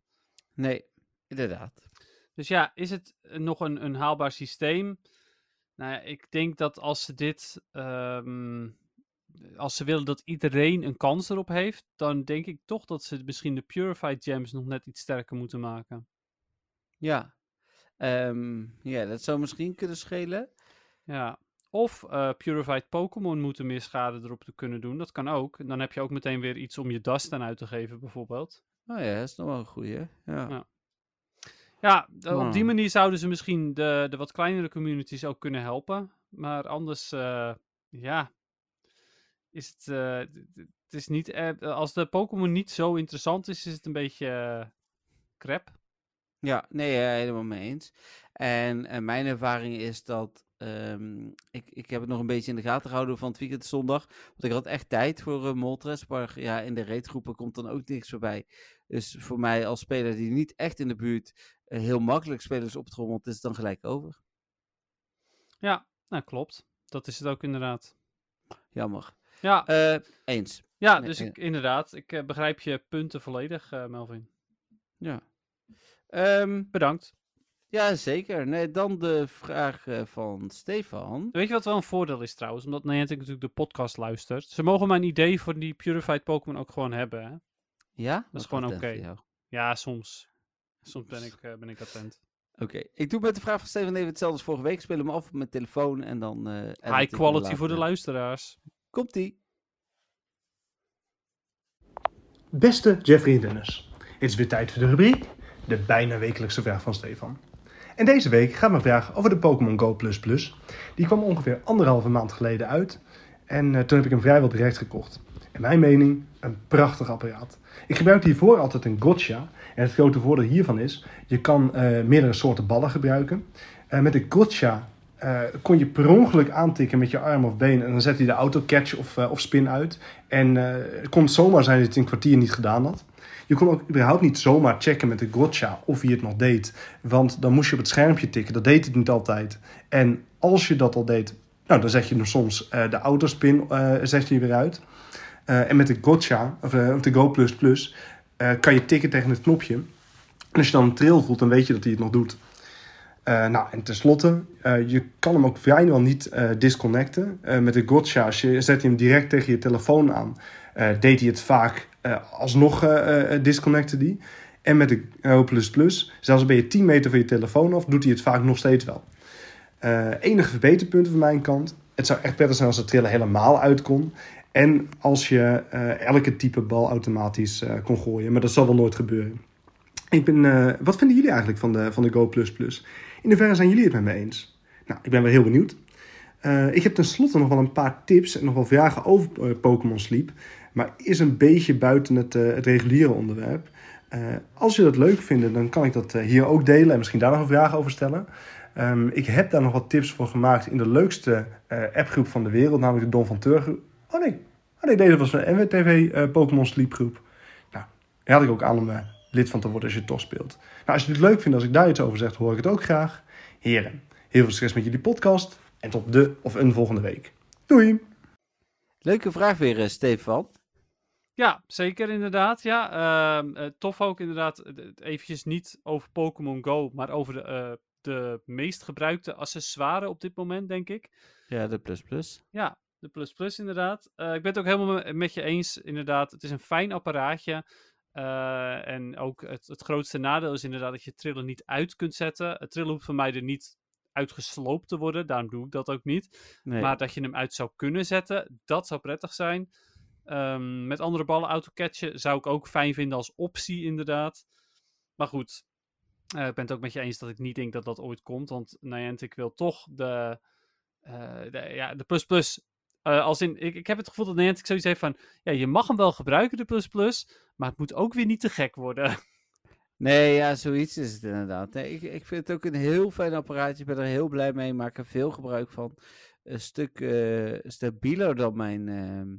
S3: nee, inderdaad.
S4: Dus ja, is het eh, nog een, een haalbaar systeem? Nou ja, ik denk dat als ze dit. ehm, als ze willen dat iedereen een kans erop heeft, dan denk ik toch dat ze misschien de Purified Gems nog net iets sterker moeten maken.
S3: Ja. Ehm, ja, dat zou misschien kunnen schelen.
S4: Ja. Of eh, Purified Pokémon moeten meer schade erop te kunnen doen. Dat kan ook. En dan heb je ook meteen weer iets om je dust aan uit te geven, bijvoorbeeld.
S3: Oh ja, dat is nog wel een goeie. Ja.
S4: Ja. Ja, d- op die
S3: Hmm.
S4: manier zouden ze misschien de, de wat kleinere communities ook kunnen helpen. Maar anders, eh, ja, is het, eh, d- d- het is niet, eh, als de Pokémon niet zo interessant is, is het een beetje eh, crap.
S3: Ja, nee, eh, helemaal mee eens. En, en mijn ervaring is dat. ehm, ik, ik heb het nog een beetje in de gaten gehouden van het weekend zondag. Want ik had echt tijd voor eh, Moltres. Maar ja, in de raidgroepen komt dan ook niks voorbij. Dus voor mij als speler die niet echt in de buurt eh, heel makkelijk spelers optrommelt, is het dan gelijk over.
S4: Nou, klopt. Dat is het ook inderdaad.
S3: Jammer.
S4: Ja,
S3: Eh, eens.
S4: ja
S3: nee,
S4: dus
S3: eh.
S4: ik, inderdaad, ik eh, begrijp je punten volledig, eh, Melvin.
S3: Ja. Ehm,
S4: Bedankt.
S3: ja, zeker. Nee, dan de vraag eh, van Stefan.
S4: Weet je wat wel een voordeel is trouwens? Omdat Niantic natuurlijk de podcast luistert. Ze mogen mijn idee voor die Purified Pokémon ook gewoon hebben, hè?
S3: Ja? Wat
S4: gewoon
S3: dat
S4: oké.
S3: voor jou?
S4: Ja, soms. Soms ben ik, eh, ben ik attent.
S3: Oké, ik doe met de vraag van Steven even hetzelfde als vorige week. Ik Speel hem af op mijn telefoon en dan... eh, edit ik hem
S4: High quality
S3: later.
S4: voor de luisteraars.
S3: Komt-ie.
S1: Beste Jeffrey en Dennis, het is weer tijd voor de rubriek De bijna wekelijkse vraag van Stefan. En deze week gaat mijn vraag over de Pokémon Go++. Die kwam ongeveer anderhalve maand geleden uit en eh, toen heb ik hem vrijwel direct gekocht. In mijn mening een prachtig apparaat. Ik gebruikte hiervoor altijd een gotcha en het grote voordeel hiervan is, je kan eh, meerdere soorten ballen gebruiken. Eh, met de gotcha eh, kon je per ongeluk aantikken met je arm of been en dan zette hij de autocatch of, eh, of spin uit. En eh, het kon zomaar zijn dat je het in een kwartier niet gedaan had. Je kon ook überhaupt niet zomaar checken met de gotcha of hij het nog deed. Want dan moest je op het schermpje tikken. Dat deed het niet altijd. En als je dat al deed, nou, dan zet je hem soms eh, de autospin eh zet je weer uit. Eh, en met de gotcha, of eh, of de Go++, eh, kan je tikken tegen het knopje. En als je dan een trail voelt, dan weet je dat hij het nog doet. Eh, nou, en tenslotte, eh, je kan hem ook vrijwel niet eh, disconnecten. Eh, met de gotcha, als je zet je hem direct tegen je telefoon aan, eh, deed hij het vaak eh, alsnog eh eh, disconnecten die. En met de eh, O++, zelfs ben je 10 meter van je telefoon af, doet hij het vaak nog steeds wel. Eh, enige verbeterpunten van mijn kant. Het zou echt prettig zijn als de trillen helemaal uit kon. En als je eh, elke type bal automatisch eh, kon gooien. Maar dat zal wel nooit gebeuren. Ik ben, eh, wat vinden jullie eigenlijk van de, van de Go++? In hoeverre zijn jullie het met me eens? Nou, ik ben wel heel benieuwd. Eh, ik heb tenslotte nog wel een paar tips en nog wel vragen over eh, Pokémon Sleep. Maar is een beetje buiten het, eh, het reguliere onderwerp. Eh, als jullie dat leuk vinden, dan kan ik dat eh, hier ook delen en misschien daar nog een vraag over stellen. Ehm, ik heb daar nog wat tips voor gemaakt in de leukste eh, appgroep van de wereld, namelijk de Don van Teur groep. Oh nee, oh nee, nee, dat was een NWTV eh Pokémon Sleep groep. Nou, daar had ik ook aan om eh, lid van te worden als je het toch speelt. Nou, als jullie het leuk vinden als ik daar iets over zeg, hoor ik het ook graag. Heren, heel veel succes met jullie podcast en tot de of een volgende week. Doei!
S3: Leuke vraag weer, eh, Stefan.
S4: Ja, zeker inderdaad. Ja, Ehm, eh, tof ook inderdaad. eh, d- Eventjes niet over Pokémon Go, maar over de, eh, de meest gebruikte accessoire op dit moment, denk ik.
S3: Ja, de plus plus.
S4: Ja, de Plus Plus inderdaad. Eh, ik ben het ook helemaal me- met je eens, inderdaad. Het is een fijn apparaatje. Eh, en ook het, het grootste nadeel is inderdaad dat je trillen niet uit kunt zetten. Het trillen hoeft voor mij er niet uitgesloopt te worden, daarom doe ik dat ook niet.
S3: Nee.
S4: Maar dat je hem uit zou kunnen zetten, dat zou prettig zijn. Ehm, met andere ballen autocatchen zou ik ook fijn vinden als optie, inderdaad. Maar goed, eh, ik ben het ook met je eens dat ik niet denk dat dat ooit komt. Want Niantic wil toch de, eh, de, ja, de plus plus. Eh, als in, ik, ik heb het gevoel dat Niantic zoiets heeft van, ja, je mag hem wel gebruiken, de plus plus. Maar het moet ook weer niet te gek worden.
S3: Nee, ja, zoiets is het inderdaad. Nee, ik, ik vind het ook een heel fijn apparaatje. Ik ben er heel blij mee. Ik maak er veel gebruik van. Een stuk eh, stabieler dan mijn. ehm,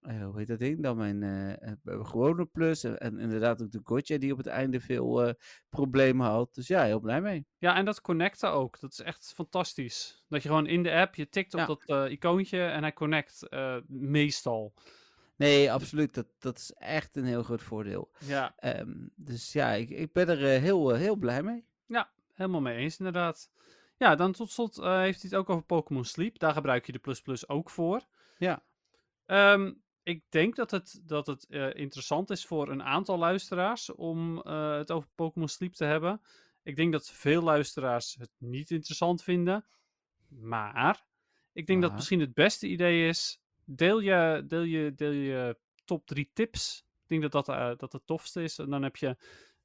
S3: eh, hoe heet dat ding? Dan mijn eh, eh, gewone plus. En, en inderdaad ook de Gotcha die op het einde veel eh, problemen had. Dus ja, heel blij mee.
S4: Ja, en dat connecten ook. Dat is echt fantastisch. Dat je gewoon in de app, je tikt op
S3: Ja.
S4: dat eh, icoontje en hij connect. eh, meestal.
S3: Nee, absoluut. Dat, dat is echt een heel groot voordeel.
S4: Ja,
S3: Ehm, dus ja, ik, ik ben er eh, heel, eh, heel blij mee.
S4: helemaal mee eens inderdaad. Ja, dan tot slot eh, heeft hij het ook over Pokémon Sleep. Daar gebruik je de plus plus ook voor.
S3: Ja.
S4: Ehm, ik denk dat het, dat het eh, interessant is voor een aantal luisteraars om eh, het over Pokémon Sleep te hebben. Ik denk dat veel luisteraars het niet interessant vinden. Maar ik denk dat
S3: Maar?
S4: misschien het beste idee is: deel je, deel je, deel je top drie tips. Ik denk dat dat, eh, dat het tofste is. En dan heb je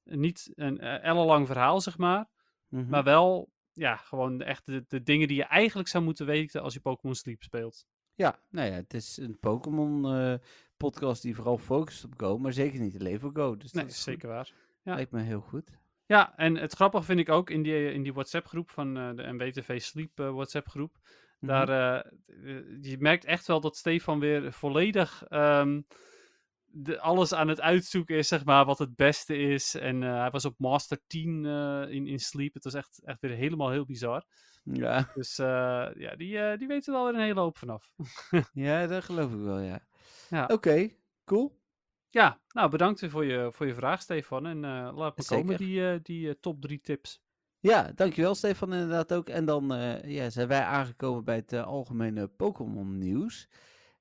S4: niet een eh, ellenlang verhaal, zeg maar.
S3: Mhm.
S4: Maar wel, ja, gewoon echt de, de dingen die je eigenlijk zou moeten weten als je Pokémon Sleep speelt.
S3: Ja, nou ja, het is een Pokémon-podcast die vooral focust op Go, maar zeker niet alleen voor Go. Dus
S4: Nee,
S3: dat is goed.
S4: zeker waar. ja.
S3: Lijkt me heel goed.
S4: Ja, en het grappige vind ik ook in die, in die WhatsApp-groep van eh, de MWTV Sleep eh, WhatsApp-groep.
S3: Mhm.
S4: Daar, eh, eh, je merkt echt wel dat Stefan weer volledig ehm, de, alles aan het uitzoeken is, zeg maar, wat het beste is. En eh, hij was op Master 10 eh, in, in Sleep. Het was echt, echt weer helemaal heel bizar.
S3: Mhm. ja.
S4: Dus eh, ja, die, eh, die weten wel weer een hele hoop vanaf.
S3: ja, dat geloof ik wel, ja.
S4: Ja.
S3: Oké, cool.
S4: Ja, nou bedankt weer voor je, voor je vraag, Stefan. En eh, laat me komen
S3: Zeker.
S4: die, eh, die eh, top drie tips.
S3: Ja, dankjewel Stefan inderdaad ook. En dan eh, ja, zijn wij aangekomen bij het eh, algemene Pokémon nieuws.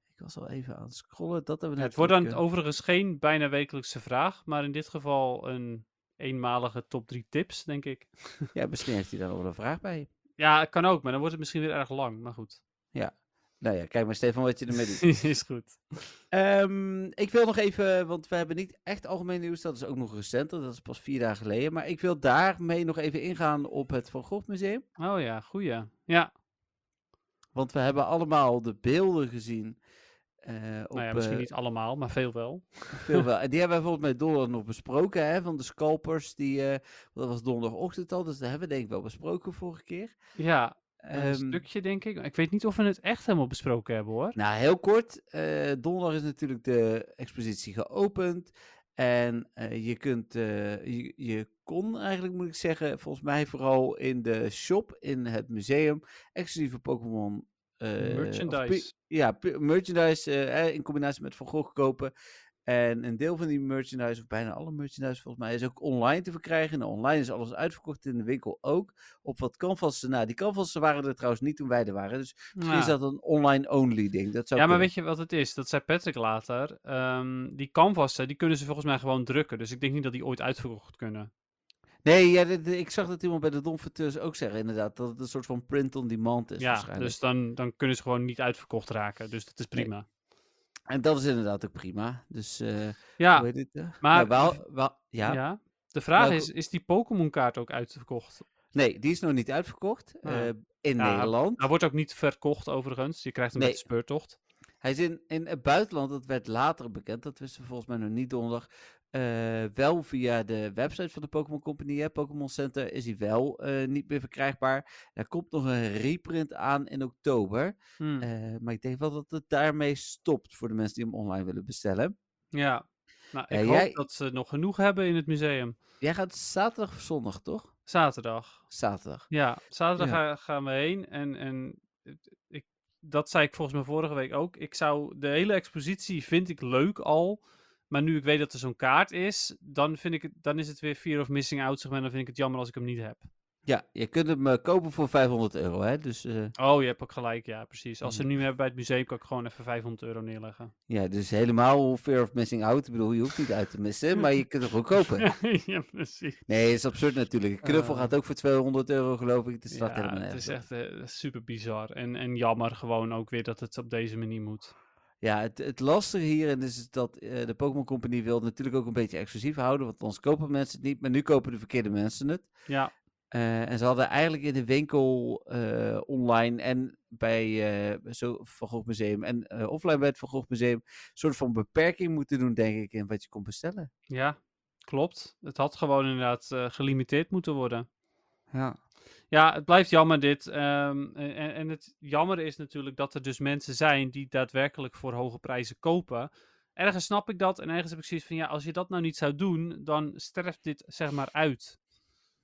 S3: Ik was al even aan het scrollen. Dat hebben we
S4: het wordt dan
S3: natuurlijk, eh,
S4: overigens geen bijna wekelijkse vraag, maar in dit geval een eenmalige top drie tips, denk ik.
S3: eh, Ja, misschien heeft hij daar nog wel een vraag bij.
S4: Ja, kan ook, maar dan wordt het misschien weer erg lang. Maar goed,
S3: Nou ja, kijk maar Stefan wat je ermee doet.
S4: is goed.
S3: Ehm, ik wil nog even, want we hebben niet echt algemeen nieuws, dat is ook nog recenter, dat is pas vier dagen geleden. Maar ik wil daarmee nog even ingaan op het Van Gogh Museum.
S4: Oh ja, goeie. Ja,
S3: Want we hebben allemaal de beelden gezien. eh, op,
S4: nou ja, misschien
S3: eh,
S4: niet allemaal, maar veel wel.
S3: Veel wel. En die hebben we volgens mij donderdag nog besproken, hè, van de scalpers. Die, eh, dat was donderdagochtend al, dus dat hebben we denk ik wel besproken vorige keer.
S4: Ja, een
S3: Ehm,
S4: stukje denk ik. Ik weet niet of we het echt helemaal besproken hebben hoor.
S3: Nou, heel kort. eh, donderdag is natuurlijk de expositie geopend. En eh, je kunt, eh, je, je kon eigenlijk, moet ik zeggen, volgens mij vooral in de shop in het museum, exclusieve Pokémon. eh, of
S4: Merchandise.
S3: pu- ja, pu- merchandise eh, hè, in combinatie met Van Gogh kopen. En een deel van die merchandise, of bijna alle merchandise volgens mij, is ook online te verkrijgen. En online is alles uitverkocht in de winkel ook. Op wat canvassen na. Die canvassen waren er trouwens niet toen wij er waren. Dus Misschien
S4: Ja.
S3: is dat een online-only ding. Dat zou
S4: Ja, maar
S3: kunnen.
S4: weet je wat het is? Dat zei Patrick later. ehm, die canvassen, die kunnen ze volgens mij gewoon drukken. Dus ik denk niet dat die ooit uitverkocht kunnen.
S3: Nee, ja, dit- ik zag dat iemand bij de Donfauteurs ook zeggen, inderdaad. Dat het een soort van print-on-demand is
S4: ja,
S3: waarschijnlijk.
S4: dus dan, dan kunnen ze gewoon niet uitverkocht raken. Dus dat is
S3: Nee.
S4: prima.
S3: En dat is inderdaad ook prima. Dus, eh
S4: Ja,
S3: hoe heet dit? eh?
S4: maar-
S3: Nou, wel, wel, ja. Nou,
S4: ja. De vraag
S3: Welke-
S4: is, is die Pokémon-kaart ook uitverkocht?
S3: Nee, die is nog niet uitverkocht
S4: Ah.
S3: eh, in
S4: Ja,
S3: Nederland.
S4: Hij wordt ook niet verkocht overigens. Je krijgt hem
S3: Nee.
S4: met de speurtocht.
S3: Hij is in, in het buitenland, dat werd later bekend, dat wisten we volgens mij nog niet donderdag. eh, wel via de website van de Pokémon Company, hè, Pokémon Center, is hij wel eh, niet meer verkrijgbaar. Er komt nog een reprint aan in oktober.
S4: Hmm,
S3: Eh, maar ik denk wel dat het daarmee stopt voor de mensen die hem online willen bestellen.
S4: ja. Nou,
S3: ja,
S4: ik
S3: eh, jij-
S4: hoop dat ze nog genoeg hebben in het museum.
S3: Jij gaat zaterdag of zondag, toch?
S4: Zaterdag.
S3: Zaterdag.
S4: Ja, zaterdag
S3: Ja.
S4: ga- gaan we heen. En, en het- ik, dat zei ik volgens mij vorige week ook. Ik zou de hele expositie vind ik leuk al. Maar nu ik weet dat er zo'n kaart is, dan, vind ik het, dan is het weer fear of missing out. Zeg maar, dan vind ik het jammer als ik hem niet heb.
S3: Ja, je kunt hem eh, kopen voor 500 euro, hè? Dus, eh,
S4: Oh, je hebt ook gelijk. Ja, precies. Als ze hem nu hebben bij het museum, kan ik gewoon even 500 euro neerleggen.
S3: ja, dus helemaal fear of missing out. Ik bedoel, je hoeft niet uit te missen, maar je kunt hem gewoon kopen.
S4: ja, precies.
S3: Nee, is absurd natuurlijk. Een knuffel
S4: Eh.
S3: gaat ook voor 200 euro, geloof ik. Het staat
S4: ja,
S3: helemaal
S4: het
S3: nergens.
S4: is
S3: op.
S4: echt eh, super bizar. En, en jammer gewoon ook weer dat het op deze manier moet.
S3: Ja, het, het lastige hierin is dat eh, de Pokémon Company wil het natuurlijk ook een beetje exclusief houden, want anders kopen mensen het niet. Maar nu kopen de verkeerde mensen het.
S4: Ja,
S3: Eh, en ze hadden eigenlijk in de winkel eh, online en bij eh zo Van Gogh Museum en eh, offline bij het Van Gogh Museum een soort van beperking moeten doen, denk ik, in wat je kon bestellen.
S4: ja, klopt. Het had gewoon inderdaad eh, gelimiteerd moeten worden.
S3: Ja.
S4: Ja, het blijft jammer dit. ehm, en, en en het jammer is natuurlijk dat er dus mensen zijn die daadwerkelijk voor hoge prijzen kopen. Ergens snap ik dat en ergens heb ik zoiets van, ja, als je dat nou niet zou doen, dan sterft dit zeg maar uit.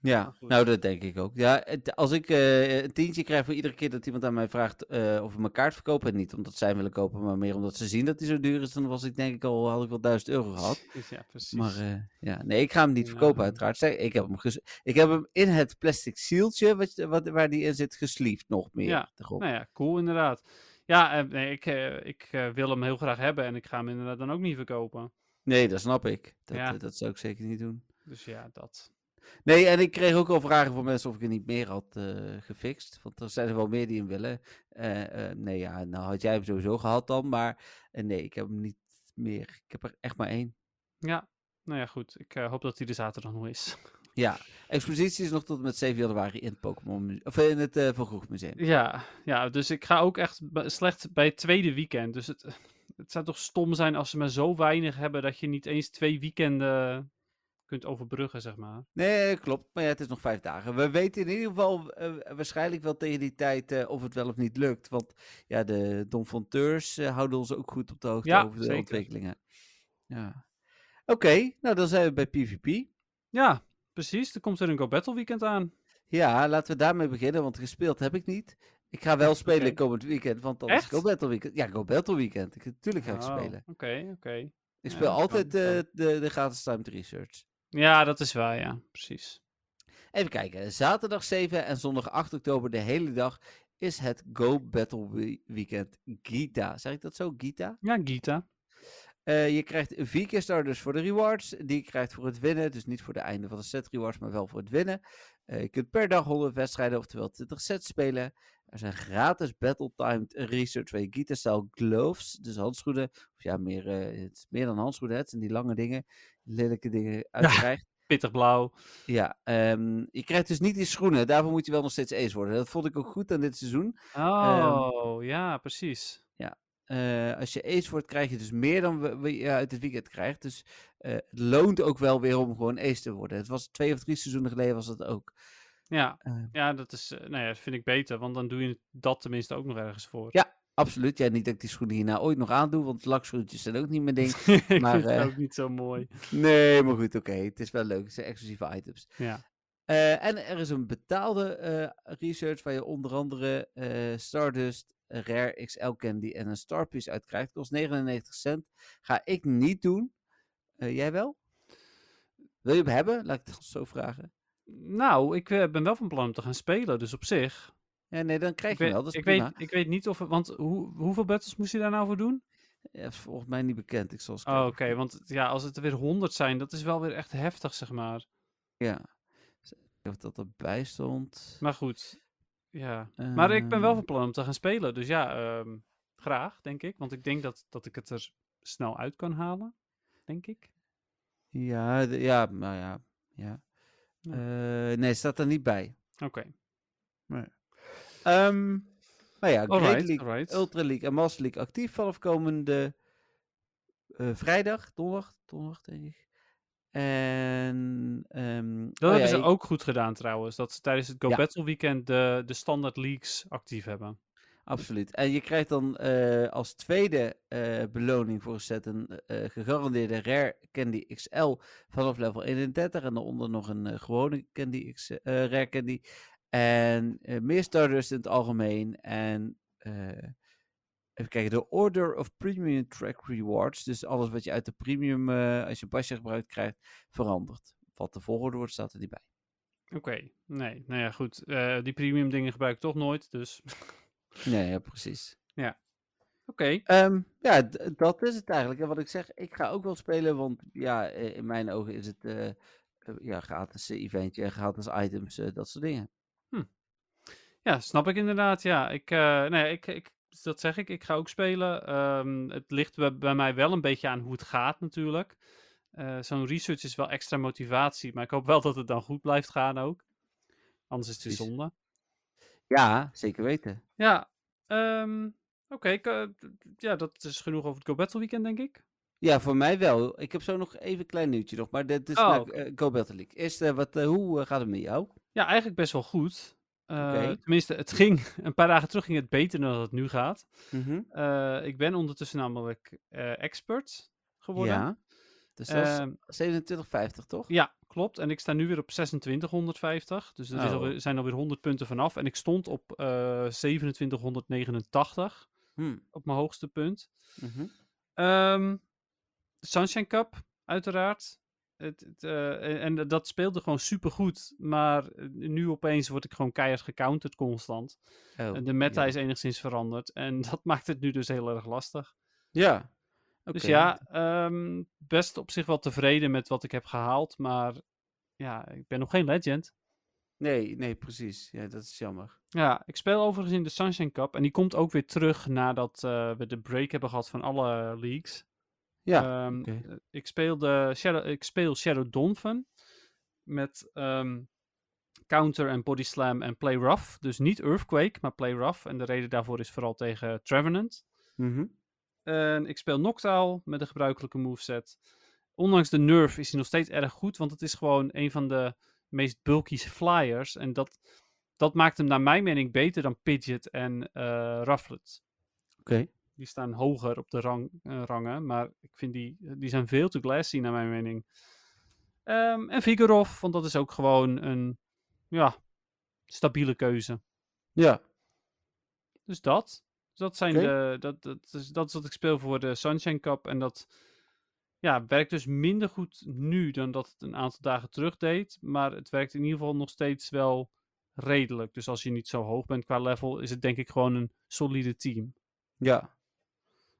S3: Ja,
S4: goed.
S3: nou dat denk ik ook. Ja, het- als ik eh, een tientje krijg voor iedere keer dat iemand aan mij vraagt eh, of ik mijn kaart verkopen en niet omdat zij hem willen kopen, maar meer omdat ze zien dat die zo duur is, dan was ik denk ik al, had ik wel 1000 euro gehad.
S4: Ja, precies.
S3: Maar eh, ja, nee, ik ga hem niet verkopen,
S4: Ja.
S3: uiteraard. Zeg, Ik heb, hem ges- ik heb hem in het plastic zieltje, wat, je- wat, waar die in zit, gesleeved nog meer.
S4: Ja,
S3: erop.
S4: Nou ja, cool inderdaad. Ja, eh, nee, ik, eh, ik eh, wil hem heel graag hebben en ik ga hem inderdaad dan ook niet verkopen.
S3: Nee, dat snap ik. Dat,
S4: Ja.
S3: eh, dat zou ik zeker niet doen.
S4: Dus ja, dat.
S3: Nee, en ik kreeg ook al vragen van mensen of ik er niet meer had eh, gefixt. Want er zijn er wel meer die hem willen. Eh, eh, nee, ja, nou had jij hem sowieso gehad dan. Maar eh, nee, ik heb hem niet meer. Ik heb er echt maar één.
S4: Ja, nou ja, goed. Ik eh, hoop dat hij er zaterdag nog is.
S3: Ja, expositie is nog tot en met 7 januari in het Pokémon Muse- Of in het eh, Van Gogh Museum.
S4: Ja, ja, dus ik ga ook echt b- slecht bij het tweede weekend. Dus het, het zou toch stom zijn als ze maar zo weinig hebben dat je niet eens twee weekenden kunt overbruggen, zeg maar.
S3: Nee, klopt. Maar ja, het is nog vijf dagen. We weten in ieder geval eh, waarschijnlijk wel tegen die tijd eh, of het wel of niet lukt. Want ja, de Donfonteurs eh houden ons ook goed op de hoogte
S4: Ja,
S3: over de
S4: zeker.
S3: ontwikkelingen. Ja. Oké, nou dan zijn we bij PvP.
S4: Ja, precies. Er komt weer een Go Battle weekend aan.
S3: Ja, laten we daarmee beginnen, want gespeeld heb ik niet. Ik ga wel spelen
S4: Oké.
S3: komend weekend, want dan is
S4: Echt?
S3: Go Battle Weekend. Ja, Go Battle Weekend. Ik, natuurlijk ga ik
S4: Oh,
S3: spelen.
S4: Oké, oké.
S3: Ik
S4: ja,
S3: speel
S4: dat kan,
S3: altijd
S4: dat kan.
S3: eh, de, de gratis timed research.
S4: Ja, dat is waar, ja. Precies.
S3: Even kijken. Zaterdag 7 en zondag 8 oktober, de hele dag, is het Go Battle Wee- Weekend Gita. Zeg ik dat zo? Gita?
S4: Ja, Gita.
S3: Eh, je krijgt vier keer starters voor de rewards. Die je krijgt voor het winnen. Dus niet voor de einde van de set rewards, maar wel voor het winnen. Eh, je kunt per dag 100 wedstrijden, oftewel 20 sets spelen. Er zijn gratis battle-timed research bij Guitar-style gloves. Dus handschoenen. Of ja, meer, eh, het is meer dan handschoenen. hè, Het zijn die lange dingen. Lelijke dingen uitkrijgt.
S4: Pittig blauw.
S3: Ja, ehm, je krijgt dus niet die schoenen. Daarvoor moet je wel nog steeds ace worden. Dat vond ik ook goed aan dit seizoen. Ehm.
S4: Oh, ja, precies.
S3: Eh, als je ace wordt, krijg je dus meer dan we- we je uit het weekend krijgt. Dus eh, het loont ook wel weer om gewoon ace te worden. Het was twee of drie seizoenen geleden was dat ook.
S4: Ja,
S3: Eh.
S4: ja dat is, eh, nou ja, dat vind ik beter, want dan doe je dat tenminste ook nog ergens voor.
S3: Ja, Absoluut. Ja, niet dat ik die schoenen hierna ooit nog aandoe, want lakschoentjes zijn ook niet mijn ding.
S4: ik
S3: maar,
S4: vind
S3: eh,
S4: het ook niet zo mooi.
S3: nee, maar goed, oké. Het is wel leuk. Het zijn exclusieve items.
S4: Ja.
S3: Eh, en er is een betaalde eh, research waar je onder andere eh, Stardust, een Rare XL Candy en een Starpiece uit krijgt. Kost 99 cent. Ga ik niet doen. Eh, jij wel? Wil je hem hebben? Laat ik het zo vragen.
S4: Nou, ik eh, ben wel van plan om te gaan spelen, dus op zich.
S3: Ja, nee, dan krijg
S4: Ik
S3: je hem wel.
S4: weet,
S3: Dat is
S4: ik
S3: prima.
S4: weet, ik weet niet of, want hoe, hoeveel battles moest je daar nou voor doen?
S3: Ja, is volgens mij niet bekend. Ik zal eens
S4: Oh, oké,
S3: kijken.
S4: want ja, als het er weer 100 zijn, dat is wel weer echt heftig, zeg maar.
S3: Ja. Dus ik weet Of dat erbij stond.
S4: Maar goed, ja. Maar ik ben wel
S3: Ehm,
S4: van plan om te gaan spelen. Dus ja, ehm, graag, denk ik. Want ik denk dat, dat ik het er snel uit kan halen. Denk ik.
S3: Ja, de- ja, nou ja. ja.
S4: Ja.
S3: Eh, nee, staat er niet bij.
S4: Oké.
S3: Ehm nou ja, Great
S4: Alright,
S3: League,
S4: alright.
S3: Ultra League en Master League actief vanaf komende eh, vrijdag, donderdag, donderdag denk ik. En ehm,
S4: Dat
S3: oh ja,
S4: hebben ze
S3: ik-
S4: ook goed gedaan trouwens. Dat ze tijdens het Go
S3: Ja.
S4: Battle Weekend de, de standaard leagues actief hebben.
S3: Absoluut. En je krijgt dan eh, als tweede eh, beloning voor een set een eh, gegarandeerde Rare Candy XL vanaf level 31. En daaronder nog een eh, gewone candy X, eh, Rare Candy. En eh, meer starters in het algemeen. En eh, even kijken, de Order of Premium Track Rewards. Dus alles wat je uit de premium, eh, als je pasje gebruikt, krijgt, verandert. Wat de volgorde wordt, staat er niet bij.
S4: Oké. Nee, nou ja, goed. Eh, die premium dingen gebruik ik toch nooit. Dus oké.
S3: Nee, ja, precies.
S4: Okay.
S3: Ehm, ja, d- dat is het eigenlijk. En wat ik zeg, ik ga ook wel spelen, want ja, eh, in mijn ogen is het eh, eh, ja, gratis eh, eventje en gratis items, eh, dat soort dingen.
S4: Ja, snap ik inderdaad. Ja, ik, eh, nee, ik, ik, dat zeg ik. Ik ga ook spelen. Ehm, het ligt bij, bij mij wel een beetje aan hoe het gaat natuurlijk. Eh, Zo'n research is wel extra motivatie, maar ik hoop wel dat het dan goed blijft gaan ook. Anders is het weer
S3: Precies.
S4: zonde.
S3: Ja, zeker weten.
S4: Ja, ehm, oké. ik, eh, d- d- ja, dat is genoeg over het Go Battle Weekend, denk ik.
S3: Ja, voor mij wel. Ik heb zo nog even een klein nieuwtje nog, maar dit is
S4: Oh,
S3: naar,
S4: oké.
S3: eh, Go Battle League. Eerst, eh, wat, eh, hoe eh, gaat het met jou?
S4: Ja, eigenlijk best wel goed. Eh,
S3: Oké.
S4: Tenminste, het ging een paar dagen terug ging het beter dan dat het nu gaat. Eh, ik ben ondertussen namelijk eh, expert geworden.
S3: Ja. Dus dat is
S4: Ehm,
S3: 27,50 toch?
S4: Ja, klopt. En ik sta nu weer op 2650. Dus er is
S3: Oh.
S4: alweer, zijn alweer 100 punten vanaf. En ik stond op eh 2789
S3: Hm,
S4: op mijn hoogste punt.
S3: mhm.
S4: Ehm, Sunshine Cup, uiteraard. Het, het, eh, en- en, dat speelde gewoon supergoed. Maar eh, nu opeens word ik gewoon keihard gecounterd constant.
S3: Oh,
S4: En de meta
S3: ja.
S4: is enigszins veranderd. En dat maakt het nu dus heel erg lastig.
S3: Ja.
S4: Dus
S3: Oké.
S4: ja, ehm, best op zich wel tevreden met wat ik heb gehaald. Maar ja, ik ben nog geen legend.
S3: Nee, nee, precies. Ja, dat is jammer.
S4: Ja, ik speel overigens in de Sunshine Cup. En die komt ook weer terug nadat eh, we de break hebben gehad van alle leagues.
S3: Ja.
S4: Ehm,
S3: oké.
S4: eh, ik, speelde Shadow, ik speel Shadow Donphan met ehm, counter en body slam en play rough. Dus niet Earthquake, maar play rough. En de reden daarvoor is vooral tegen Trevenant.
S3: Mhm.
S4: En ik speel Noctowl met de gebruikelijke moveset. Ondanks de nerf is hij nog steeds erg goed, want het is gewoon een van de meest bulky flyers. En dat, dat maakt hem naar mijn mening beter dan Pidget en eh Rufflet.
S3: Oké.
S4: Die staan hoger op de rang, eh, rangen, maar ik vind die, die zijn veel te glassy naar mijn mening. Ehm, en Vigorov, want dat is ook gewoon een ja, stabiele keuze.
S3: Ja.
S4: Dus dat. Dus dat, zijn
S3: Oké.
S4: de, dat, dat, is, dat is wat ik speel voor de Sunshine Cup. En dat ja, werkt dus minder goed nu dan dat het een aantal dagen terug deed. Maar het werkt in ieder geval nog steeds wel redelijk. Dus als je niet zo hoog bent qua level, is het denk ik gewoon een solide team.
S3: Ja.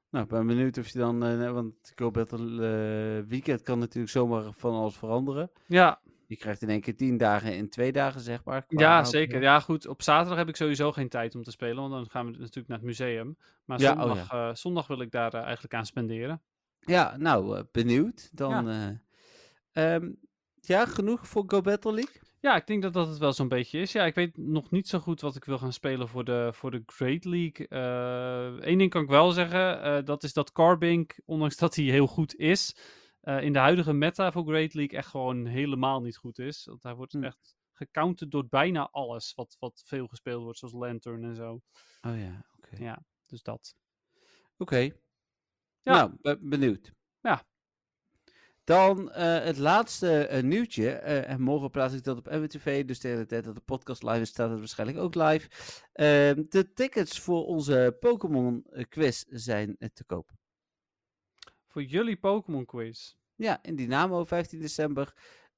S3: Nou, ik ben benieuwd of je dan, eh, want Go Battle eh, Weekend kan natuurlijk zomaar van alles veranderen.
S4: Ja,
S3: Je krijgt in één keer tien dagen in twee dagen, zeg maar. qua
S4: ja
S3: aanbod.
S4: zeker. Ja, goed. Op zaterdag heb ik sowieso geen tijd om te spelen, want dan gaan we natuurlijk naar het museum. Maar
S3: Ja, oh
S4: zondag, eh, zondag wil ik daar eh, eigenlijk aan spenderen.
S3: Ja, nou, eh, benieuwd. Dan, ja. ja, genoeg voor Go Battle League?
S4: Ja, ik denk dat dat het wel zo'n beetje is. Ja, ik weet nog niet zo goed wat ik wil gaan spelen voor de, voor de Great League. Eén ding kan ik wel zeggen, eh, dat is dat Carbink, ondanks dat hij heel goed is, eh, in de huidige meta voor Great League echt gewoon helemaal niet goed is. Want hij wordt
S3: Hmm.
S4: echt gecounterd door bijna alles wat, wat veel gespeeld wordt, zoals Lantern en zo.
S3: Oh ja, oké.
S4: Ja. Dus dat.
S3: Oké.
S4: Ja.
S3: Nou, be- benieuwd.
S4: Ja.
S3: Dan eh, het laatste eh, nieuwtje. eh, en morgen plaats ik dat op MWTV. Dus tegen de tijd dat de podcast live is, staat het waarschijnlijk ook live. Ehm, de tickets voor onze Pokémon eh, quiz zijn eh, te koop.
S4: Voor jullie Pokémon quiz.
S3: Ja, in Dynamo, 15 december.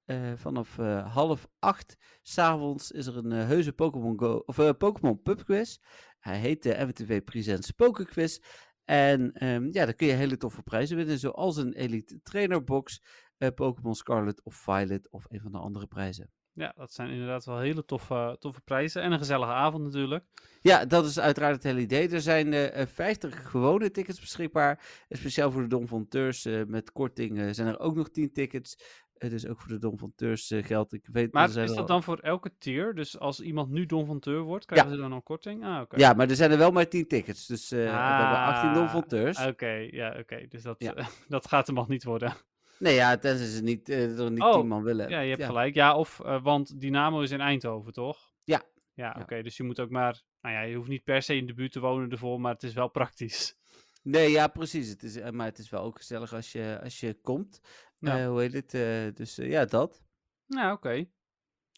S3: eh, vanaf eh, half acht s'avonds is er een eh, heuse Pokémon Go of eh, Pokémon Pub Quiz. Hij heet de MTV Presents Poker Quiz. En ehm, ja, daar kun je hele toffe prijzen winnen, zoals een Elite Trainer Box, eh, Pokémon Scarlet of Violet of een van de andere prijzen.
S4: Ja, dat zijn inderdaad wel hele toffe, toffe prijzen. En een gezellige avond natuurlijk.
S3: Ja, dat is uiteraard het hele idee. Er zijn eh, eh, 50 gewone tickets beschikbaar. En speciaal voor de Dom van Teurs eh, met korting eh, zijn er ook nog 10 tickets. Eh, dus ook voor de Dom van Teurs eh, geldt. Ik weet, er
S4: Maar
S3: zijn
S4: is
S3: er
S4: dat
S3: al-
S4: dan voor elke tier? Dus als iemand nu Don van Teur wordt, krijgen ze dan al korting? Ah, oké.
S3: Ja, maar er zijn er wel maar 10 tickets. Dus eh, we hebben 18 Dom van
S4: Ah,
S3: Teurs.
S4: Oké, ja, oké. Dus dat,
S3: Ja. Eh,
S4: eh, dat gaat hem al niet worden.
S3: Nee, ja, tenzij ze niet, eh, er niet
S4: Oh,
S3: 10 man willen.
S4: Ja, je hebt gelijk. Ja, of, eh, want Dynamo is in Eindhoven, toch?
S3: Ja.
S4: Ja,
S3: Ja.
S4: oké. dus je moet ook maar, nou ja, je hoeft niet per se in de buurt te wonen ervoor, maar het is wel praktisch.
S3: Nee, ja, precies. Het is, eh, maar het is wel ook gezellig als je, als je komt.
S4: Ja.
S3: Eh, hoe heet het? Eh, dus eh, ja, dat.
S4: Nou, oké.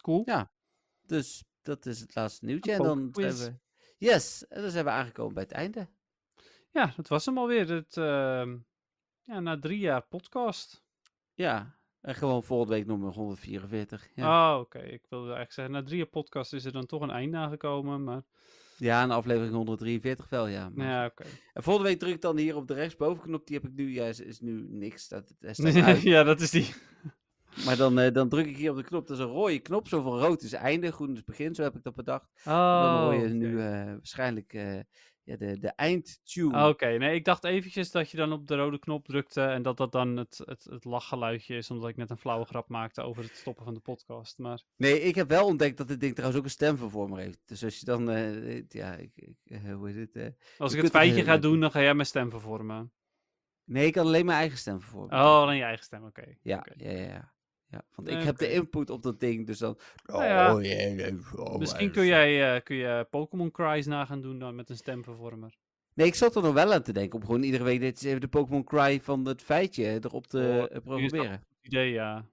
S4: Cool.
S3: Ja, Dus dat is het laatste nieuwtje.
S4: Een
S3: En dan zijn
S4: pokerquiz.
S3: we... Yes, en dan zijn we aangekomen bij het einde.
S4: Ja, dat was hem alweer. Het, ehm, ja, na drie jaar podcast.
S3: Ja, en gewoon volgende week nummer 144. Ja,
S4: Oh, oké. Ik wilde eigenlijk zeggen, na drie jaar podcast is er dan toch een einde aangekomen, maar...
S3: ja en aflevering 143 wel, ja. maar-
S4: Ja, oké.
S3: En volgende week druk ik dan hier op de rechtsbovenknop. Die heb ik nu, ja, is, is nu niks. Staat, hij staat uit.
S4: ja, dat is die.
S3: Maar dan, eh, dan druk ik hier op de knop. Dat is een rode knop. Zo van rood is einde, groen is begin. Zo heb ik dat bedacht. En dan hoor je
S4: Oh, oké.
S3: nu eh, waarschijnlijk eh, ja, de, de eindtune.
S4: Oké, nee, ik dacht eventjes dat je dan op de rode knop drukte en dat dat dan het, het, het lachgeluidje is, omdat ik net een flauwe grap maakte over het stoppen van de podcast. Maar
S3: Nee, ik heb wel ontdekt dat dit ding trouwens ook een stemvervormer heeft. Dus als je dan, eh, eh, ja, ik, ik, eh, hoe is het? eh,
S4: als
S3: Je
S4: ik het
S3: kunt er
S4: feitje
S3: heel
S4: ga
S3: leuk
S4: doen,
S3: in.
S4: dan ga jij mijn stem vervormen.
S3: Nee, ik kan alleen mijn eigen stem vervormen.
S4: Oh, dan je eigen stem, oké.
S3: Ja,
S4: oké.
S3: ja, ja, ja. ja want
S4: Nee,
S3: ik heb de
S4: oké.
S3: input op dat ding, dus dan...
S4: Nou ja.
S3: Oh, ja, ja, oh,
S4: Misschien
S3: eh,
S4: kun jij eh, kun je Pokémon Cries na gaan doen dan met een stemvervormer.
S3: Nee, ik zat er nog wel aan te denken om gewoon iedere week dit is even de Pokémon Cry van het feitje erop te
S4: Oh,
S3: eh,
S4: dat
S3: programmeren.
S4: Idee, ja.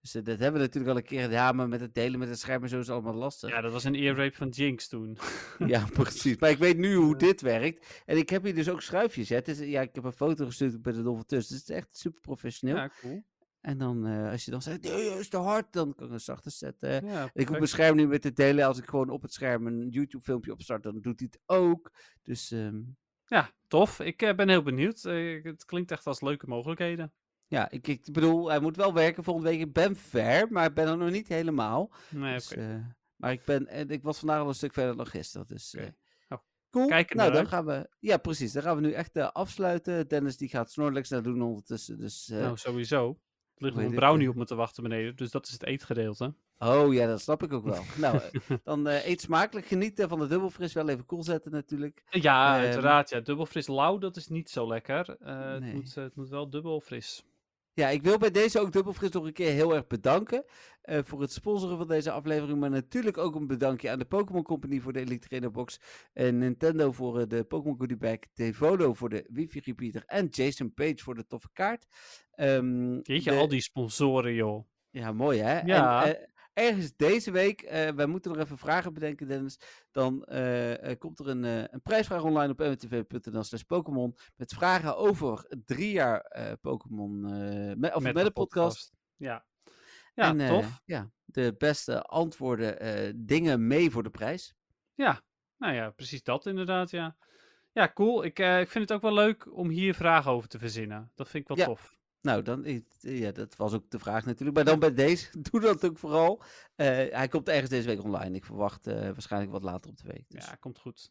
S3: Dus eh, dat hebben we natuurlijk al een keer gedaan, maar met het delen met het scherm en zo is allemaal lastig.
S4: Ja, dat was een earrape van Jinx toen.
S3: Ja, precies. Maar ik weet nu hoe dit werkt. En ik heb hier dus ook schuifjes. Hè. Het is, ja, ik heb een foto gestuurd bij de Dolphin Tuss. Dus het is echt super professioneel.
S4: Ja, cool.
S3: En dan, eh, als je dan zegt, nee, dat is te hard, dan kan ik het zachter zetten.
S4: Ja,
S3: Ik hoef
S4: perfect.
S3: mijn scherm niet meer te delen. Als ik gewoon op het scherm een YouTube-filmpje opstart, dan doet hij het ook. Dus ehm,
S4: ja, tof. Ik eh, ben heel benieuwd. Eh, het klinkt echt als leuke mogelijkheden.
S3: ja, ik, ik bedoel, hij moet wel werken volgende week. Ik ben ver, maar ik ben er nog niet helemaal.
S4: Nee, oké.
S3: Dus, eh, maar ik, ben, en ik was vandaag al een stuk verder dan gisteren. Dus,
S4: Oké.
S3: eh,
S4: Nou,
S3: cool.
S4: kijk er
S3: nou,
S4: naar
S3: dan gaan we. Ja, precies. Dan gaan we nu echt eh, afsluiten. Dennis die gaat Snorlax naar doen ondertussen. Dus, eh,
S4: nou, sowieso. Er ligt
S3: hoe
S4: nog een
S3: heet het,
S4: brownie
S3: eh?
S4: op me te wachten beneden, dus dat is het eetgedeelte. Nou.
S3: Oh ja, dat snap ik ook wel. nou, eh, dan eh, eet smakelijk. Genieten van de dubbelfris. Wel even koel zetten natuurlijk.
S4: Ja,
S3: Ehm,
S4: uiteraard. Ja. Dubbel fris lauw, dat is niet zo lekker. Eh, het,
S3: Nee.
S4: moet, eh, het moet wel dubbel fris.
S3: Ja, ik wil bij deze ook Dubbelfris nog een keer heel erg bedanken eh, voor het sponsoren van deze aflevering. Maar natuurlijk ook een bedankje aan de Pokémon Company voor de Elite Trainer Box. en Nintendo voor eh, de Pokémon Goodie Bag. Devolo voor de wifi repeater. En Jason Page voor de toffe kaart. Ehm,
S4: Jeetje,
S3: de-
S4: al die sponsoren, joh.
S3: Ja, mooi hè?
S4: Ja.
S3: En, eh, ergens deze week, eh, wij moeten nog even vragen bedenken Dennis. Dan eh, eh, komt er een, eh, een prijsvraag online op mtv.nl slash Pokémon. Met vragen over drie jaar eh, Pokémon, eh, me- of met, de podcast.
S4: Ja, ja
S3: en, eh,
S4: tof.
S3: ja, de beste antwoorden, eh, dingen mee voor de prijs.
S4: Ja, nou ja, precies dat inderdaad, ja. Ja, cool. Ik, eh, ik vind het ook wel leuk om hier vragen over te verzinnen. Dat vind ik wel
S3: Ja.
S4: tof.
S3: Nou, dan, eh, ja, dat was ook de vraag natuurlijk. Maar dan bij deze, doe dat ook vooral. Eh, hij komt ergens deze week online. Ik verwacht eh, waarschijnlijk wat later op de week. Dus.
S4: Ja, komt goed.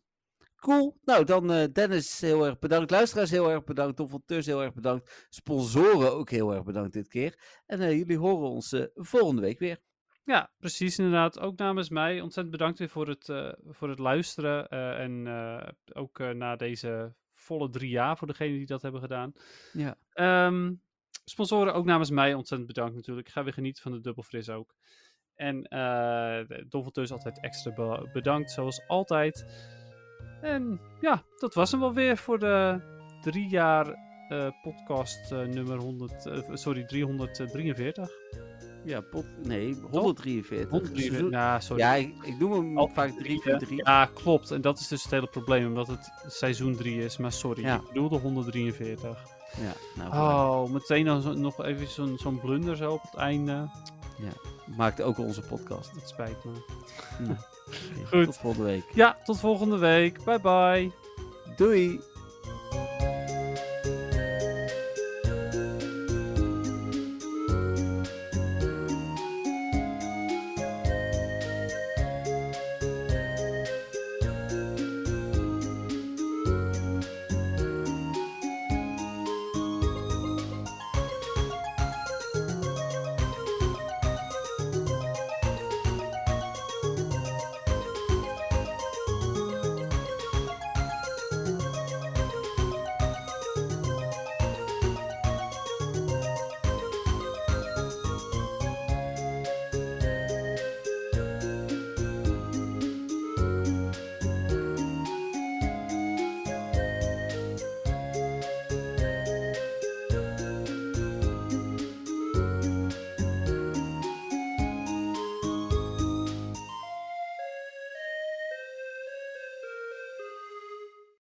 S3: Cool. Nou, dan eh, Dennis, heel erg bedankt. Luisteraars, heel erg bedankt. Tom van Teurs, heel erg bedankt. Sponsoren ook heel erg bedankt dit keer. En eh, jullie horen ons eh, volgende week weer.
S4: Ja, precies inderdaad. Ook namens mij ontzettend bedankt weer voor het, eh, voor het luisteren. eh, en eh, ook eh, na deze volle drie jaar voor degenen die dat hebben gedaan.
S3: Ja.
S4: Ehm, sponsoren ook namens mij ontzettend bedankt natuurlijk. Ik ga weer genieten van de dubbelfris ook. En eh de- Don van Teus altijd extra be- bedankt, zoals altijd. En ja, dat was hem wel weer voor de drie jaar eh, podcast eh, nummer 100, eh, sorry, 343.
S3: Ja, pot, nee, 143. Seizoen-
S4: Ja, sorry.
S3: Ja, ik, ik noem hem
S4: Oh,
S3: vaak 3 voor 3.
S4: Ja, klopt. En dat is dus het hele probleem, omdat het seizoen 3 is. Maar sorry,
S3: Ja.
S4: ik bedoelde 143.
S3: Ja, nou, voilà.
S4: Oh, meteen dan zo- nog even zo'n zo'n blunder zo op het einde.
S3: maakt ook onze podcast.
S4: Dat spijt me.
S3: Oké,
S4: Goed.
S3: Tot volgende week.
S4: Ja, tot volgende week. Bye bye.
S3: Doei!